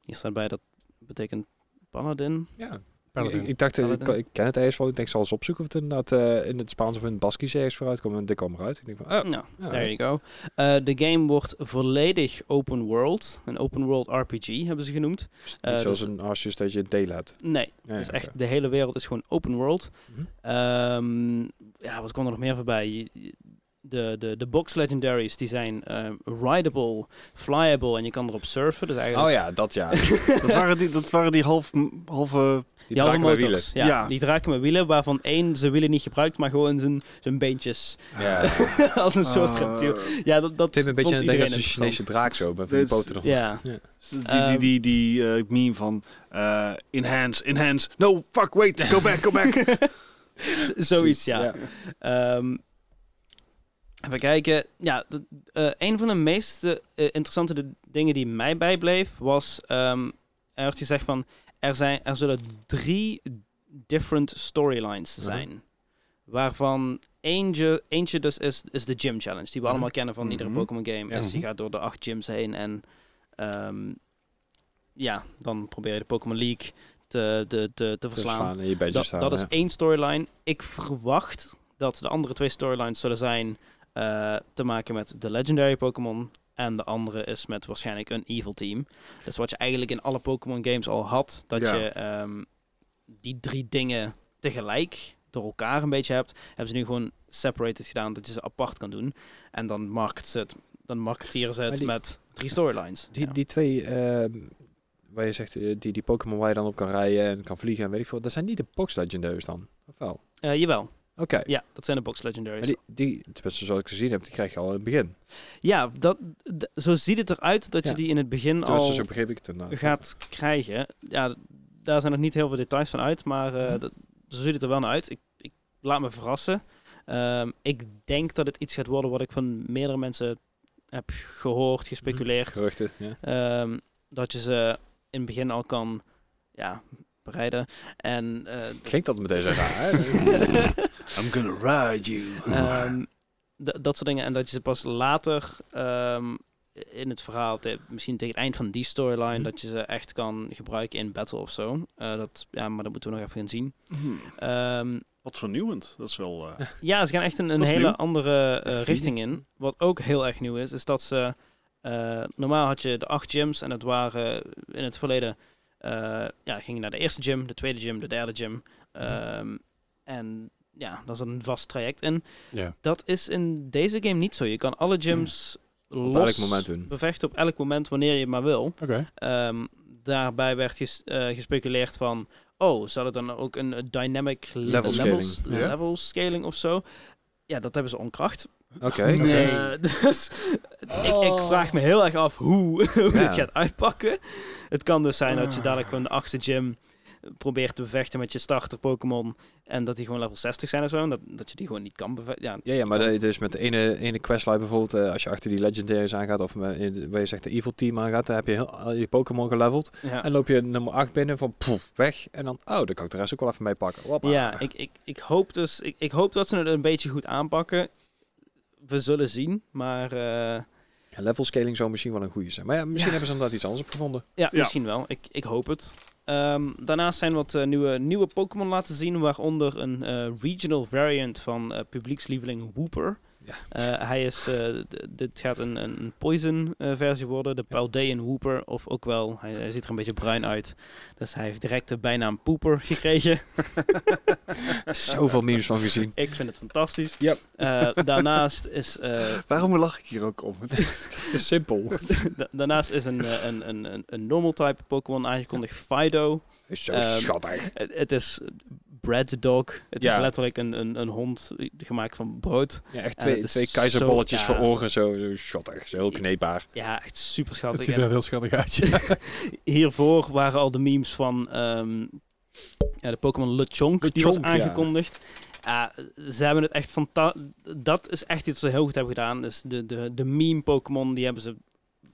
D: hier staat bij dat betekent Paladin.
B: Ja. Ik,
A: Paladin.
B: ik dacht, eh, ik,
D: Paladin.
B: ik ken het ergens wel. Ik denk, ik zal eens opzoeken of het inderdaad eh, in het Spaans of in het Baskisch ergens vooruit komt. En dit kwam eruit. Ik denk van, oh,
D: Nou,
B: ja,
D: there you go. Eh, De game wordt volledig open world. Een open world RPG hebben ze genoemd.
B: Niet
D: Eh,
B: zoals
D: dus-
B: een Arceus dat je delen hebt.
D: Nee,
B: Ja,
D: dus
B: ja,
D: echt,
B: oké.
D: de hele wereld is gewoon open world.
B: Mhm.
D: Ehm, ja, wat kwam er nog meer voorbij? Je- je- De, de, de box legendaries die zijn eh, rideable, flyable en je kan erop surfen. Dus eigenlijk
B: Oh ja, dat ja.
C: Dat waren die, dat waren die half, halve...
B: Die
D: Die
B: draken
D: hadden
B: bij wielen.
D: motors, Ja,
C: Ja.
D: die draken met wielen, waarvan één zijn wielen niet gebruikt, maar gewoon zijn, zijn beentjes.
B: Ja.
D: als een
B: Ah.
D: soort reptiel.
C: eh,
D: Ja, dat, dat
B: Tim een beetje
D: vond
B: aan het denken als
D: iedereen
B: een Chinese draak zo. Met die
C: Dit-
B: boter erop.
D: Ja,
C: Die, die, die, die eh, meme van eh, enhance, enhance, no, fuck, wait, go back, go back.
D: z- zoiets, ja. Ehm, even kijken. Ja, de- eh, een van de meest eh, interessante de- dingen die mij bijbleef was... ehm, er werd gezegd van, er, zijn, er zullen drie different storylines
B: Mhm.
D: zijn. Waarvan eentje, eentje dus is, is de gym challenge, die we
B: Mhm.
D: allemaal kennen van iedere
C: Mhm.
D: Pokémon game.
A: Ja.
D: Dus je
A: Mhm.
D: gaat door de acht gyms heen en... ehm, ja, dan probeer je de Pokémon League te, te, te, te
B: Dus
D: verslaan.
B: slaan en je bedjes
D: Dat,
B: staan.
D: dat
B: ja.
D: is één storyline. Ik verwacht dat de andere twee storylines zullen zijn eh, te maken met de Legendary Pokémon. En de andere is met waarschijnlijk een Evil Team. Dus wat je eigenlijk in alle Pokémon games al had. Dat
C: Ja.
D: je ehm, die drie dingen tegelijk door elkaar een beetje hebt. Hebben ze nu gewoon separated gedaan. Dat je ze apart kan doen. En dan market ze het. Dan marketeren ze het
B: Maar die-
D: met drie storylines.
B: Die,
D: Ja.
B: die twee ehm, waar je zegt, eh, die, die Pokémon waar je dan op kan rijden en kan vliegen en weet ik veel. Dat zijn niet de Box Legendaries dan, of wel? Oké.
D: Eh, jawel, ja, dat zijn de box legendaries.
B: Maar die, die, tenminste zoals ik gezien heb, die krijg je al in het
D: Nou,
B: begin.
D: Ja, dat, d- zo ziet het eruit dat
B: Ja.
D: je die in het begin
B: Tenminste,
D: al
B: zo begreep ik het inderdaad.
D: gaat krijgen. Ja, d- daar zijn nog niet heel veel details van uit, maar eh, dat, zo ziet het er wel naar uit. Ik, ik laat me verrassen. Ehm, ik denk dat het iets gaat worden wat ik van meerdere mensen heb gehoord, gespeculeerd.
B: Hm, Geruchten, ja.
D: Ehm, dat je ze in het begin al kan ja, bereiden. En eh,
B: Klinkt dat meteen zo raar, hè?
C: I'm gonna ride you.
D: Ehm, d- dat soort dingen. En dat je ze pas later ehm, in het verhaal, te- misschien tegen het eind van die storyline,
C: Mhm.
D: dat je ze echt kan gebruiken in battle of zo. Eh, dat, ja, maar dat moeten we nog even gaan zien.
C: Hmm,
D: Ehm,
C: Wat vernieuwend. Dat is wel... eh,
D: ja, ze gaan echt een, een
C: Dat is
D: hele
C: nieuw.
D: andere eh,
C: Even
D: richting in. Wat ook heel erg nieuw is, is dat ze... eh, normaal had je de acht gyms en dat waren in het verleden... eh ja, ging je naar de eerste gym, de tweede gym, de derde gym.
C: Mhm.
D: Ehm, En ja, daar zat een vast traject in.
A: Ja.
D: Dat is in deze game niet zo. Je kan alle gyms
B: Hmm.
D: los
B: elk moment doen.
D: bevechten op elk moment wanneer je maar wil.
A: Oké.
D: Ehm, daarbij werd ges- eh, gespeculeerd van, oh, zou dat dan ook een eh, dynamic le-
B: Level scaling.
D: levels-
A: Ja.
D: level scaling of zo? Ja, dat hebben ze onkracht.
B: Oké.
A: Nee.
D: Eh, dus ik, ik vraag me heel erg af hoe, hoe
B: Ja.
D: dit gaat uitpakken. Het kan dus zijn dat je
A: Ah.
D: dadelijk gewoon de achtste gym probeert te bevechten met je starter Pokémon en dat die gewoon level 60 zijn of zo. En dat, dat je die gewoon niet kan bevechten. Ja,
B: Ja, ja, maar dat je dus met de ene, ene questline bijvoorbeeld, eh, als je achter die legendaries aangaat of me- in de- waar je zegt de evil team aangaat, dan heb je heel, al je Pokémon geleveld.
D: ja.
B: En loop je nummer 8 binnen van poef, weg. En dan, oh, dan kan ik de rest ook wel even mee pakken. Wappa.
D: Ja, ik, ik, ik hoop dus. Ik, ik hoop dat ze het een beetje goed aanpakken. We zullen zien, maar eh,
B: En level scaling zou misschien wel een goede zijn. Maar ja, misschien
D: Ja.
B: hebben ze inderdaad iets anders opgevonden.
D: ja,
C: Ja.
D: misschien wel. Ik, ik hoop het. Ehm, daarnaast zijn wat eh, nieuwe, nieuwe Pokémon laten zien, waaronder een eh, regional variant van eh, publiekslieveling Wooper.
B: Ja.
D: Eh, hij is, eh, d- dit gaat een, een poison eh, versie worden, de Paldean Wooper, of ook wel, hij, hij ziet er een beetje bruin uit. Dus hij heeft direct de bijnaam Pooper gekregen. Eh,
B: Zoveel memes van gezien.
D: ik vind het fantastisch.
B: Ja.
D: Eh, daarnaast is eh,
C: Waarom lach ik hier ook om? Het is-
B: Het is simpel.
D: Da- Daarnaast is een, eh, een, een, een, een normal type Pokémon aangekondigd, Fido.
B: Is zo
D: Ehm,
B: schattig.
D: Het, het is Bread Dog. Het
B: Ja.
D: is letterlijk een, een, een hond gemaakt van brood.
B: Ja, echt
D: ja,
B: twee,
D: dat is
B: twee keizerbolletjes
D: zo-
B: voor
D: ja.
B: oren, zo, zo schattig. Zo heel kneepbaar.
D: Ja, echt super
A: Het
D: schattig.
A: ziet
D: En
A: er heel schattig uit. ja.
D: Hiervoor waren al de memes van ehm, ja, de Pokémon Lechonk, die was
B: Lechonk, ja.
D: aangekondigd. Ja, ze hebben het echt fantastisch. Dat is echt iets wat ze heel goed hebben gedaan. Dus de, de, de meme Pokémon, die hebben ze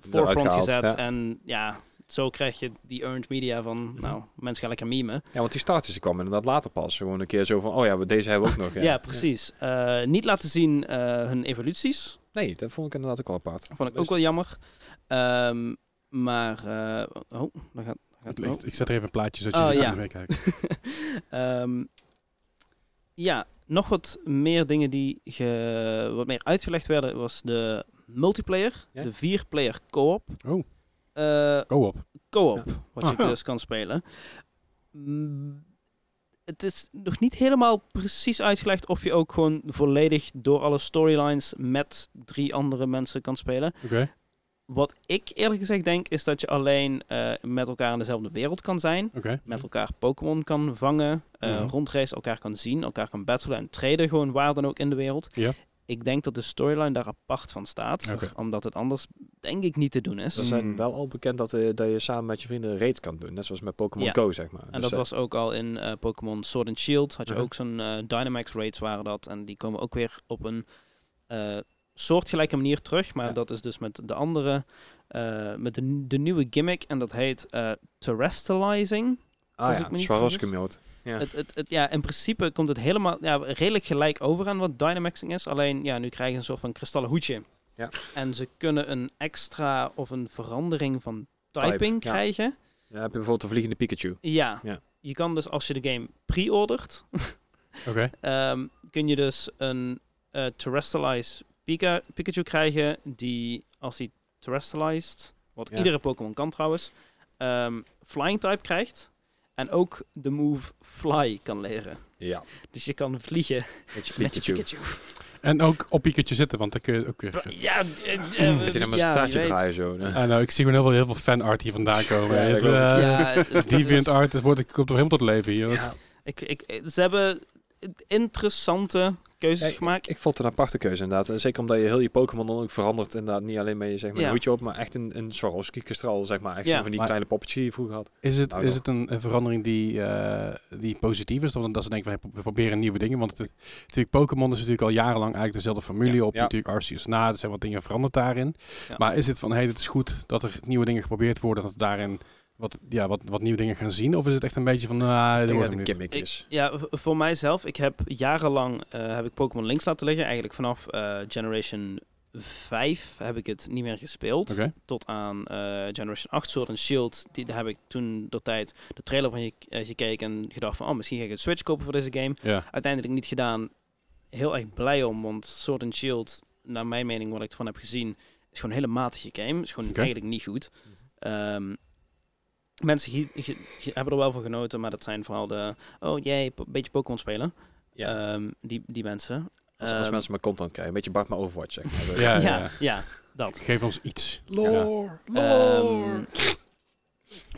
D: forefront
B: gehaald,
D: gezet.
B: ja.
D: En ja, zo krijg je die earned media van, nou, mensen gaan lekker memen.
B: Ja, want die starters die kwamen inderdaad later pas. Gewoon een keer zo van, oh ja, maar deze hebben we ook nog.
D: Ja, precies. Eh, niet laten zien eh, hun evoluties.
B: Nee, dat vond ik inderdaad ook wel apart.
D: Vond ik ook wel jammer. Ehm, maar, eh, oh, daar gaat, daar
A: Het
D: gaat oh.
A: ligt- Ik zet er even een plaatje zodat
D: Oh,
A: jullie
D: ja.
A: kunnen meekijken.
D: Ehm, ja, nog wat meer dingen die ge, wat meer uitgelegd werden, was de multiplayer,
B: Ja.
D: de vierplayer co-op.
A: Oh.
D: Eh,
A: Go op.
D: co-op, wat je
A: Aha.
D: dus kan spelen. Mm, het is nog niet helemaal precies uitgelegd of je ook gewoon volledig door alle storylines met drie andere mensen kan spelen.
A: Oké.
D: Wat ik eerlijk gezegd denk, is dat je alleen eh, met elkaar in dezelfde wereld kan zijn.
A: Oké.
D: Met elkaar Pokémon kan vangen, eh
A: Mhm.
D: rondreizen, elkaar kan zien, elkaar kan battelen en traden gewoon waar dan ook in de wereld.
A: Ja.
D: Ik denk dat de storyline daar apart van staat,
A: Oké.
D: omdat het anders denk ik niet te doen is.
B: Ze
C: Mm.
B: zijn wel al bekend dat, eh, dat je samen met je vrienden een raid kan doen. Net zoals met Pokémon
D: Ja.
B: Go, zeg maar.
D: En
B: Dus, Uh-huh.
D: dat
B: eh,
D: was ook al in eh, Pokémon Sword and Shield. Had je
A: Mhm.
D: ook zo'n eh, Dynamax raids waren dat. En die komen ook weer op een eh, soortgelijke manier terug. Maar
B: Ja.
D: dat is dus met de andere, eh, met de, n- de nieuwe gimmick. En dat heet eh terrestrializing.
B: Ah
D: als
B: ja,
D: ik me niet
B: Swarovski
D: vergis.
B: mode. Ja.
D: Het, het, het, ja, in principe komt het helemaal ja, redelijk gelijk over aan wat Dynamaxing is. Alleen ja, nu krijgen ze een soort van kristallen hoedje.
B: Ja.
D: En ze kunnen een extra of een verandering van
B: Type,
D: typing
B: ja.
D: krijgen.
B: Ja, heb je bijvoorbeeld de vliegende Pikachu.
D: Ja.
B: Ja.
D: Je kan dus als je de game pre-ordert,
A: Oké.
D: ehm, kun je dus een eh terrestrialized Pika Pikachu krijgen die, als hij terrestrialized, wat
B: Ja.
D: iedere Pokémon kan trouwens, ehm, flying type krijgt en ook de move fly kan leren.
B: Ja,
D: Dus je kan vliegen
B: met je
D: met je
B: Pikachu.
D: Pikachu.
A: En En ook op piekertje zitten, want dan kun je ook weer...
D: Ja, eh, eh,
B: Moet je dan maar
D: ja,
B: een staartje
D: wie weet.
B: draaien zo. nee.
A: Ah, nou, ik zie gewoon heel veel, heel veel fanart hier vandaan komen.
B: Ja,
A: Het,
B: dat geloof ik.
A: eh,
D: Ja, het- het
A: Deviant
D: is-
A: art, het wordt, het komt er helemaal tot leven hier.
D: Ja. Ik, ik, ze hebben interessante keuzes
B: Ja,
D: gemaakt.
B: Ik vond het een aparte keuze inderdaad. En Zeker omdat je heel je Pokémon dan ook verandert. Inderdaad, niet alleen met je zeg maar,
D: Ja.
B: een hoedje op, maar echt een, een Swarovski-kastral, zeg maar. Echt
D: Ja.
B: zo van die
A: Maar-
B: kleine poppetjes die je vroeger had.
A: Is het,
B: Nou,
A: is
B: ja.
A: het een, een verandering die, eh, die positief is? Dan dat ze denken, van, hey, we proberen nieuwe dingen. Want het, natuurlijk, Pokémon is natuurlijk al jarenlang eigenlijk dezelfde formule
B: Ja.
A: op.
B: Ja.
A: Natuurlijk Arceus na, er zijn wat dingen veranderd daarin.
D: Ja.
A: Maar is het van, hey, het is goed dat er nieuwe dingen geprobeerd worden. Dat we daarin wat, ja, wat, wat nieuwe dingen gaan zien. Of is het echt een beetje van, ah,
B: Ik
A: dit
B: denk dat
A: wordt
B: het
A: hem
B: een
A: niet.
B: gimmick
D: Ik-
B: is.
D: Ja, v- voor mijzelf, ik heb jarenlang eh, heb ik Pokémon links laten liggen. Eigenlijk vanaf eh, Generation 5 heb ik het niet meer gespeeld.
A: Oké.
D: Tot aan eh, Generation 8, Sword and Shield. Die, daar heb ik toen de tijd de trailer van gek- eh, gekeken en gedacht van, oh, misschien ga ik het Switch kopen voor deze game.
A: Ja.
D: Uiteindelijk niet gedaan. Heel erg blij om, want Sword and Shield, naar mijn mening, wat ik ervan heb gezien, is gewoon een hele matige game. Is gewoon
A: Oké.
D: eigenlijk niet goed. Ehm, mensen ge- ge- ge- hebben er wel van genoten, maar dat zijn vooral de... Oh jij een beetje Pokémon spelen.
B: Ja.
D: Ehm, die, die mensen.
C: Eh,
B: Als, als
D: Ehm,
B: mensen maar content krijgen. Een beetje Bart maar Overwatch, zeg maar.
A: Ja,
D: Ja,
A: ja.
D: ja, dat.
A: Geef ons iets.
C: Lore,
D: Ehm,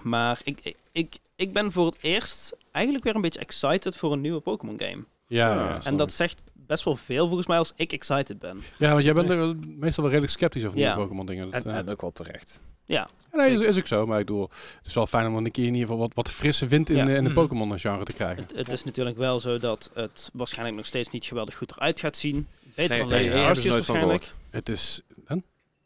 D: maar ik, ik- ik, ik ben voor het eerst eigenlijk weer een beetje excited voor een nieuwe Pokémon game.
A: Ja, ja,
B: En
A: snap
D: En dat
A: ik.
D: zegt best wel veel volgens mij als ik excited ben.
A: ja, want jij bent er, eh, meestal wel redelijk sceptisch over
D: Ja.
A: nieuwe Pokémon dingen.
B: Dus En,
A: Dat, eh,
B: en ook wel terecht.
A: Ja, Nee, is, is ook zo. Maar ik bedoel, het is wel fijn om een keer in ieder geval wat, wat frisse wind in,
D: Ja.
A: de- in de
B: Mhm.
A: Pokémon-genre te krijgen.
D: Het, het is natuurlijk wel zo dat het waarschijnlijk nog steeds niet geweldig goed eruit gaat zien. Beter
B: Nee,
D: dan
B: nee,
D: Legends
B: daar hebben ze
D: Arceus
B: nooit van
D: waarschijnlijk.
A: Het is...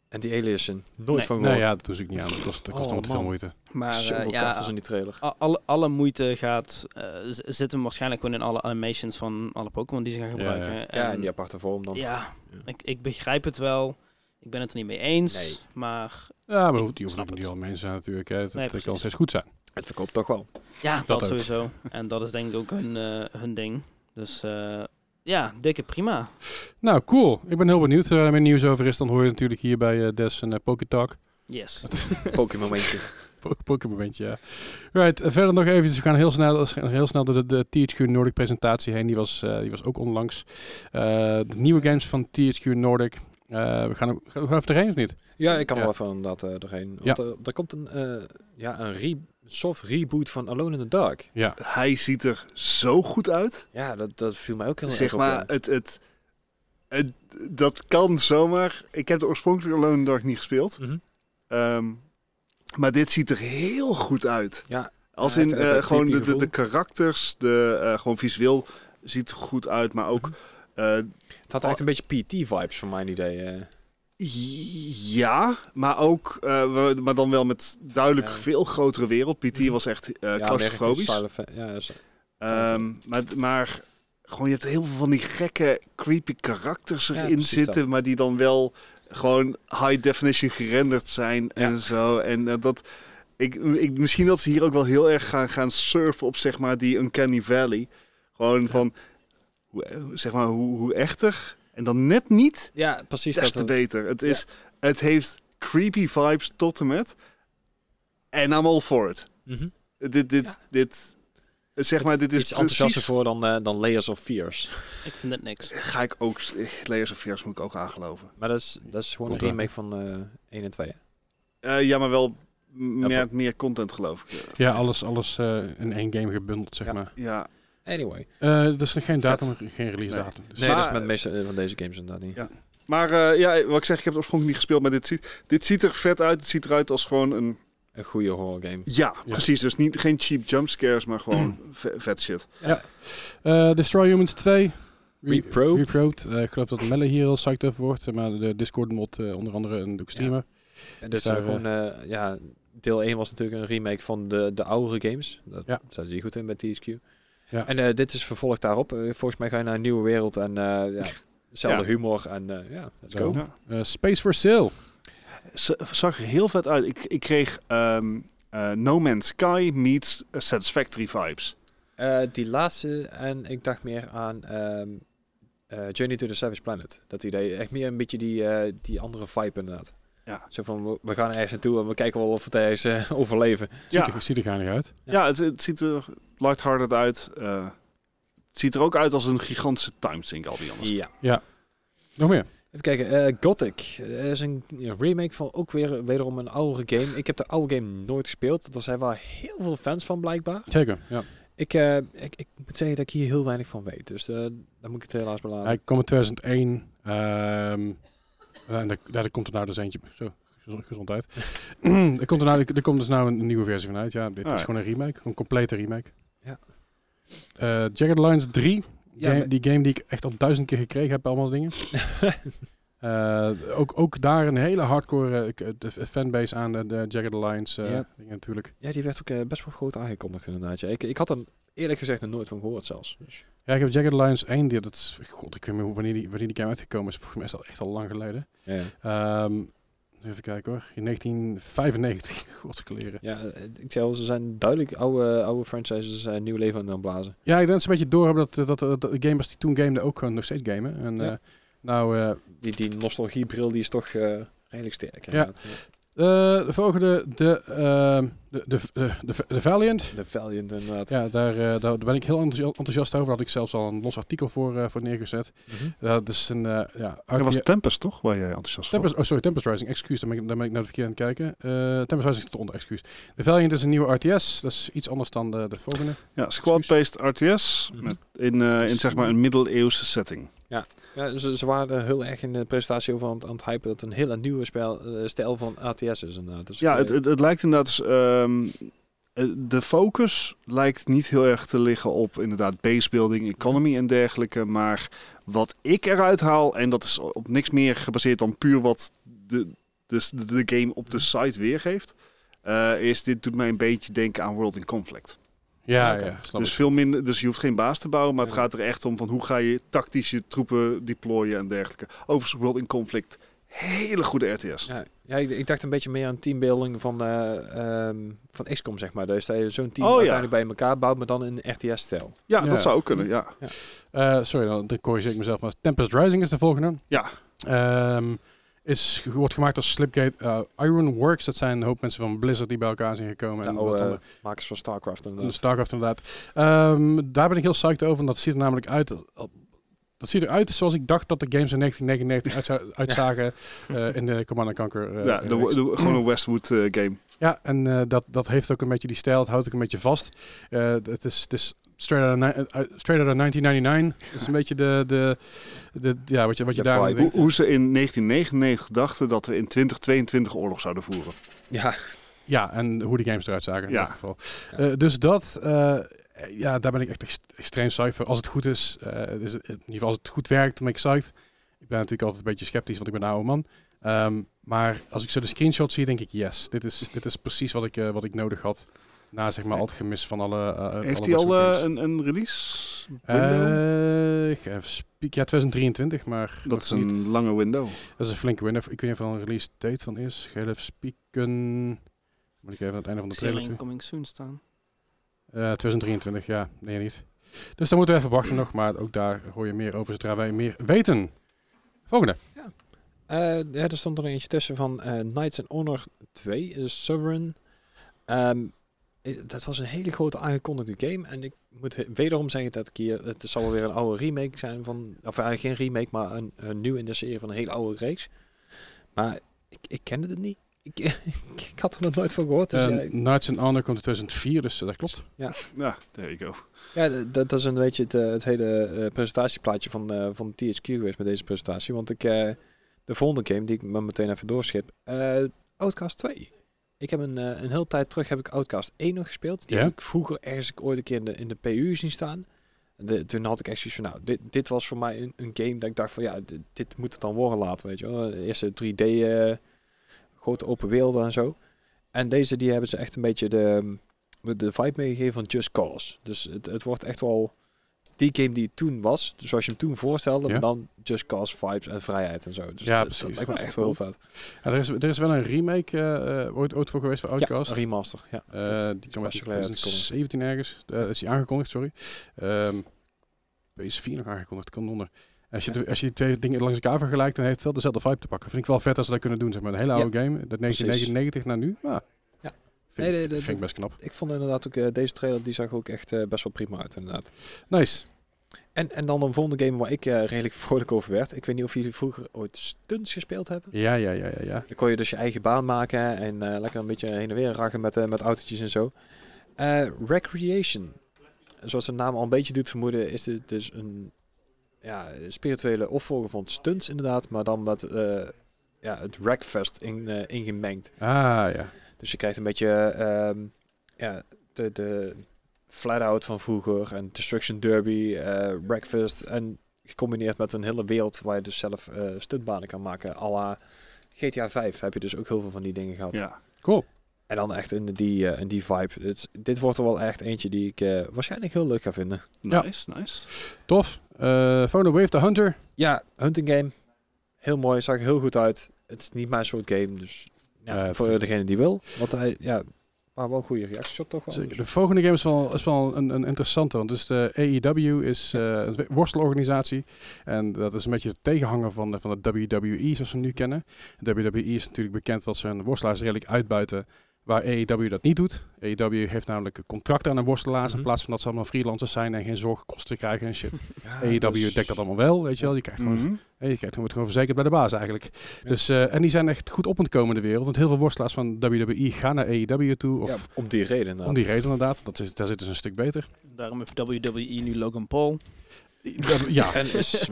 B: En die Aliasen. Nooit
D: Nee.
B: van
A: Nou
B: gehoord.
A: ja, dat doe ik niet aan. Dat kost, dat kost
B: Oh,
A: allemaal te veel
B: man.
A: moeite.
D: Maar eh,
B: Zoveel
D: ja,
B: kartels in die trailer.
D: a- alle, alle moeite gaat, eh, z- zit hem waarschijnlijk gewoon in alle animations van alle Pokémon die ze gaan
A: Ja,
D: gebruiken.
B: Ja,
C: ehm,
D: En-
B: in die aparte vorm dan.
D: Ja,
B: Ja.
D: ik, ik begrijp het wel. Ik ben het er niet mee eens.
B: Nee.
D: Maar
A: Ja, maar
D: Ik
A: goed, die hoeft
D: snap
A: niet
D: het.
A: al mensen natuurlijk. Hè. Dat,
D: Nee,
A: dat
D: precies.
A: kan steeds goed zijn.
B: Het verkoopt toch wel.
D: ja, dat,
A: ook.
D: sowieso. en dat is denk ik ook hun, eh, hun ding. Dus eh, ja, dikke prima.
A: Nou, cool. Ik ben heel benieuwd. Als er meer nieuws over is, dan hoor je natuurlijk hier bij eh, Des en uh, Pokétalk.
D: Yes.
B: Pokémomentje.
A: Po- Pokémomentje, ja. Right, eh, verder nog even. We gaan heel snel, heel snel door de, de THQ Nordic presentatie heen. Die was, eh, die was ook onlangs. Eh, de nieuwe games van THQ Nordic. Eh, we, gaan, ook- gaan we gewoon even erheen of niet?
B: Ja, ik kan
A: Ja.
B: wel even inderdaad eh, doorheen.
A: Ja.
B: Want eh, er komt een, eh, ja, een re soft reboot van Alone in the Dark.
A: Ja.
C: Hij ziet er zo goed uit.
B: Ja, dat, dat viel mij ook heel erg
C: Zeg
B: op,
C: maar,
B: ja.
C: het, het, het- dat kan zomaar. Ik heb de oorspronkelijke Alone in the Dark niet gespeeld.
B: Mhm.
C: Ehm, maar dit ziet er heel goed uit.
B: Ja.
C: Als
B: Ja,
C: in
B: het heeft
C: eh,
B: een
C: gewoon de,
B: creepy
C: de, de
B: gevoel.
C: karakters, de, eh, gewoon visueel ziet er goed uit. Maar
B: Mhm.
C: ook, eh,
B: Het had echt een beetje E PT-vibes van mijn idee. eh.
C: ja, maar ook, eh, we- maar dan wel met duidelijk
B: Ja. Mhm.
C: veel grotere wereld. PT was echt eh
B: ja,
C: claustrofobisch.
B: meer richting Silent Fa- Ja, dus-
C: Ehm, maar, maar gewoon, je hebt heel veel van die gekke, creepy karakters
B: Ja,
C: erin
B: precies
C: zitten,
B: dat.
C: maar die dan wel gewoon high definition gerenderd zijn en zo. En eh, dat, ik, ik, misschien dat ze hier ook wel heel erg gaan, gaan surfen op zeg maar die Uncanny Valley. Gewoon van, hoe, eh, zeg maar, hoe, hoe echter en dan net niet,
B: ja, precies
C: des
B: dat. eh,
C: te beter. Het, is, het heeft creepy vibes tot en met. En I'm all for it.
B: Mhm.
C: Dit, dit,
B: Ja.
C: dit, zeg maar, dit is
B: Iets enthousiaster
C: precies
B: voor dan, eh, dan Layers of Fears.
D: Ik vind het niks.
C: Ga ik ook, eh, Layers of Fears moet ik ook aangeloven.
B: Maar dat is, dat is gewoon
A: Komt
B: een
A: eraan.
B: remake van eh 1 en 2. hè?
C: Eh, ja, maar wel meer,
B: Ja,
C: meer content geloof ik.
A: Ja, alles, alles eh, in één game gebundeld, zeg
B: Ja.
A: maar.
C: Ja,
B: Anyway.
A: Eh er is nog geen datum, geen release
C: Nee.
A: datum. Dus
B: Nee,
C: Maar-
B: dat is met de meeste eh, van deze games inderdaad niet.
C: Ja. maar eh, ja, wat ik zeg, ik heb het oorspronkelijk niet gespeeld, maar dit ziet, dit ziet er vet uit. Het ziet eruit als gewoon een...
B: Een goede horror game.
C: Ja, precies. Dus niet, geen cheap jumpscares, maar gewoon ve- vet shit.
A: Eh, Destroy Humans 2. Re-
B: Reprobed.
A: Reprobed. Eh, ik geloof dat Melle hier heel psyched over wordt. eh, Maar de Discord-mod eh, onder andere en ook streamer.
B: En dus
A: Daar,
B: eh, gewoon, eh, ja, deel 1 was natuurlijk een remake van de, de oudere games. Dat
A: Ja.
B: zaten die goed in met THQ.
A: Ja.
B: En eh, dit is vervolg daarop. Eh, volgens mij ga je naar een nieuwe wereld en eh ja, dezelfde
C: Ja.
B: humor. En eh, ja, let's
A: Zo.
B: go.
C: Ja.
A: Eh, Space for Sale.
C: Z- zag er heel vet uit. Ik, ik kreeg ehm, eh, No Man's Sky meets Satisfactory vibes.
B: Eh, die laatste, en ik dacht meer aan ehm, eh, Journey to the Savage Planet. Dat idee. Echt meer een beetje die, eh, die andere vibe inderdaad.
C: Ja.
B: Zo van, we, we gaan ergens naartoe en we kijken wel of we het ergens eh, overleven.
C: Ja.
A: Ziet, er, ziet er geinig uit.
C: Ja, het, het ziet er lighthearted uit. eh, het ziet er ook uit als een gigantische timesink, al die anders.
B: Ja.
A: Nog meer.
B: Even kijken, eh, Gothic. Dat is een remake van ook weer wederom een oudere game. Ik heb de oude game nooit gespeeld. Er zijn wel heel veel fans van blijkbaar.
A: Zeker, ja.
B: Ik, eh, ik, ik moet zeggen dat ik hier heel weinig van weet. Dus eh daar moet ik het helaas beladen.
A: Hij kwam in 2001. ehm en daar, daar komt er nou dus eentje. Zo, gezond- gezondheid. er, komt er, nou, er komt dus nou een nieuwe versie van uit. Ja, dit
C: Ah,
A: is
C: ja.
A: gewoon een remake. Een complete remake.
B: Ja.
A: Eh, Jagged Alliance 3.
B: Ja,
A: game-
B: maar-
A: die game die ik echt al duizend keer gekregen heb. Allemaal dingen. Eh, ook, ook daar een hele hardcore eh, k- de f- fanbase aan. De, de Jagged Alliance eh,
B: Ja.
A: dingen natuurlijk.
B: Ja, die werd ook eh, best wel groot aangekondigd inderdaad. Ja. Ik, ik had er eerlijk gezegd nog nooit van gehoord zelfs. Dus,
A: Ja, ik heb Jagged Alliance 1. Die, dat is, God, ik weet niet hoe- wanneer die, wanneer die game uitgekomen is. Volgens mij is dat echt al lang geleden.
B: ja.
A: Ehm, even kijken hoor. In 1995. Godskleren.
B: Ja, eh, ik zei al, ze zijn duidelijk oude, oude franchises eh, nieuw leven aan het blazen.
A: Ja, ik denk dat ze een beetje door hebben dat, eh, dat, dat, dat de gamers die toen gameden ook gewoon nog steeds gamen. En,
B: Ja.
A: eh, nou, eh,
B: Die, die nostalgiebril die is toch eh, redelijk sterk. inderdaad.
A: eh, de volgende, de, ehm, de, de, de, de, de Valiant.
B: De Valiant inderdaad.
A: Ja, daar, eh, daar, daar ben ik heel enthousi- enthousiast over. Daar had ik zelfs al een los artikel voor, eh, voor neergezet.
B: Mhm.
A: Dat is een, eh ja,
C: Dat was
A: uit-
C: Tempest, toch? Waar jij enthousiast voor
A: Tempest, oh sorry, Tempest Rising, excuus, daar ben ik, daar ben ik naar de verkeerde aan het kijken. Eh Tempest Rising stond onder, excuus. De Valiant is een nieuwe RTS, dat is iets anders dan de, de volgende.
C: Ja, squad-based RTS
B: Mhm.
C: met in, eh, in zeg maar een middeleeuwse setting.
B: Ja, ze, ze waren er heel erg in de presentatie over aan, het- aan het hypen dat het een hele nieuwe spel, eh, stijl van ATS is inderdaad. Dus
C: Ja,
B: ik,
C: het,
B: eh,
C: het, het lijkt inderdaad... dus, ehm, eh, de focus lijkt niet heel erg te liggen op inderdaad base building,
B: Mhm.
C: economy en dergelijke. Maar wat ik eruit haal, en dat is op niks meer gebaseerd dan puur wat de, de, de, de game op
B: Mhm.
C: de site weergeeft... eh, is dit doet mij een beetje denken aan World in Conflict.
A: Ja,
B: Oké.
A: ja, snap
C: Dus,
A: ik.
C: veel minder, dus je hoeft geen baas te bouwen, maar het
B: Ja.
C: gaat er echt om van hoe ga je tactisch je troepen deployen en dergelijke. Overigens World in Conflict, hele goede RTS.
B: ja, ja ik, ik dacht een beetje meer aan teambuilding van, eh ehm van XCOM, zeg maar. Dus dat je zo'n team
C: Oh, ja.
B: uiteindelijk bij elkaar bouwt, maar dan in RTS-stijl.
C: Ja,
A: Ja.
C: dat zou ook kunnen, ja.
A: Eh, sorry, dan, dan corrigeer ik mezelf. Maar Tempest Rising is de volgende.
C: Ja.
A: Ehm, is, wordt gemaakt door Slipgate eh, Ironworks. Dat zijn een hoop mensen van Blizzard die bij elkaar zijn gekomen. en
B: Nou,
A: wat Dus-
B: eh,
A: andere-
B: makers van StarCraft
A: en
B: inderdaad.
A: Starcraft inderdaad. Ehm, daar ben ik heel psyched over. want Dat ziet er namelijk uit... eh, Dat ziet eruit zoals ik dacht dat de games in 1999 uitza- uitzagen eh, in de Command Conquer. eh,
C: ja de,
A: reeks.
C: de- gewoon een Westwood eh, game.
A: Ja, en eh, dat, dat heeft ook een beetje die stijl. Het houdt ook een beetje vast. Eh, het is, het is straight, out of, ni- eh, straight out of 1999. Dat is een beetje de... de, de ja, wat je, wat je
B: De
A: daar aan
B: vibe.
A: denkt.
C: Hoe, hoe ze in 1999 dachten dat we in 2022 oorlog zouden voeren.
B: Ja,
A: Ja, en hoe die games eruit zagen in
C: Ja.
A: dat geval.
B: Ja.
A: Eh, dus dat, eh, ja, daar ben ik echt ex- extreem psyched voor. Als het goed is, eh, is het- in ieder geval als het goed werkt, dan ben ik psyched. Ik ben natuurlijk altijd een beetje sceptisch, want ik ben een oude man. Ehm, maar als ik zo de screenshots zie, denk ik, yes, dit is, dit is precies wat ik, eh, wat ik nodig had. Na zeg maar al het gemis van alle... eh, alle
C: Eh, Heeft hij
A: Westwood
C: al eh,
A: games.
C: een, een release? window?
A: Eh, ik ga even spieken. ja, 2023, maar nog
C: dat is een
A: niet-
C: lange window.
A: dat is een flinke winnaar. Ik weet niet of er al een release date van is. Ik ga even spieken. Moet ik even aan het einde van de
D: Zie
A: trailer
D: alleen
A: toe.
D: Coming Soon staan.
A: Eh, 2023, ja. Nee, niet. Dus dan moeten we even wachten nog. Maar ook daar hoor je meer over zodra wij meer weten. Volgende.
B: Eh, ja, er stond er eentje tussen van eh, Knights and Honor 2, eh, Sovereign. Ehm, eh, dat was een hele grote aangekondigde game. En ik moet he- wederom zeggen dat ik hier... Het zal wel weer een oude remake zijn van... Of eigenlijk geen remake, maar een, een nieuw in de serie van een hele oude reeks. Maar ik, ik kende het niet. Ik, ik, ik had er nog nooit van gehoord. Dus ja,
A: Eh,
B: ik-
A: Knights and Honor komt in 2004, dus eh, dat klopt.
C: Ja, there you go.
B: Ja, d- dat, dat is een beetje het, eh, het hele eh, presentatieplaatje van, eh, van THQ geweest met deze presentatie. Want ik, eh, de volgende game die ik me meteen even doorschip, eh, Outcast 2. Ik heb een, eh, een hele tijd terug heb ik Outcast 1 nog gespeeld. Die
A: Ja?
B: heb ik vroeger ergens ooit een keer in de, in de PU zien staan. En de- toen had ik echt zoiets van, nou, dit, dit was voor mij een, een game dat ik dacht van, ja, dit, dit moet het dan worden later, weet je wel. De Eerste 3D, eh, grote open werelden en zo. En deze, die hebben ze echt een beetje de, ehm, de- de vibe meegegeven van Just Cause. Dus het, het wordt echt wel die game die het toen was, dus zoals je hem toen voorstelde,
A: Ja.
B: maar dan Just Cause vibes en vrijheid en zo. Dus
A: Ja,
B: dat,
A: precies.
B: dat lijkt me
A: Dat
B: echt
A: is wel
B: wel vet.
A: Ja, er, is, er is wel een remake eh, eh, ooit, ooit voor geweest voor Outcast.
B: Ja, remaster. Ja,
A: Eh,
B: klopt.
A: die kwam uit
B: was geleden uitgekomen.
A: 2017 ergens. Eh, is die aangekondigd, sorry. Ehm PS4 nog aangekondigd, kan onder. Als je, de- als je die twee dingen langs elkaar vergelijkt, dan heeft het wel dezelfde vibe te pakken. Vind ik wel vet als ze dat kunnen doen. Zeg maar. Een hele oude game, dat 1999 naar nu. Maar
B: Ja.
A: Vind, ik-
B: Nee, nee, dat-
A: vind ik best knap.
B: Ik vond inderdaad ook eh, deze trailer, die zag ook echt eh, best wel prima uit inderdaad.
A: Nice.
B: En, en dan een volgende game waar ik eh, redelijk vrolijk over werd. Ik weet niet of jullie vroeger ooit stunts gespeeld hebben.
A: Ja, ja, ja, ja. ja.
B: Dan kon je dus je eigen baan maken en eh, lekker een beetje heen en weer raggen met, eh, met autootjes en zo. Eh, Recreation. Zoals de naam al een beetje doet vermoeden, is dit dus een ja, spirituele opvolger van stunts inderdaad, maar dan met eh, ja, het Wreckfest in, eh, ingemengd.
A: Ah, ja.
B: Dus je krijgt een beetje ehm, ja, de, de flat-out van vroeger en Destruction Derby, eh Breakfast. En gecombineerd met een hele wereld waar je dus zelf eh stuntbanen kan maken. à la GTA 5 heb je dus ook heel veel van die dingen gehad.
C: Ja.
A: Cool.
B: En dan echt in die, eh, in die vibe. Dit, dit wordt er wel echt eentje die ik eh, waarschijnlijk heel leuk ga vinden.
A: Ja.
C: Nice, nice.
A: Tof. Eh Phone Wave the Hunter.
B: Ja, hunting game. Heel mooi, zag er heel goed uit. Het is niet mijn soort game, dus ja,
A: Eh,
B: voor degene die wil. Want hij, ja, maar wel goede reacties op toch wel.
A: Zeker. De volgende game is wel, is wel een, een interessante, want dus de AEW is eh, een worstelorganisatie. En dat is een beetje de tegenhanger van de, van de WWE zoals we hem nu kennen. WWE E is natuurlijk bekend dat ze hun worstelaars redelijk uitbuiten, waar AEW dat niet doet. AEW heeft namelijk een contract aan een worstelaars
B: Mhm.
A: in plaats van dat ze allemaal freelancers zijn en geen zorgkosten krijgen en shit.
B: Ja,
A: AEW
B: dus-
A: dekt dat allemaal wel, weet je wel. Je krijgt gewoon
C: Mhm.
A: Hey, je kijkt, dan wordt gewoon verzekerd bij de baas eigenlijk.
B: Ja.
A: Dus, eh, en die zijn echt goed op aan het komen in de wereld. Want heel veel worstelaars van WWE gaan naar AEW toe. Of
B: ja, om die reden inderdaad.
A: om die reden inderdaad. Dat is, daar zit dus een stuk beter.
D: Daarom heeft WWE nu Logan Paul.
A: ja.
B: En is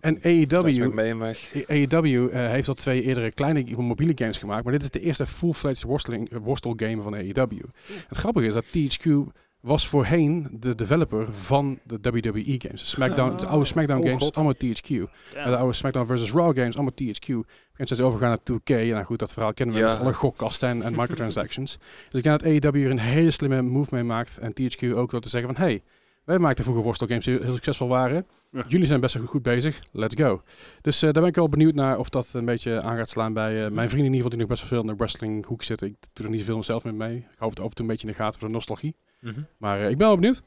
A: En E
B: AEW
A: AEW,
B: BMWeg.
A: AEW eh, heeft al twee eerdere kleine mobiele games gemaakt. Maar dit is de eerste full-fledged worsteling, worstelgame van AEW. Het grappige is dat THQ was voorheen de developer van de WWE games. Smackdown, de oude SmackDown
B: Oh,
A: games,
B: God.
A: allemaal THQ. En de oude SmackDown vs. Raw games, allemaal THQ. En ze overgaan naar 2K. En nou goed, dat verhaal kennen we
B: Ja.
A: met alle gokkasten en, en microtransactions. dus ik denk dat AEW hier een hele slimme move mee maakt. En THQ ook door te zeggen van... Hey, wij maakten vroeger worstelgames die heel succesvol waren.
C: Ja.
A: Jullie zijn best wel goed bezig. Let's go. Dus eh, daar ben ik wel benieuwd naar of dat een beetje aan gaat slaan bij eh, mijn vrienden in ieder geval die nog best wel veel in de wrestling hoek zitten. Ik doe er niet zoveel zelf mee mee. Ik hou het af en toe een beetje in de gaten voor de nostalgie.
D: Mhm.
A: Maar eh, ik ben wel benieuwd.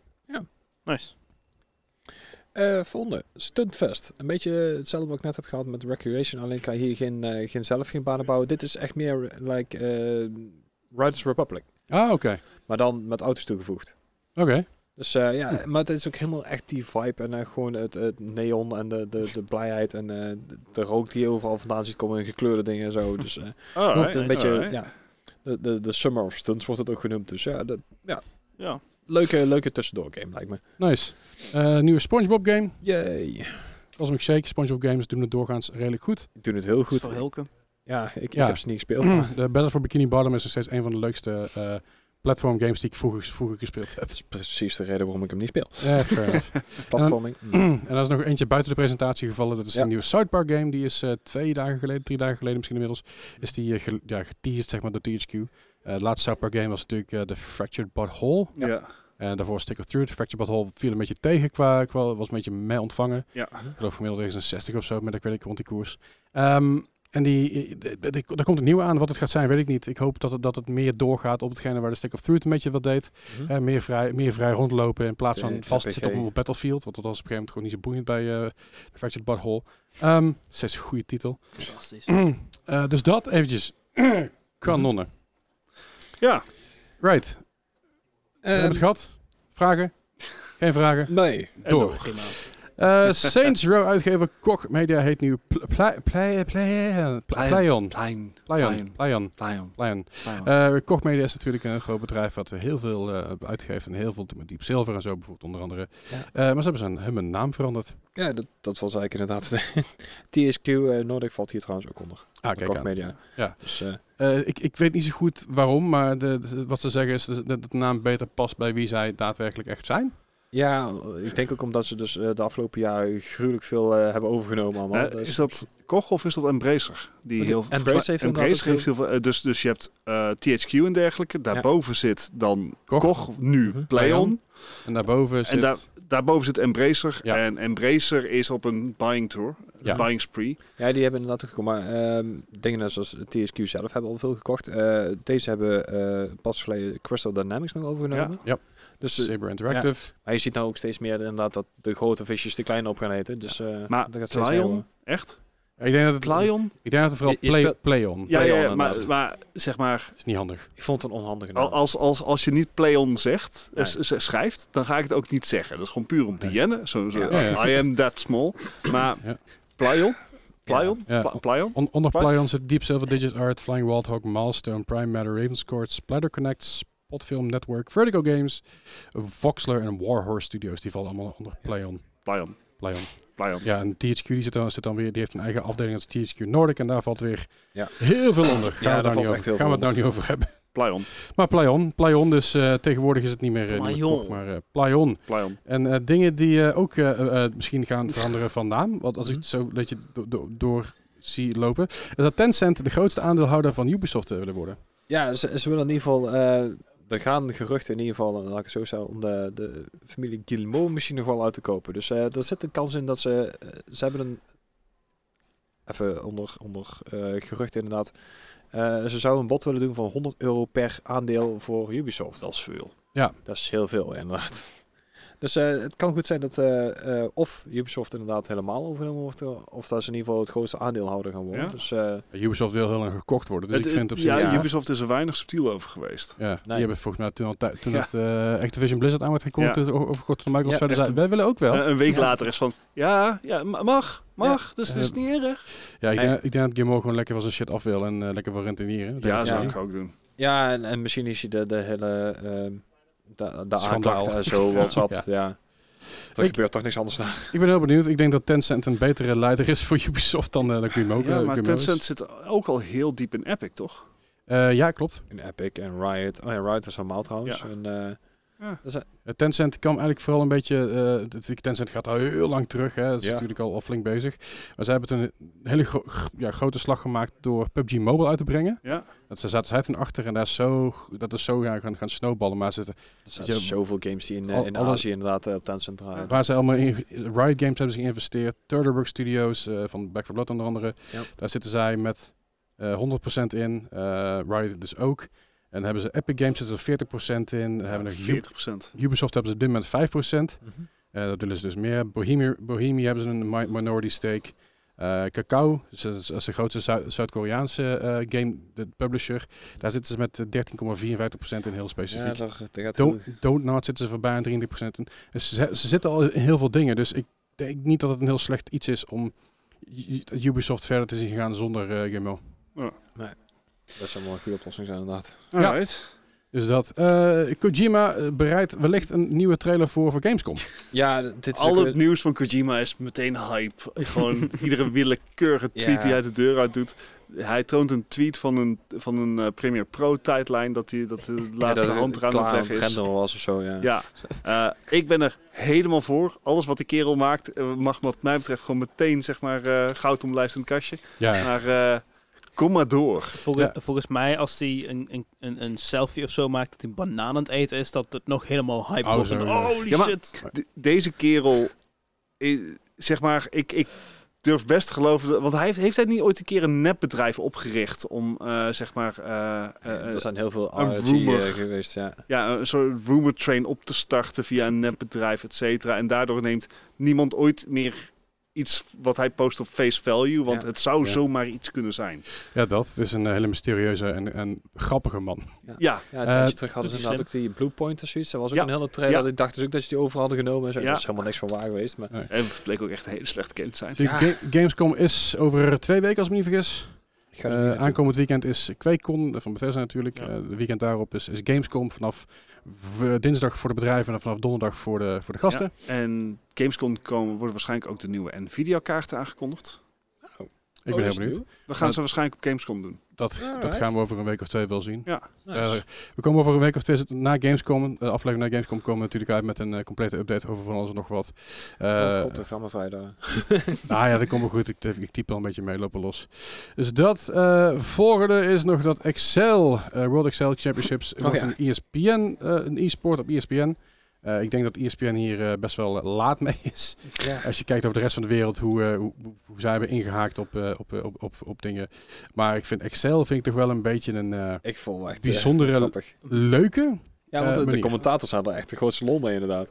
D: Nice.
B: Eh, volgende, Stuntfest. Een beetje eh, hetzelfde wat ik net heb gehad met Recreation, alleen kan je hier geen, eh, geen zelf geen banen bouwen. Dit is echt meer eh, like eh, Riders Republic,
A: Ah, oké.
B: maar dan met auto's toegevoegd.
A: Oké.
B: Dus eh, ja, maar het is ook helemaal echt die vibe en eh, gewoon het, het neon en de, de, de blijheid en eh, de, de rook die je overal vandaan ziet komen en gekleurde dingen en zo. Dus eh,
C: Alright,
B: het is een beetje,
C: alright.
B: ja, de, de, de Summer of Stunts wordt het ook genoemd. Dus ja, dat,
D: Ja.
B: leuke, leuke tussendoor game lijkt me.
A: Nice. Eh, nieuwe Spongebob game.
B: Yay!
A: Als ik shake, Spongebob games doen het doorgaans redelijk goed.
B: Ik doe het heel
D: Goed.
B: goed.
D: Voor Hilke.
B: Ja, ik, ik
A: Ja. Mm.
B: heb ze niet gespeeld. maar
A: De Battle for Bikini Bottom is nog steeds een van de leukste eh platform games die ik vroeger, vroeger gespeeld heb.
B: dat is precies de reden waarom ik hem niet speel.
A: Ja, fair enough.
B: Platforming. Mm.
A: en er is nog eentje buiten de presentatie gevallen. Dat is
B: Ja.
A: de nieuwe South Park game. Die is eh, twee dagen geleden, drie dagen geleden misschien inmiddels, is die eh, ge- ja, geteased zeg maar, door THQ. Eh de laatste South Park game was natuurlijk eh The Fractured Butthole.
C: Ja.
A: En daarvoor Stick of Truth. The Fractured Butthole viel een beetje tegen qua, qua was een beetje mee ontvangen.
C: Ja.
A: Ik geloof gemiddeld ergens een 60 of zo, maar ik weet ik rond die koers. Ehm, en die, de- de- de- daar komt een nieuwe aan. Wat het gaat zijn, weet ik niet. Ik hoop dat het, dat het meer doorgaat op hetgene waar de Stick of Truth een beetje wat deed.
B: Mhm.
A: Eh, meer, vrij, meer vrij rondlopen in plaats
B: De
A: van vastzitten op
B: RPG.
A: een battlefield. Want dat was op een gegeven moment gewoon niet zo boeiend bij eh The Fractured Butthole. Ehm steeds een goede titel.
D: Fantastisch.
A: Eh, dus dat eventjes. Kanonnen.
C: Ja.
A: Right. We hebben
B: Ehm.
A: het gehad. Vragen? Geen vragen?
B: nee.
C: En
A: Door.
C: door.
D: Prima.
A: Eh, Saints Row uitgever Koch Media heet nu Pl- Pla- Pla- Pla- Pla- Playon.
C: Klein.
A: Playon. Playon.
C: Lion.
A: Playon. Eh, Koch Media is natuurlijk een groot bedrijf wat heel veel eh, uitgeeft. En heel veel doet met Deep Silver en zo bijvoorbeeld onder andere.
B: Ja.
A: Eh, maar ze hebben zijn, hun naam veranderd. Ah,
B: Ja, dat, dat was eigenlijk inderdaad. TSQ eh, Nordic valt hier trouwens ook onder.
A: Ah,
B: De
A: kijk aan.
B: Media.
A: Ja.
B: Dus, eh,
A: Eh, ik, ik weet niet zo goed waarom, maar de, de- wat ze zeggen is dat de naam beter past bij wie zij daadwerkelijk echt zijn.
B: ja, ik denk ook omdat ze dus eh, de afgelopen jaren gruwelijk veel eh, hebben overgenomen allemaal.
C: Eh,
B: Dus-
C: is dat Koch of is dat Embracer? Die
B: Oké,
C: heel
B: Embracer heeft inderdaad
C: Embracer
B: ook
C: heeft heel veel. eh, dus, dus je hebt eh, THQ en dergelijke. Daarboven zit dan
A: Koch.
C: Koch, nu
B: Mhm.
C: Playon.
A: Playon En daarboven zit...
C: En daar, daarboven zit Embracer.
A: Ja.
C: En Embracer is op een buying tour, een
A: Ja.
C: buying spree.
B: Ja, die hebben inderdaad ook gekomen. Maar ehm, dingen zoals TSQ zelf hebben al veel gekocht. Eh, deze hebben eh, pas geleden Crystal Dynamics nog overgenomen.
A: Ja.
B: Dus, eh,
A: Saber Interactive.
B: maar je ziet nou ook steeds meer inderdaad dat de grote visjes de kleine op gaan eten. Dus, eh,
C: Maar
B: dat gaat steeds meer
C: Lion,
B: worden.
C: echt?
A: Eh, Ik denk dat het,
C: Clarion?
A: ik denk dat het vooral
B: Je- je
A: play,
B: speelt-
A: play-on
C: Ja, ja,
B: Playon,
C: ja, maar,
A: eh,
B: inderdaad.
C: maar zeg maar,
A: is niet handig.
B: Ik vond het een onhandige naam.
C: al- als, als, als je niet Playon zegt, eh,
B: Nee.
C: s- s- schrijft, dan ga ik het ook niet zeggen. Dat is gewoon puur om te
A: Nee.
C: jennen. Zo, zo,
B: Ja.
A: Ja,
C: I am that small. Maar
A: Ja.
C: Playon? Playon?
A: Ja.
C: Pla- Playon?
A: On, onder
C: Wat?
A: Plyon zit Deep Silver, Digit Art, Flying Wild Hawk, Milestone, Prime Matter, Ravenscourt, Splatter Connect, Spotfilm Network, Vertigo Games, Voxler en Warhorse Studios. Die vallen allemaal onder Play-on.
C: Playon.
A: Play-on.
C: Playon.
A: Ja, en THQ die zit, dan, zit dan weer, die heeft een eigen afdeling, dat is THQ Nordic. En daar valt weer
B: Ja.
A: heel veel onder. Gaan,
B: daar
A: we, daar
B: valt
A: niet
B: echt
A: over.
B: heel
A: Gaan we het
B: veel
A: nou niet over hebben.
C: Playon.
A: Maar Play-on. Play-on, dus eh, tegenwoordig is het niet meer, eh, niet meer
D: Play-on.
A: kort, maar eh, Play-on.
C: Playon.
A: En eh, dingen die eh, ook eh, eh, eh, misschien gaan veranderen van naam. Want als ik het zo een beetje do- do- door zie lopen. Is dat Tencent de grootste aandeelhouder van Ubisoft eh, willen worden.
B: Ja, ze, ze willen in ieder geval... eh, er gaan geruchten in ieder geval, laat ik het zo zeggen, om de, de familie Guillemot misschien nog wel uit te kopen. Dus eh er zit een kans in dat ze... eh, ze hebben een... Even onder, onder eh, geruchten inderdaad. Eh, ze zouden een bod willen doen van 100 euro per aandeel voor Ubisoft. Dat is veel.
A: Ja.
B: Dat is heel veel inderdaad. Dus eh, het kan goed zijn dat eh, eh, of Ubisoft inderdaad helemaal overgenomen wordt... eh, of dat ze in ieder geval het grootste aandeelhouder gaan worden.
C: Ja.
B: Dus... eh,
A: Ubisoft wil heel lang gekocht worden. Dus
C: Het-
A: ik vind op
C: het-
A: zich... Ja,
C: ja,
B: ja.
C: Ubisoft is er weinig subtiel over geweest.
A: ja, die hebben volgens mij toen, al tij- toen
C: Ja.
A: het eh, Activision Blizzard aan werd gekomen,
C: Ja.
A: toen het o- overgekocht van Microsoft,
B: Ja,
A: zeiden zij, wij willen ook wel.
C: Eh, een week
B: Ja.
C: later is van, ja, ja ma- mag, mag, dus dat is
A: Eh,
C: niet erg.
A: Ja, ik
B: Nee.
A: denk, ik denk dat Gimo gewoon lekker van zijn shit af wil en eh, lekker wil rentenieren. Dus, Dat
C: Ja,
A: is
B: zo.
C: zou
A: wel-
C: ik ook doen.
B: Ja, en, en misschien is hij de, de hele ehm de, de
A: Schandaal.
B: aanklacht en zo wat zat.
A: Ja.
B: ja.
A: Ik-
B: Er gebeurt toch niks anders daar.
A: Ik ben heel benieuwd. Ik denk dat Tencent een betere leider is voor Ubisoft dan eh, dan Gimo.
C: Ja,
A: eh,
C: maar
A: Gimo is.
C: Tencent zit ook al heel diep in Epic, toch?
A: Eh, ja, klopt.
B: In Epic en Riot. Oh ja, Riot is allemaal trouwens.
C: Ja.
B: En, eh,
A: Eh, Tencent kwam eigenlijk vooral een beetje. eh, het- het- Tencent gaat al heel lang terug. Hè. Dat is
B: Ja.
A: natuurlijk al, al flink bezig. Maar zij hebben toen een hele gro- gro- ja, grote slag gemaakt door PUBG Mobile uit te brengen.
C: Ja.
A: Dat ze zaten zij toen achter en daar is zo, dat is zo gaan, gaan, gaan snowballen. Maar ze,
B: er zijn
A: je-
B: zoveel games die in, eh,
A: al-
B: in
A: alle-
B: Azië inderdaad eh, op Tencent draaien.
A: waar ze allemaal in, Riot Games hebben ze geïnvesteerd. Turtleburg Studios eh, van Back 4 Blood onder andere.
B: Ja.
A: Daar zitten zij met eh 100% in. eh, Riot dus ook. En dan hebben ze Epic Games zitten er 40% in. Dan hebben we nog Ub-
C: 40 procent.
A: Ubisoft hebben ze op dit moment 5%.
B: Mhm.
A: Eh, dat willen ze dus meer. Bohemia, Bohemia hebben ze een mi- minority stake. Eh, Kakao, dus dat is, dat is de grootste Zu- Zuid-Koreaanse eh, game de publisher. Daar zitten ze met eh, 13,54% in, heel
B: Ja,
A: specifiek.
B: daar, daar gaat
A: Don't Donut zitten ze voorbij aan 33%. in. Dus ze, ze zitten al in heel veel dingen. Dus ik denk niet dat het een heel slecht iets is om U- Ubisoft verder te zien gaan zonder eh GMO.
B: dat zou wel een goede oplossing zijn inderdaad.
A: Ja.
C: Alright.
A: Dus dat. Eh, Kojima eh, bereidt wellicht een nieuwe trailer voor voor Gamescom.
B: Ja, d- dit is ook
C: Al
B: weer-
C: het nieuws van Kojima is meteen hype. Gewoon iedere willekeurige tweet
B: Ja.
C: die hij de deur uit doet. Hij toont een tweet van een, van een eh, Premiere Pro tijdlijn dat, hij, dat de
B: ja,
C: laatste
B: dat het
C: hand eraan
B: klaar
C: aan het leggen is.
B: renderen was of zo, ja.
C: Ja, Eh, ik ben er helemaal voor. Alles wat die kerel maakt eh, mag wat mij betreft gewoon meteen zeg maar eh, goud omlijst in het kastje.
A: Ja.
C: Maar eh, kom maar door.
D: Volge-
A: Ja.
D: Volgens mij, als hij een, een, een, een selfie of zo maakt dat hij een banaan aan het eten is, dat het nog helemaal hype
A: Oh,
D: wordt.
A: zo,
D: En,
A: ja.
D: Holy
C: Ja, maar-
D: shit.
C: De- deze kerel, eh, zeg maar, ik, ik durf best te geloven. dat- Want hij heeft, heeft hij niet ooit een keer een nepbedrijf opgericht om, eh, zeg maar, eh, eh,
B: er zijn heel veel
C: een
B: RG eh,
C: rumor.
B: geweest, ja.
C: ja, een soort rumor train op te starten via een nepbedrijf, et cetera. En daardoor neemt niemand ooit meer iets wat hij post op face value, want
B: Ja.
C: het zou
A: Ja.
C: zomaar iets kunnen zijn.
A: ja, dat. Het is een eh, hele mysterieuze en, en grappige man.
C: Ja,
B: Ja, een
A: Eh,
B: tijdje terug hadden ze
D: doet hij
B: inderdaad ook die Blue Point of zoiets. Dat was ook
C: Ja.
B: een hele trailer.
C: Ja.
B: Ik dacht dus ook dat ze die over hadden genomen. en zo.
C: Ja.
B: Dat is helemaal niks van waar geweest. Maar
C: en het bleek ook echt een hele slechte kind te zijn.
A: Dus Ga- Gamescom is over twee weken, als ik me niet vergis.
B: ik ga er
A: Eh,
B: niet naartoe.
A: aankomend weekend is QuakeCon eh, van Bethesda natuurlijk.
C: Ja.
A: Eh, de weekend daarop is, is Gamescom vanaf v- dinsdag voor de bedrijven en vanaf donderdag voor de, voor de gasten.
C: Ja, En Gamescom komen, worden waarschijnlijk ook de nieuwe Nvidia-kaarten aangekondigd.
B: Oh,
C: Oh,
A: Ik ben heel benieuwd.
C: Dat gaan ze waarschijnlijk op Gamescom doen.
A: Dat, dat
B: Alright.
A: gaan we over een week of twee wel zien.
C: Ja.
A: Eh, we komen over een week of twee zitten na Gamescom. De aflevering na Gamescom komen we natuurlijk uit met een eh, complete update over van alles en nog wat. Eh,
B: oh, god, dat gaan we vrijdag.
A: Nou ja, dat komt wel goed. Ik, ik typ al een beetje mee, lopen los. Dus dat. eh, volgende is nog dat Excel, eh, World Excel Championships, wordt
B: ja.
A: een ESPN, eh, een e-sport op ESPN. Eh, ik denk dat ESPN hier eh, best wel eh, laat mee is.
B: Ja.
A: Als je kijkt over de rest van de wereld, hoe, eh, hoe, hoe zij hebben ingehaakt op, eh, op, eh, op, op, op dingen. Maar ik vind Excel vind ik toch wel een beetje een eh,
B: Ik vond het echt eh,
A: bijzondere,
B: grappig.
A: leuke.
B: Ja, want
A: eh,
B: de- de
A: manier.
B: commentators hadden echt de grootste lol mee inderdaad.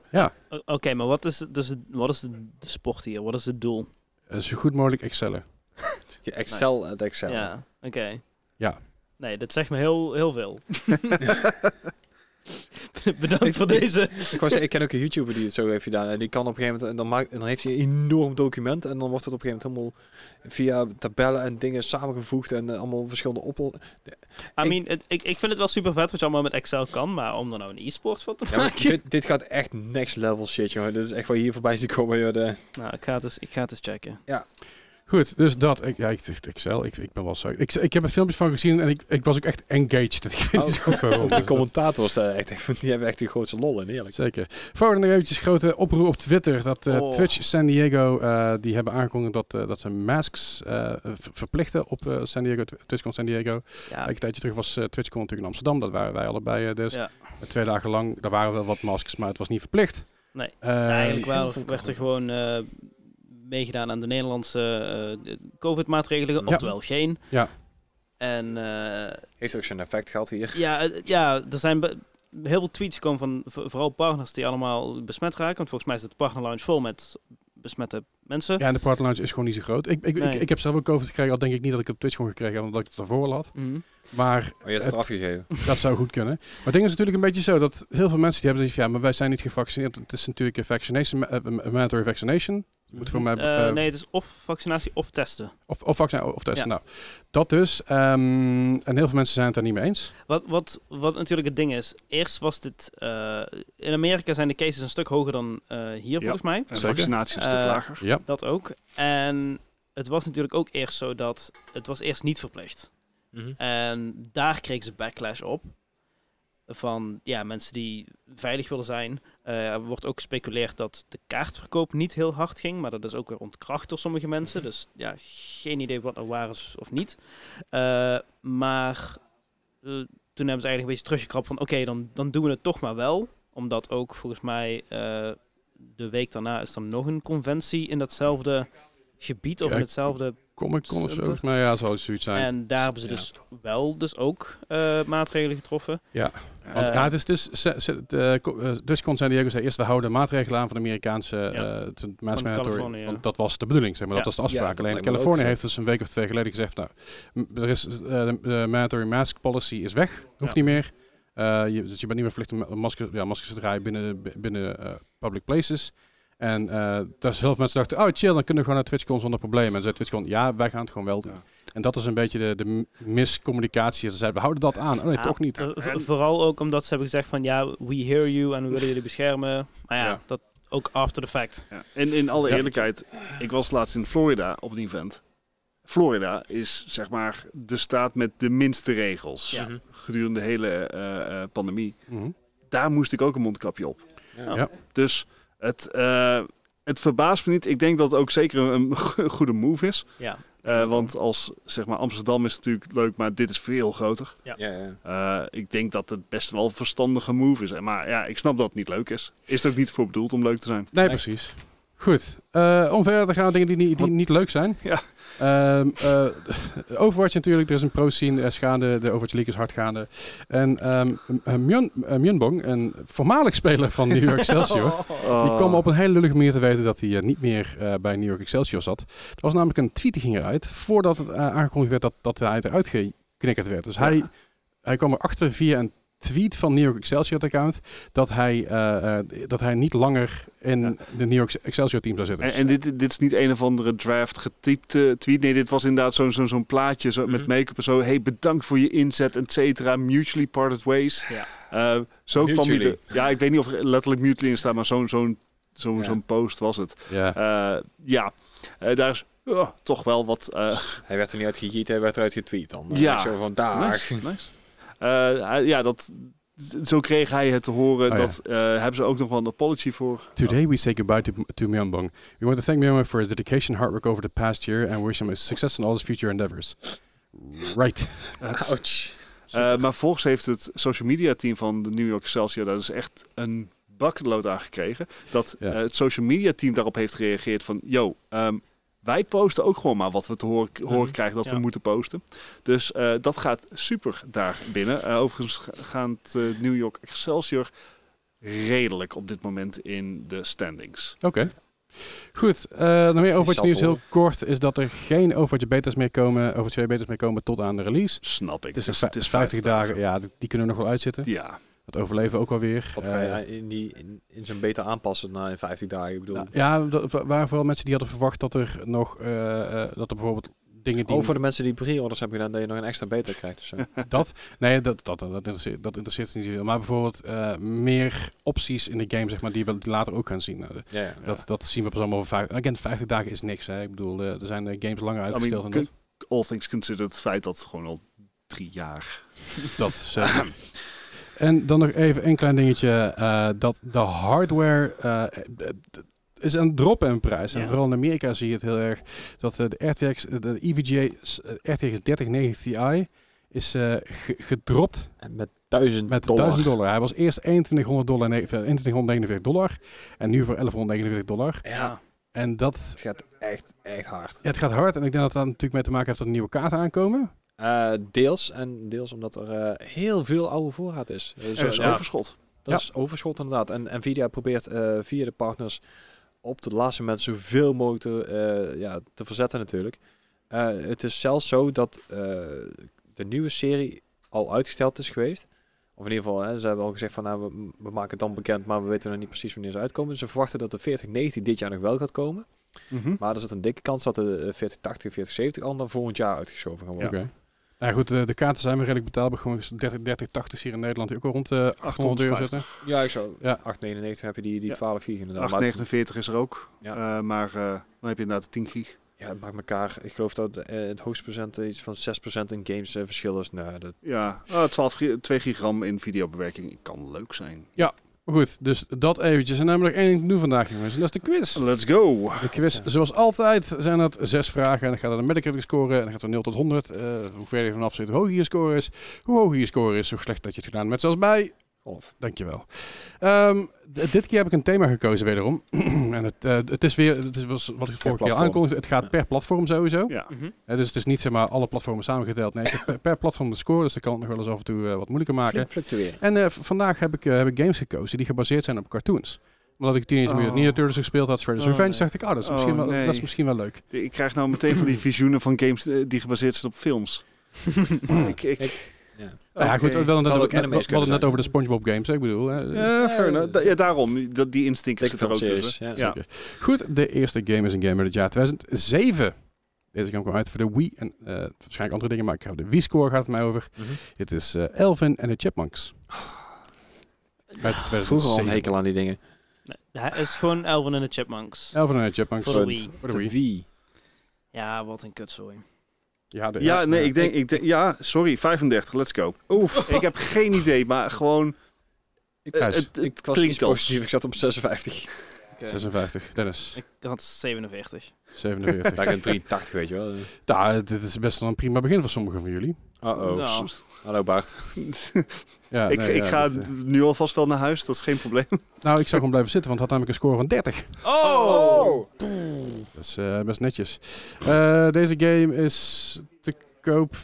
D: O- Oké, maar wat is, het- dus, het- wat is de, de sport hier? Wat is het doel?
A: eh, zo goed mogelijk Excellen.
B: Je Excel uit Excel.
D: Ja, oké.
A: Ja.
D: Nee, dat zegt me heel, heel veel. Bedankt voor deze.
B: Ik, was, ik ken ook een YouTuber die het zo heeft gedaan. En die kan op een gegeven moment, en dan, maakt, en dan heeft hij een enorm document. En dan wordt het op een gegeven moment helemaal via tabellen en dingen samengevoegd. En eh, allemaal verschillende oplossingen.
D: I
B: Ik-
D: mean, het- ik, ik vind het wel super vet wat je allemaal met Excel kan, maar om er nou een e-sport van te
B: Ja, maar
D: maken.
B: dit, dit gaat echt next level shit, jongen. Dit is echt waar hier voorbij is komen. Joh. De,
D: Nou, ik ga, het eens, ik ga het eens checken.
A: Goed, dus dat. Ik, ja, ik, ik, Excel, ik, ik ben wel zo. Ik, ik heb er filmpjes van gezien en ik, ik was ook echt engaged. Ik weet
B: Oh.
A: niet zo goed waarom.
B: de
A: Dus dat-
B: commentators daar echt, echt- die hebben echt de grootste lol in, eerlijk.
A: Zeker. Voor nog eventjes grote oproep op Twitter. Dat eh,
D: Oh.
A: Twitch San Diego, eh, die hebben aangekondigd dat, eh, dat ze masks eh, ver- verplichten op eh, San Diego, Tw- TwitchCon San Diego.
D: Ja,
A: Een tijdje terug was eh, TwitchCon natuurlijk in Amsterdam. Dat waren wij allebei eh, dus.
D: Ja.
A: Twee dagen lang, daar waren wel wat maskers, maar het was niet verplicht.
D: Nee.
A: Eh,
D: Ja, eigenlijk
B: heel veel
D: wel, werd er gewoon eh, meegedaan aan de Nederlandse eh, COVID-maatregelen,
B: Ja.
D: oftewel geen.
A: Ja.
D: En eh,
B: Heeft ook zo'n effect gehad hier.
D: ja, het- ja, er zijn be- heel veel tweets komen van v- vooral partners die allemaal besmet raken. Want volgens mij is het partnerlounge vol met besmette mensen.
A: Ja, en de partner lounge is gewoon niet zo groot. Ik, ik,
D: Nee.
A: ik, ik heb zelf ook COVID gekregen, al denk ik niet dat ik het op Twitch gewoon gekregen heb, omdat ik het ervoor al had.
D: Mhm.
A: Maar
B: Maar Oh, je hebt het afgegeven.
A: Dat zou goed kunnen. Maar het ding is natuurlijk een beetje zo dat heel veel mensen die hebben zoiets van ja, maar wij zijn niet gevaccineerd. Het is natuurlijk een vaccination, ma- eh, mandatory vaccination. Je moet voor mij
D: Eh,
A: eh,
D: nee, het is of vaccinatie of testen.
A: of, of vaccin of testen.
D: Ja.
A: Nou, dat dus. Ehm, en heel veel mensen zijn het daar niet mee eens.
D: Wat, wat, wat natuurlijk het ding is, eerst was dit... eh, in Amerika zijn de cases een stuk hoger dan eh, hier, volgens mij.
C: En
A: Zeker.
C: vaccinatie is een
D: Eh,
C: stuk lager.
A: Ja.
D: Dat ook. En het was natuurlijk ook eerst zo dat... Het was eerst niet verplicht.
B: Mhm.
A: Mhm.
D: En daar kregen ze backlash op. Van ja, mensen die veilig willen zijn. Eh, er wordt ook gespeculeerd dat de kaartverkoop niet heel hard ging. Maar dat is ook weer ontkracht door sommige mensen. Dus ja, geen idee wat nou waar is of niet. Eh, maar eh, toen hebben ze eigenlijk een beetje teruggekrapt van... Oké, dan, dan doen we het toch maar wel. Omdat ook volgens mij eh, de week daarna is er nog een conventie in datzelfde gebied. Of
A: Ja,
D: in
A: ik-
D: hetzelfde
A: Kom ik, kom of
D: Center.
A: zo. Maar ja, het zal zoiets zijn.
D: en daar hebben ze
A: Ja.
D: dus wel dus ook eh, maatregelen getroffen.
A: Want,
D: eh,
A: ja, het is dus, se- se- de, co- eh, dus kon San Diego zei eerst, we houden maatregelen aan van de Amerikaanse
D: Ja.
A: eh, het mass
D: Van
A: mandatory.
D: Californië, ja.
A: Want dat was de bedoeling, zeg maar.
D: Ja.
A: Dat was de afspraak.
B: Ja, dat
A: Alleen
B: lijkt me
A: Californië
B: ook, ja.
A: heeft dus een week of twee geleden gezegd, nou, m- er is, eh, de, de mandatory mask policy is weg. Hoeft
D: Ja.
A: niet meer. Eh, je, dus je bent niet meer verplicht om maskers, ja, maskers te draaien binnen, binnen eh, public places. En eh dus heel veel mensen dachten, oh chill, dan kunnen we gewoon naar TwitchCon zonder problemen. En zei TwitchCon, ja, wij gaan het gewoon wel doen.
C: Ja.
A: En dat is een beetje de, de m- miscommunicatie. Ze zeiden, we houden dat aan. Oh nee,
D: Ja,
A: toch niet.
D: eh, v- vooral ook omdat ze hebben gezegd van ja, we hear you en we willen jullie beschermen. Maar ja,
A: Ja.
D: dat ook after the fact.
C: Ja. En in alle
A: Ja.
C: eerlijkheid, ik was laatst in Florida op een event. Florida is zeg maar de staat met de minste regels
D: Ja.
C: gedurende de hele eh, eh, pandemie.
A: Mhm.
C: Daar moest ik ook een mondkapje op.
B: Ja.
A: Ja.
C: Dus het, eh, het verbaast me niet. Ik denk dat het ook zeker een go- goede move is.
D: Ja.
C: Eh, want als zeg maar Amsterdam is natuurlijk leuk, maar dit is veel groter.
D: Ja.
B: Ja, ja.
C: Eh, ik denk dat het best wel een verstandige move is. En Maar ja, ik snap dat het niet leuk is. Is het ook niet voor bedoeld om leuk te zijn?
A: Nee,
B: Nee.
A: precies. Goed. Eh om verder te gaan, dingen die, niet- die
C: Wat-
A: niet leuk zijn.
C: Ja.
A: Ehm, eh, Overwatch natuurlijk, er is een pro-scene eh, is gaande, de Overwatch League is hard gaande. En ehm eh, Myun- eh, Myunbong, een voormalig speler van New
C: Oh,
A: York Excelsior,
D: Oh.
C: Eh,
A: die kwam op een hele lullige manier te weten dat hij eh, niet meer eh, bij New York Excelsior zat. Er was namelijk een tweet die ging eruit, voordat het eh, aangekondigd werd dat, dat hij eruit geknikkerd werd. Dus hij, hij kwam erachter via een tweet van New York Excelsior het account dat hij, eh, eh, dat hij niet langer in
C: Ja.
A: de New York Excelsior team zou zitten.
C: En, en dit, dit is niet een of andere draft getypte tweet. Nee, dit was inderdaad zo'n zo'n zo'n plaatje zo, met
D: Mhm.
C: make-up en zo. Hey, bedankt voor je inzet, et cetera. Mutually parted ways.
D: Ja.
C: Eh, zo kwam hij
B: Mutually.
C: de, Ja, ik weet niet of er letterlijk mutually in staat, maar zo'n zo'n zo'n
B: Ja.
C: zo'n post was het.
A: ja.
C: Eh, ja, Eh, daar is oh, toch wel wat... eh,
B: Hij werd er niet uit gejiet, hij werd eruit getweet dan.
C: Ja.
B: Zo van, daar.
C: nice, nice. Eh, hij- ja, dat... Zo kreeg hij het te horen.
A: Oh, ja.
C: dat eh, hebben ze ook nog wel een apology voor.
A: Today we say goodbye to, to Myeongbong. We want to thank Myeongbong for his dedication, hard work over the past year and wish him success in all his future endeavors. Right.
C: Het-
B: Ouch.
C: Eh, maar volgens heeft het social media team van de New York Excelsior daar dus echt een bakkenlood aan gekregen. Dat
A: Ja.
C: eh, het social media team daarop heeft gereageerd van, yo, ehm, wij posten ook gewoon maar wat we te horen, horen
D: Mhm,
C: krijgen dat
D: ja.
C: we moeten posten. Dus eh, dat gaat super daar binnen. Eh, overigens ga- gaan het eh, New York Excelsior redelijk op dit moment in de standings.
A: Oké. Goed, eh, dan weer
B: die
A: Overwatch
B: zat
A: nieuws heel
B: hoor.
A: kort is dat er geen Overwatch betas meer komen, Overwatch 2 betas meer komen tot aan de release.
C: Snap ik.
A: Dus
C: Dus
A: het is 50 dagen, ja, die die kunnen we nog wel uitzitten.
C: Ja,
A: Dat overleven we ook alweer.
B: Wat kan
A: Eh,
B: je in, die, in, in zo'n beta aanpassen na 50 dagen? Ik bedoel,
A: nou, ja, dat wa- waren vooral mensen die hadden verwacht dat er nog, eh, eh, dat er bijvoorbeeld dingen die...
B: oh, voor de mensen die pre-orders hebben gedaan, dat je nog een extra beta krijgt of zo.
A: Dat, nee, dat, dat, dat, interesseert, dat interesseert ze niet zoveel. Maar bijvoorbeeld eh, meer opties in de game, zeg maar, die we later ook gaan zien. Nou, de-
B: ja, ja.
A: Dat, dat zien we pas allemaal over vijf... Again, 50 dagen is niks, hè. Ik bedoel, eh, er zijn eh, games langer
C: I
A: uitgesteld
C: mean,
A: dan dat.
C: con- all things considered, het feit dat het gewoon al drie jaar...
A: Dat is, eh, en dan nog even een klein dingetje. eh, dat de hardware... eh, eh, d- is een drop in prijs. En
D: Ja.
A: vooral in Amerika zie je het heel erg. Dat eh, de RTX, eh, de EVGA s- eh, RTX 3090 Ti is eh, ge- gedropt
B: En met 1000
A: Met
B: dollar.
A: 1000 dollar. Hij was eerst 2100 dollar, en- eh, 2149 dollar. En nu voor 1149 dollar.
B: Ja,
A: En dat...
B: het gaat echt, echt hard.
A: Ja, het gaat hard. En ik denk dat dat natuurlijk mee te maken heeft dat er nieuwe kaarten aankomen.
B: Eh, deels en deels omdat er eh, heel veel oude voorraad is. Eh,
C: Er
B: zo-
C: is
B: ja,
C: overschot.
A: Ja.
B: Dat is overschot inderdaad. En Nvidia probeert eh, via de partners op de laatste moment zoveel mogelijk te, eh, ja, te verzetten natuurlijk. Eh, het is zelfs zo dat eh, de nieuwe serie al uitgesteld is geweest. Of in ieder geval, hè, ze hebben al gezegd van nou, we, we maken het dan bekend, maar we weten nog niet precies wanneer ze uitkomen. Ze verwachten dat de 4090 dit jaar nog wel gaat komen. Maar er zit een dikke kans dat de eh, 4080 en 4070 al naar volgend jaar uitgeschoven gaan worden.
A: Oké. Nou goed, de, de kaarten zijn weer redelijk betaalbaar. Gewoon 30, 3080 is hier in Nederland die ook al rond eh 800 euro zitten.
B: Ja, ik zou.
A: Ja.
B: 8,99 heb je die, die
C: Ja.
B: 12 gig inderdaad. Maar het-
C: 849 is er ook.
B: Ja.
C: Eh, maar eh, dan heb je inderdaad 10 gig.
B: ja, het maakt elkaar. Ik geloof dat eh, het hoogste procent eh, iets van 6% in games eh, verschil is. Nou, dat,
C: Ja, Ah, 12 gi- 2 gigram in videobewerking kan leuk zijn.
A: Maar goed, dus dat eventjes. En dan hebben we nog één ding te doen vandaag, jongens. En dat is de quiz.
C: Let's go!
A: De quiz, zoals altijd, zijn dat zes vragen. En dan gaat er een Metacritic score. En dan gaat er 0 tot 100. Eh, hoe verder je vanaf zit, hoe hoger je score is. Hoe hoger je score is, hoe slecht dat je het gedaan hebt. Met zelfs bij
B: of.
A: Dankjewel. Ehm, d- dit keer heb ik een thema gekozen wederom. en het, eh, het is weer, het is was- wat ik vorige keer
B: platform.
A: aankondigde, het gaat per platform sowieso.
C: Ja.
A: Eh, dus het is niet zeg maar alle platformen samengeteld. Nee, ik heb per- per platform de score, dus dat kan het nog wel eens af en toe eh, wat moeilijker maken.
B: Flink fluctueren.
A: En eh, v- vandaag heb ik, eh, heb ik games gekozen die gebaseerd zijn op cartoons. Omdat ik Teenage Mutant
C: Oh.
A: Ninja Turtles gespeeld had, Shredder's
D: Oh,
A: Revenge,
D: nee.
A: dacht ik, oh, dat is,
C: Oh,
A: misschien wel,
C: nee.
A: dat is misschien wel leuk.
C: Ik krijg nou meteen van die visioenen van games eh, die gebaseerd zijn op films. ik, ik,
B: Ja.
A: Nou ja,
C: Oké.
A: goed, we hadden, net
B: Zal
A: over,
B: ook
A: we
B: anime's
A: hadden het net
B: kunnen
A: over de SpongeBob games, hè, ik bedoel. hè.
C: Ja, fair enough. Da- ja, daarom. Dat, die instinct
B: Dikke
C: zit er ook
B: filmseries,
C: tussen.
B: ja.
C: Ja.
A: Goed, de eerste game is een game uit het jaar 2007. Deze game kwam uit voor de Wii en eh, waarschijnlijk andere dingen, maar ik heb de Wii-score gaat het mij over.
B: Mhm.
A: Dit is eh, Elvin en de Chipmunks.
D: Ah.
A: Uit
B: Vroeger al een
A: 2007.
B: hekel aan die dingen.
D: Nee, hij is gewoon Elvin en de Chipmunks.
A: Elvin en de Chipmunks.
D: Voor de Wii.
A: Voor de Wii.
B: wie?
D: Ja, wat een kutzooi.
A: Ja, de-
C: Ja, nee, ik denk, ik denk... Ja, sorry, 35. Let's go. Oef. Ik heb geen idee, maar gewoon...
B: Ik,
C: eh,
A: Thuis.
C: het, het
B: ik was
C: klinkt
B: iets
C: als-
B: positief. Ik zat op 56.
A: 56. Dennis,
D: eh, Ik had 47.
A: 47.
B: Daar ik een 83, weet je wel.
A: nou, dit is best wel een prima begin voor sommigen van jullie. Oh,
B: Uh-oh.
D: Nou.
B: Hallo Bart.
A: Ja,
C: ik
A: nee,
C: ik
A: ja,
C: ga
A: dit, eh,
C: nu alvast wel naar huis, dat is geen probleem.
A: nou, ik zou gewoon blijven zitten, want het had namelijk een score van 30.
D: Oh!
A: Dat is eh, best netjes. Eh, deze game is te koop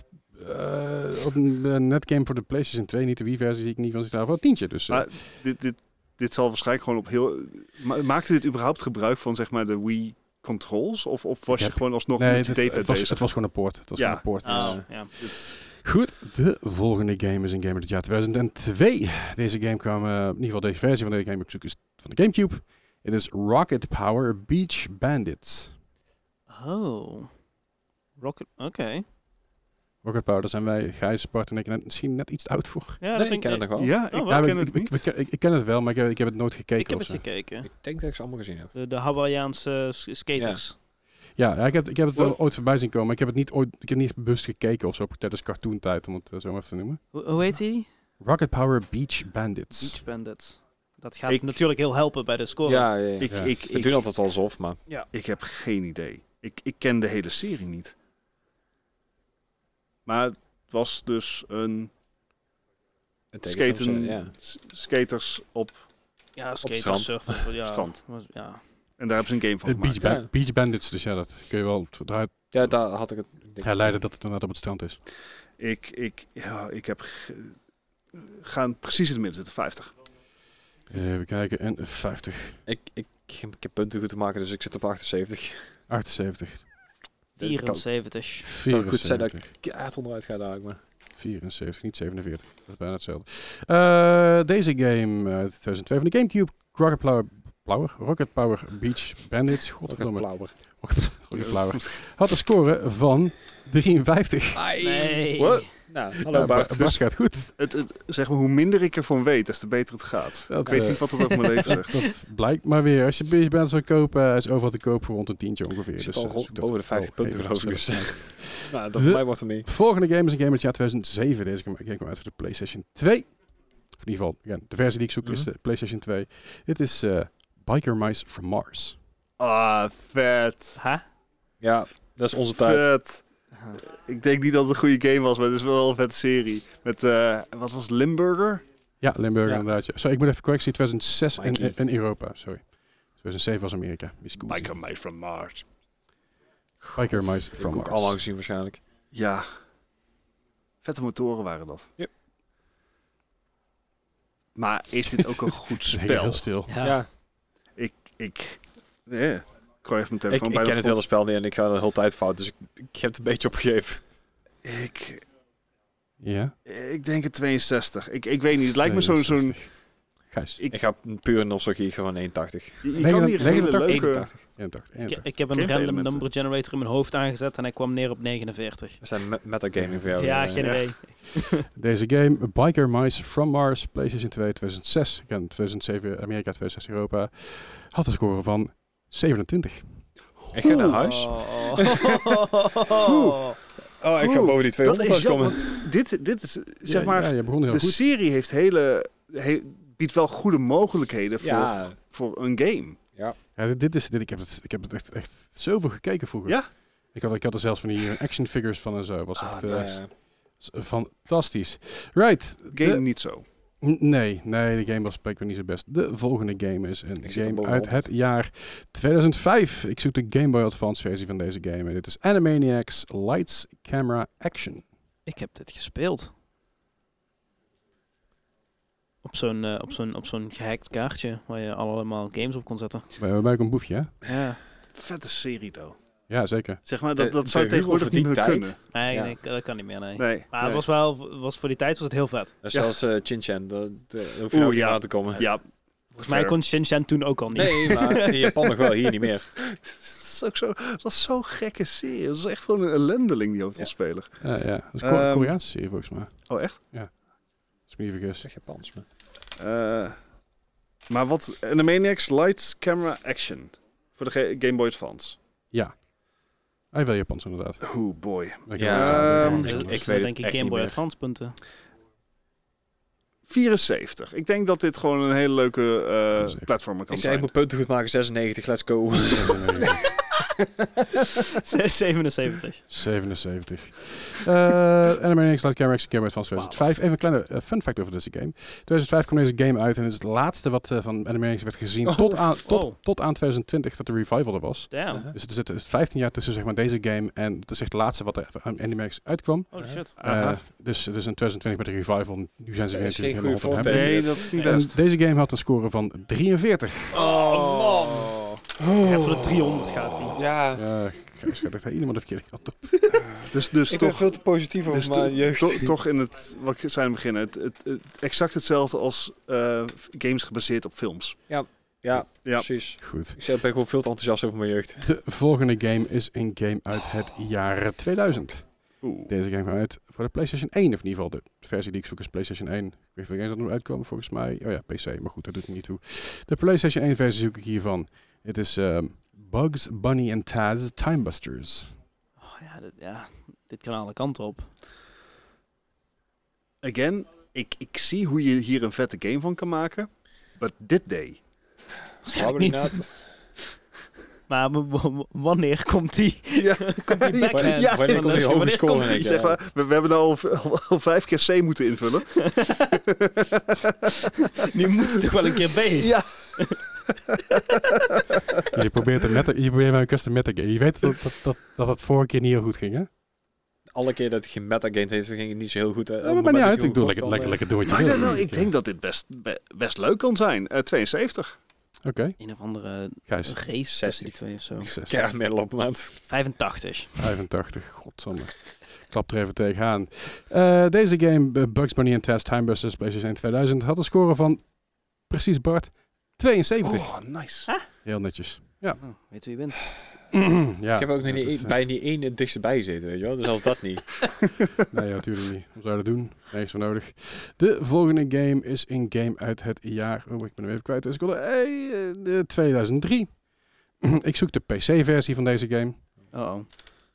A: eh, op een eh, netgame voor de PlayStation 2. Niet de Wii-versie, zie ik niet, want die staat voor een tientje. Dus, eh,
C: Maar dit, dit, dit zal waarschijnlijk gewoon op heel... Ma maakte dit überhaupt gebruik van, zeg maar, de Wii controls? Of, of was
A: Ik
C: je
A: heb-
C: gewoon alsnog
A: nee,
C: met je
A: dit- het, was,
C: data bezig?
A: het was gewoon een poort. Het was
C: Ja.
A: gewoon een poort.
D: Oh, ja.
A: Goed, de volgende game is een game uit het jaar 2002. Deze game kwam, eh, in ieder geval deze versie van deze game, ik zoek is van de Gamecube. Het is Rocket Power Beach Bandits.
D: Oh. Rocket, oké.
A: Rocket Power, daar zijn wij, Gijs, Bart en ik net, misschien net iets te oud voor.
D: Ja,
B: Nee,
D: dat
B: ik
D: denk
B: ken het
D: ik.
B: nog wel.
C: Ja,
D: Oh,
C: ik
D: wel.
A: Ja,
C: ken
A: ik,
C: het
A: ik-
C: niet.
A: ik- ik- ik ken het wel, maar ik heb, ik heb het nooit gekeken.
D: Ik heb
A: of
D: het
A: zo.
D: gekeken.
B: Ik denk dat ik ze allemaal gezien heb.
D: De, de Hawaiiaanse s- skaters.
A: Ja, ja, ik heb, ik heb het wel
B: Wow.
A: ooit voorbij zien komen. maar Ik heb het niet ooit, ik heb niet bewust gekeken of zo tijdens cartoontijd, om het eh, zo maar even te noemen.
D: Hoe, hoe heet die?
A: Rocket Power Beach Bandits.
D: Beach Bandit. Dat gaat
C: Ik-
D: natuurlijk heel helpen bij de score.
B: Ja, ja, ja.
C: Ik,
A: Ja.
C: ik,
B: We
C: ik,
B: doen altijd alsof, maar...
C: ik heb geen idee. Ik, ik ken de hele serie niet. Maar het was dus een
B: een tekenfilm,
C: skaten,
B: Ja.
C: s- skaters op...
D: ja
C: strand.
D: skaters, surfen. Ja,
C: Strand.
D: was- Ja.
C: En daar hebben ze een game van
A: Eh,
C: gemaakt.
A: Beach, Ba-
B: ja.
A: Beach Bandits, dus ja, dat kun je wel t- eruit
B: ja, daar had ik het... ik denk-
A: herleiden dat het inderdaad op het strand is.
C: Ik, ik, ja, ik heb... ge- Gaan precies in het midden zitten, 50.
A: Even kijken, Eh, en 50.
B: Ik, ik Ik, ik heb punten goed te maken, dus ik zit op 78.
A: 78.
B: Dit kan
D: 74.
B: wel goed zijn dat
A: 74.
B: ik keihard onderuit ga daar, maar...
A: 74, niet 47. Dat is bijna hetzelfde. Eh, deze game uit 2002 van de Gamecube. Rocket Power, Power? Rocket Power Beach Bandits. Godverdomme.
B: Blauwer.
A: Rocket Power. Had een score van 53.
D: Nee.
C: What?
B: Nou, hallo
A: Ja, dus- Ba-
B: Bart.
A: Bart gaat goed.
C: Het, het- zeg maar, hoe minder ik ervan weet, des te beter het gaat.
A: Dat,
C: ik weet
A: eh,
C: niet wat het over mijn leven zegt.
A: Dat blijkt maar weer. Als je Beach Bandits wil kopen, eh, is overal te koop voor rond een tientje ongeveer.
B: Ik zit
A: Dus
B: al
A: eh,
B: rond-
A: zoek dat
B: boven de
A: vooral
B: 50 punten,
A: even
B: geloof ik.
A: snel.
B: Dus. nou, dat
A: De-
B: voor mij wordt hem niet.
A: Volgende game is een game uit het jaar 2007. Deze game game kwam uit voor de PlayStation 2. Of in ieder geval, again, de versie die ik zoek is
B: Mhm.
A: de PlayStation 2. Dit is eh, Biker Mice from Mars.
C: Ah, vet.
D: Ha?
B: Ja, dat is onze tijd.
C: Vet. Ik denk niet dat het een goede game was, maar het is wel een vette serie. Met, eh, wat was het, Limburger?
A: Ja, Limburg
B: Ja.
A: inderdaad. Ja. Sorry, ik moet even correctie. 2006 in,
B: Mikey.
A: in Europa, sorry. 2007 was Amerika. Miscousie.
C: Biker Mice from Mars.
A: Biker Mice
B: Ik heb
A: from
B: ook al lang
A: Mars.
B: gezien waarschijnlijk.
C: Ja. Vette motoren waren dat.
B: Yep.
C: Maar is dit ook een goed
A: Nee,
C: spel?
A: heel stil.
D: Ja.
C: Ik, ik, nee. ik gooi even mijn
B: Ik,
C: telefoon
B: ik
C: bij
B: ken
C: dat
B: het hele
C: pot.
B: spel niet en ik ga de hele tijd fout, dus ik, ik heb het een beetje opgegeven.
C: Ik,
A: Ja.
C: ik denk het 62. Ik, ik weet niet, het lijkt me zo'n... zo'n
A: 62. Gijs.
C: Ik-
B: Ik ga puur nostalgie gewoon 81.
C: je je
A: Negen-
C: kan hier hele
A: 89.
C: leuke...
B: 81.
A: 81,
D: Ik,
A: 81.
D: ik heb een
C: Geen
D: random
C: elementen.
D: number generator in mijn hoofd aangezet en hij kwam neer op 49.
B: We zijn me- metagaming voor jou.
D: ja,
B: Eh,
D: geen
C: ja.
D: idee.
A: Deze game, Biker Mice from Mars, PlayStation 2 2006. Again, 2007 Amerika, 2006 Europa. Had een score van 27.
B: Ik ga naar huis.
D: Oh.
C: Oeh.
B: Oh,
C: Oeh,
B: die
C: Dat is
B: uitkomen.
C: jammer. Dit, dit is, zeg
A: Ja,
C: maar,
A: ja, je begon heel
C: de
A: goed.
C: serie heeft hele, he- biedt wel goede mogelijkheden voor,
B: Ja, eh,
C: voor een game.
A: Ja, dit, dit is, dit, ik heb het, ik heb het echt, echt zoveel gekeken vroeger.
C: Ja?
A: Ik had, ik had er zelfs van die eh, action figures van en zo. Was
C: Ah,
A: echt eh,
C: nice.
A: s- fantastisch. Right.
C: Game
A: de-
C: niet zo.
A: N- Nee, nee, de game was blijkbaar niet zo best. De volgende game is een
B: Ik zit er
A: game
B: bovenop.
A: uit het jaar 2005. Ik zoek de Game Boy Advance versie van deze game. En dit is Animaniacs Lights, Camera, Action.
D: Ik heb dit gespeeld. Op zo'n eh, op zo'n op zo'n gehackt kaartje waar je allemaal games op kon zetten.
A: Bij, bij mij ook een boefje, hè?
D: Ja.
C: Vette serie, though.
A: Ja, zeker.
C: Zeg maar, dat,
B: Eh,
C: dat zou
B: de humor
C: tegenwoordig
B: van
C: niet
B: die
C: meer
B: tijd.
C: kunnen.
D: Nee,
B: Ja.
D: nee, dat kan niet meer, nee.
C: Nee.
D: Maar
C: nee.
D: het was wel, was voor die tijd was het heel vet.
B: Dat is
C: Ja.
B: Zelfs eh, Chin Chan, daar daar hoef je
C: Oeh,
B: ook niet
C: ja.
B: aan te komen.
C: Ja.
D: Volgens mij kon Shin Chan toen ook al niet.
B: Nee, maar in Japan nog wel, hier niet meer.
C: Dat is ook zo, dat was zo'n gekke serie. Dat is echt gewoon een ellendeling, die hoofdrolspeler.
A: Ja, ja. Dat is een Ko-
C: Ehm,
A: Koreaanse serie, volgens mij.
C: Oh, echt?
A: Als ik me niet vergis.
B: Zeg Japans, maar.
C: Eh, maar wat... Animaniacs Lights Camera Action. Voor de ge- Game Boy Advance.
A: Ja. Hij wil Japans, inderdaad.
C: Oh boy.
A: Ik
B: Ja,
A: heb-
C: ehm,
A: Ja,
B: ik
D: ik,
B: weet
D: weet
B: het
D: denk ik
B: echt
D: Game
B: niet
D: Boy
B: meer.
D: Advance punten.
C: 74. Ik denk dat dit gewoon een hele leuke eh,
A: Zeker.
C: platformer kan
B: Ik zei, ik
C: zijn.
B: moet punten goed maken, 96, let's go.
D: 77.
A: 77. Eh Animaniacs Light Camera Action Game uit van 2005. Even een kleine eh, fun fact over deze game. 2005 kwam deze game uit en het is het laatste wat eh, van Animaniacs werd gezien.
D: Oh,
A: tot, aan, tot,
D: wow.
A: tot aan 2020 dat de revival er was.
D: Damn.
A: Dus er zit 15 jaar tussen zeg maar, deze game en het is echt het laatste wat er aan Animaniacs uitkwam.
D: Holy shit.
C: Aha.
A: Eh, dus, dus in 2020 met de revival. Nu zijn ze
B: Dat
A: weer
B: is
A: natuurlijk
B: geen
A: helemaal
B: goede
A: van hem.
B: voorbeeld.
C: nee, dat is niet
A: En
C: best.
A: deze game had een score van 43.
D: Oh, man. Ja, voor de 300 gaat hij.
B: Ja,
A: Eh Gijs gaat echt helemaal de verkeerde kant op.
C: Dus, dus
B: ik ben
C: toch...
B: veel te positief over
C: Dus
B: mijn
C: to-
B: jeugd.
C: to- toch in het, wat ik zei aan het begin, het, het, het- exact hetzelfde als eh, games gebaseerd op films.
B: ja,
C: Ja.
B: precies.
A: Goed.
B: Ik zei, ik ben gewoon veel te enthousiast over mijn jeugd.
A: De volgende game is een game uit het jaar 2000.
C: Oeh.
A: Deze game kwam uit voor de PlayStation 1, of in ieder geval de versie die ik zoek is PlayStation 1. Ik weet niet of games dat er uitkomen, volgens mij. Oh ja, PC, maar goed, dat doet er niet toe. De PlayStation 1 versie zoek ik hiervan. Het is ehm, Bugs, Bunny en Taz Timebusters.
D: Oh, ja, dit, ja, dit kan alle kanten op.
C: Again, ik, ik zie hoe je hier een vette game van kan maken. But dit day.
D: Waarschijnlijk niet. Maar w- w- wanneer komt die?
C: Ja,
D: Komt die back?
C: Wanneer- Ja,
B: wanneer komt die hoge
D: Wanneer
B: score,
D: komt
B: denk ik?
C: zeg maar, we, we hebben nou al, al, al vijf keer C moeten invullen.
D: die? Nu moet het toch wel een keer B.
C: Ja,
A: Je probeert, een meta, je probeert mij een custom metagame. Je weet dat dat, dat, dat het vorige keer niet heel goed ging, hè?
B: Alle keer dat ik gemetagamd heeft, ging het niet zo heel goed. hè. Op
A: Ja,
B: het
A: maar
B: moment
A: niet
B: dat
A: uit. Ik
B: hij
A: doe
B: goed
A: lekker,
B: kwam,
A: lekker,
B: eh,
A: lekker doen wat je
C: maar
A: wil.
C: ik denk dat dit best, be- best leuk kan zijn. Eh, 72.
A: Oké,
D: Een of andere
A: Gijs.
D: race tussen
B: 60.
D: die twee of zo.
A: 60.
B: Ja, middel op maand.
D: 85.
A: 85, godsamme. Klap er even tegenaan. Eh, deze game, eh, Bugs Bunny and Test Time Busters PlayStation 2000, had een score van, precies Bart, 72.
C: Oh, nice.
A: Heel netjes.
D: Oh, weet wie je bent.
A: ja.
B: ik heb ook nog
A: Dat-
B: niet één- bij niet één het dichtst bij gezeten, weet je wel. Dus als dat niet.
A: Nee, natuurlijk niet. Hoe zou je dat doen? Niks voor nodig. De volgende game is een game uit het jaar... Oh, ik ben hem even kwijt. Dus ik wilde- hey, eh, de 2003. ik zoek de PC-versie van deze game.
D: Oh, oh.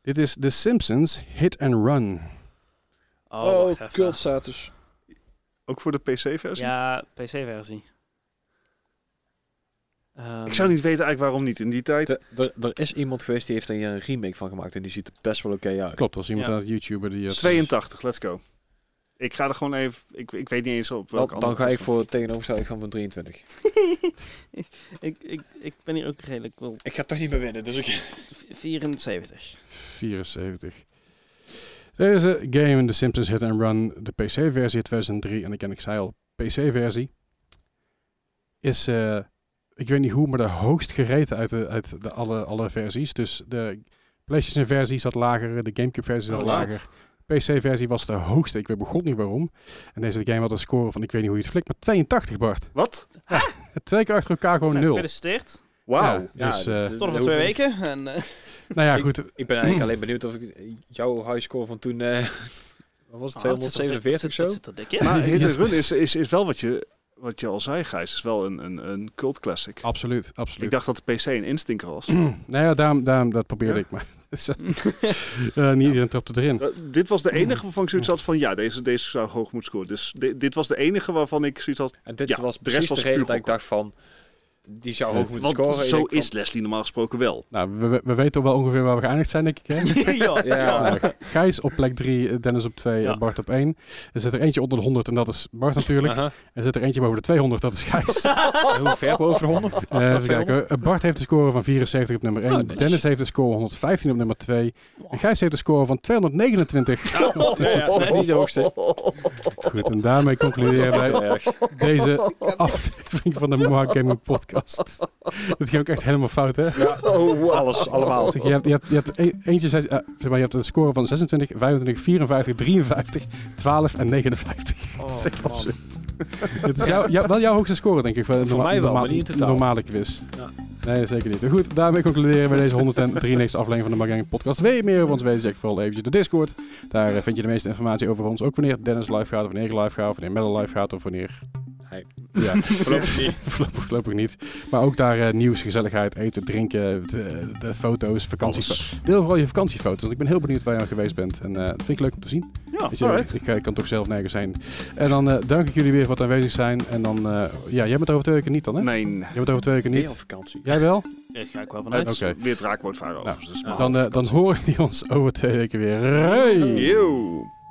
A: Dit is The Simpsons Hit and Run.
D: Oh, wacht even.
B: status.
C: Ook voor de PC-versie?
D: Ja, PC-versie. Ehm,
C: Ik zou niet weten eigenlijk waarom niet in die tijd.
B: Er is iemand geweest die heeft er hier een remake van gemaakt en die ziet er best wel oké uit.
A: Klopt, als iemand
D: Ja.
A: aan het YouTuber die... het-
C: 82, let's go. Ik ga er gewoon even... Ik, ik weet niet eens op welke
B: Dan, dan
C: andere
B: ga ik
C: platform.
B: voor het tegenovergestelde gaan van 23.
D: ik, ik, ik ben hier ook redelijk wel.
B: Ik ga toch niet meer winnen, dus ik...
D: v- 74.
A: 74. Deze game, The Simpsons Hit and Run, de PC-versie 2003, en ik ken ik zei al, PC-versie, is, eh, ik weet niet hoe, maar de hoogst gereten uit, de, uit de alle, alle versies. Dus de PlayStation-versie zat lager, de GameCube-versie zat
D: Oh, wat?
A: lager. PC-versie was de hoogste, ik weet begon niet waarom. En deze game had een score van, ik weet niet hoe je het flikt, maar 82, Bart.
C: Wat?
A: Twee keer achter elkaar
C: Oh,
A: gewoon
D: Nou,
A: nul.
D: Gefeliciteerd.
C: Wauw.
A: Ja, dus, eh,
D: Tot over twee weken. En, eh,
A: nou ja, goed.
B: Ik ben eigenlijk alleen benieuwd of ik jouw highscore van toen... eh, wat was het,
D: oh, dat zit er dik-
B: 247 of zo?
D: dat zit er dik in.
C: Maar Hit
A: Yes.
C: and Run is, is, is wel wat je, wat je al zei, Gijs. is wel een, een, een cult classic.
B: Oh,
A: Absoluut, absoluut.
C: Ik dacht dat de PC een instinker was. Eh,
A: Nou ja, daarom, daarom dat probeerde
C: Ja?
A: ik, maar eh, niet iedereen trapte erin.
C: Eh, dit was de enige waarvan ik zoiets had van... Ja, deze, deze zou hoog moeten scoren. Dus di- dit was de enige waarvan ik zoiets had...
B: En dit
C: Ja,
B: was
C: de
B: precies
C: rest
B: de,
C: was
B: reden
C: puur
B: dat ik
C: gok.
B: dacht van... Die zou hoog
A: Want
B: moeten
C: eh, Want
B: scoren.
C: zo
B: Ik denk
C: is Leslie normaal gesproken wel.
A: Nou, we, we- we weten toch wel ongeveer waar we geëindigd zijn, denk ik. Hè?
D: ja,
B: van- Ja,
A: Nou, Gijs op plek 3, Dennis op 2,
D: Ja.
A: Bart op 1. Er zit er eentje onder de 100 en dat is Bart natuurlijk.
B: Aha.
A: Er zit er eentje boven de 200, dat is Gijs.
B: En hoe ver boven de 100?
A: Eh, even kijken. eh, Bart heeft een score van 74 op nummer 1.
B: Oh, netjes.
A: Dennis heeft een score van 115 op nummer 2. En Gijs heeft een score van 229.
B: Niet de hoogste.
A: Goed, en daarmee concluderen wij
B: Erg.
A: deze aflevering van de Mark Gaming Podcast. Dat ging ook echt helemaal fout, hè?
B: Alles, allemaal.
A: Zeg, je hebt, je hebt, je hebt e- eentje, zei- eh, zeg maar, je hebt een score van 26, 25, 54, 53, 12 en 59. dat is echt
B: Oh,
A: absurd. Het is jou, jou- wel jouw hoogste score, denk ik. Voor, een
B: Voor
A: norma-
B: mij wel, maar
A: norma-
B: niet in totaal.
A: normale quiz.
B: Ja.
A: Nee, zeker niet. Goed, daarmee concluderen we deze 193 aflevering van de Margang Podcast. Wil je meer over ons weten, check vooral eventjes de Discord. Daar eh, vind je de meeste informatie over ons. Ook wanneer Dennis live gaat, of wanneer ik live ga, of wanneer Metal live gaat, of wanneer...
B: Hij-
A: Ja, voorlopig, voorlopig niet. Maar ook daar eh, nieuws, gezelligheid, eten, drinken, de, de foto's, vakanties. Deel vooral je vakantiefoto's. Want ik ben heel benieuwd waar je aan geweest bent. En eh, dat vind ik leuk om te zien.
D: Ja,
A: Weet je,
D: alright.
A: ik, eh, kan toch zelf nergens zijn. En dan eh, dank ik jullie weer voor het aanwezig zijn. En dan, eh, ja, jij bent er over twee weken niet dan, hè?
C: Nee,
A: Jij bent er over twee weken
B: Niet op
A: niet.
B: vakantie.
A: Jij wel?
D: Daar ga ik wel
C: het
D: vanuit.
C: is
A: Oké.
C: weer het raakwoord varen
A: Nou,
C: overigens. Dus
B: dan-
C: maar-
A: Dan, eh, dan horen jullie ons over twee weken weer. Hey!
C: Yo.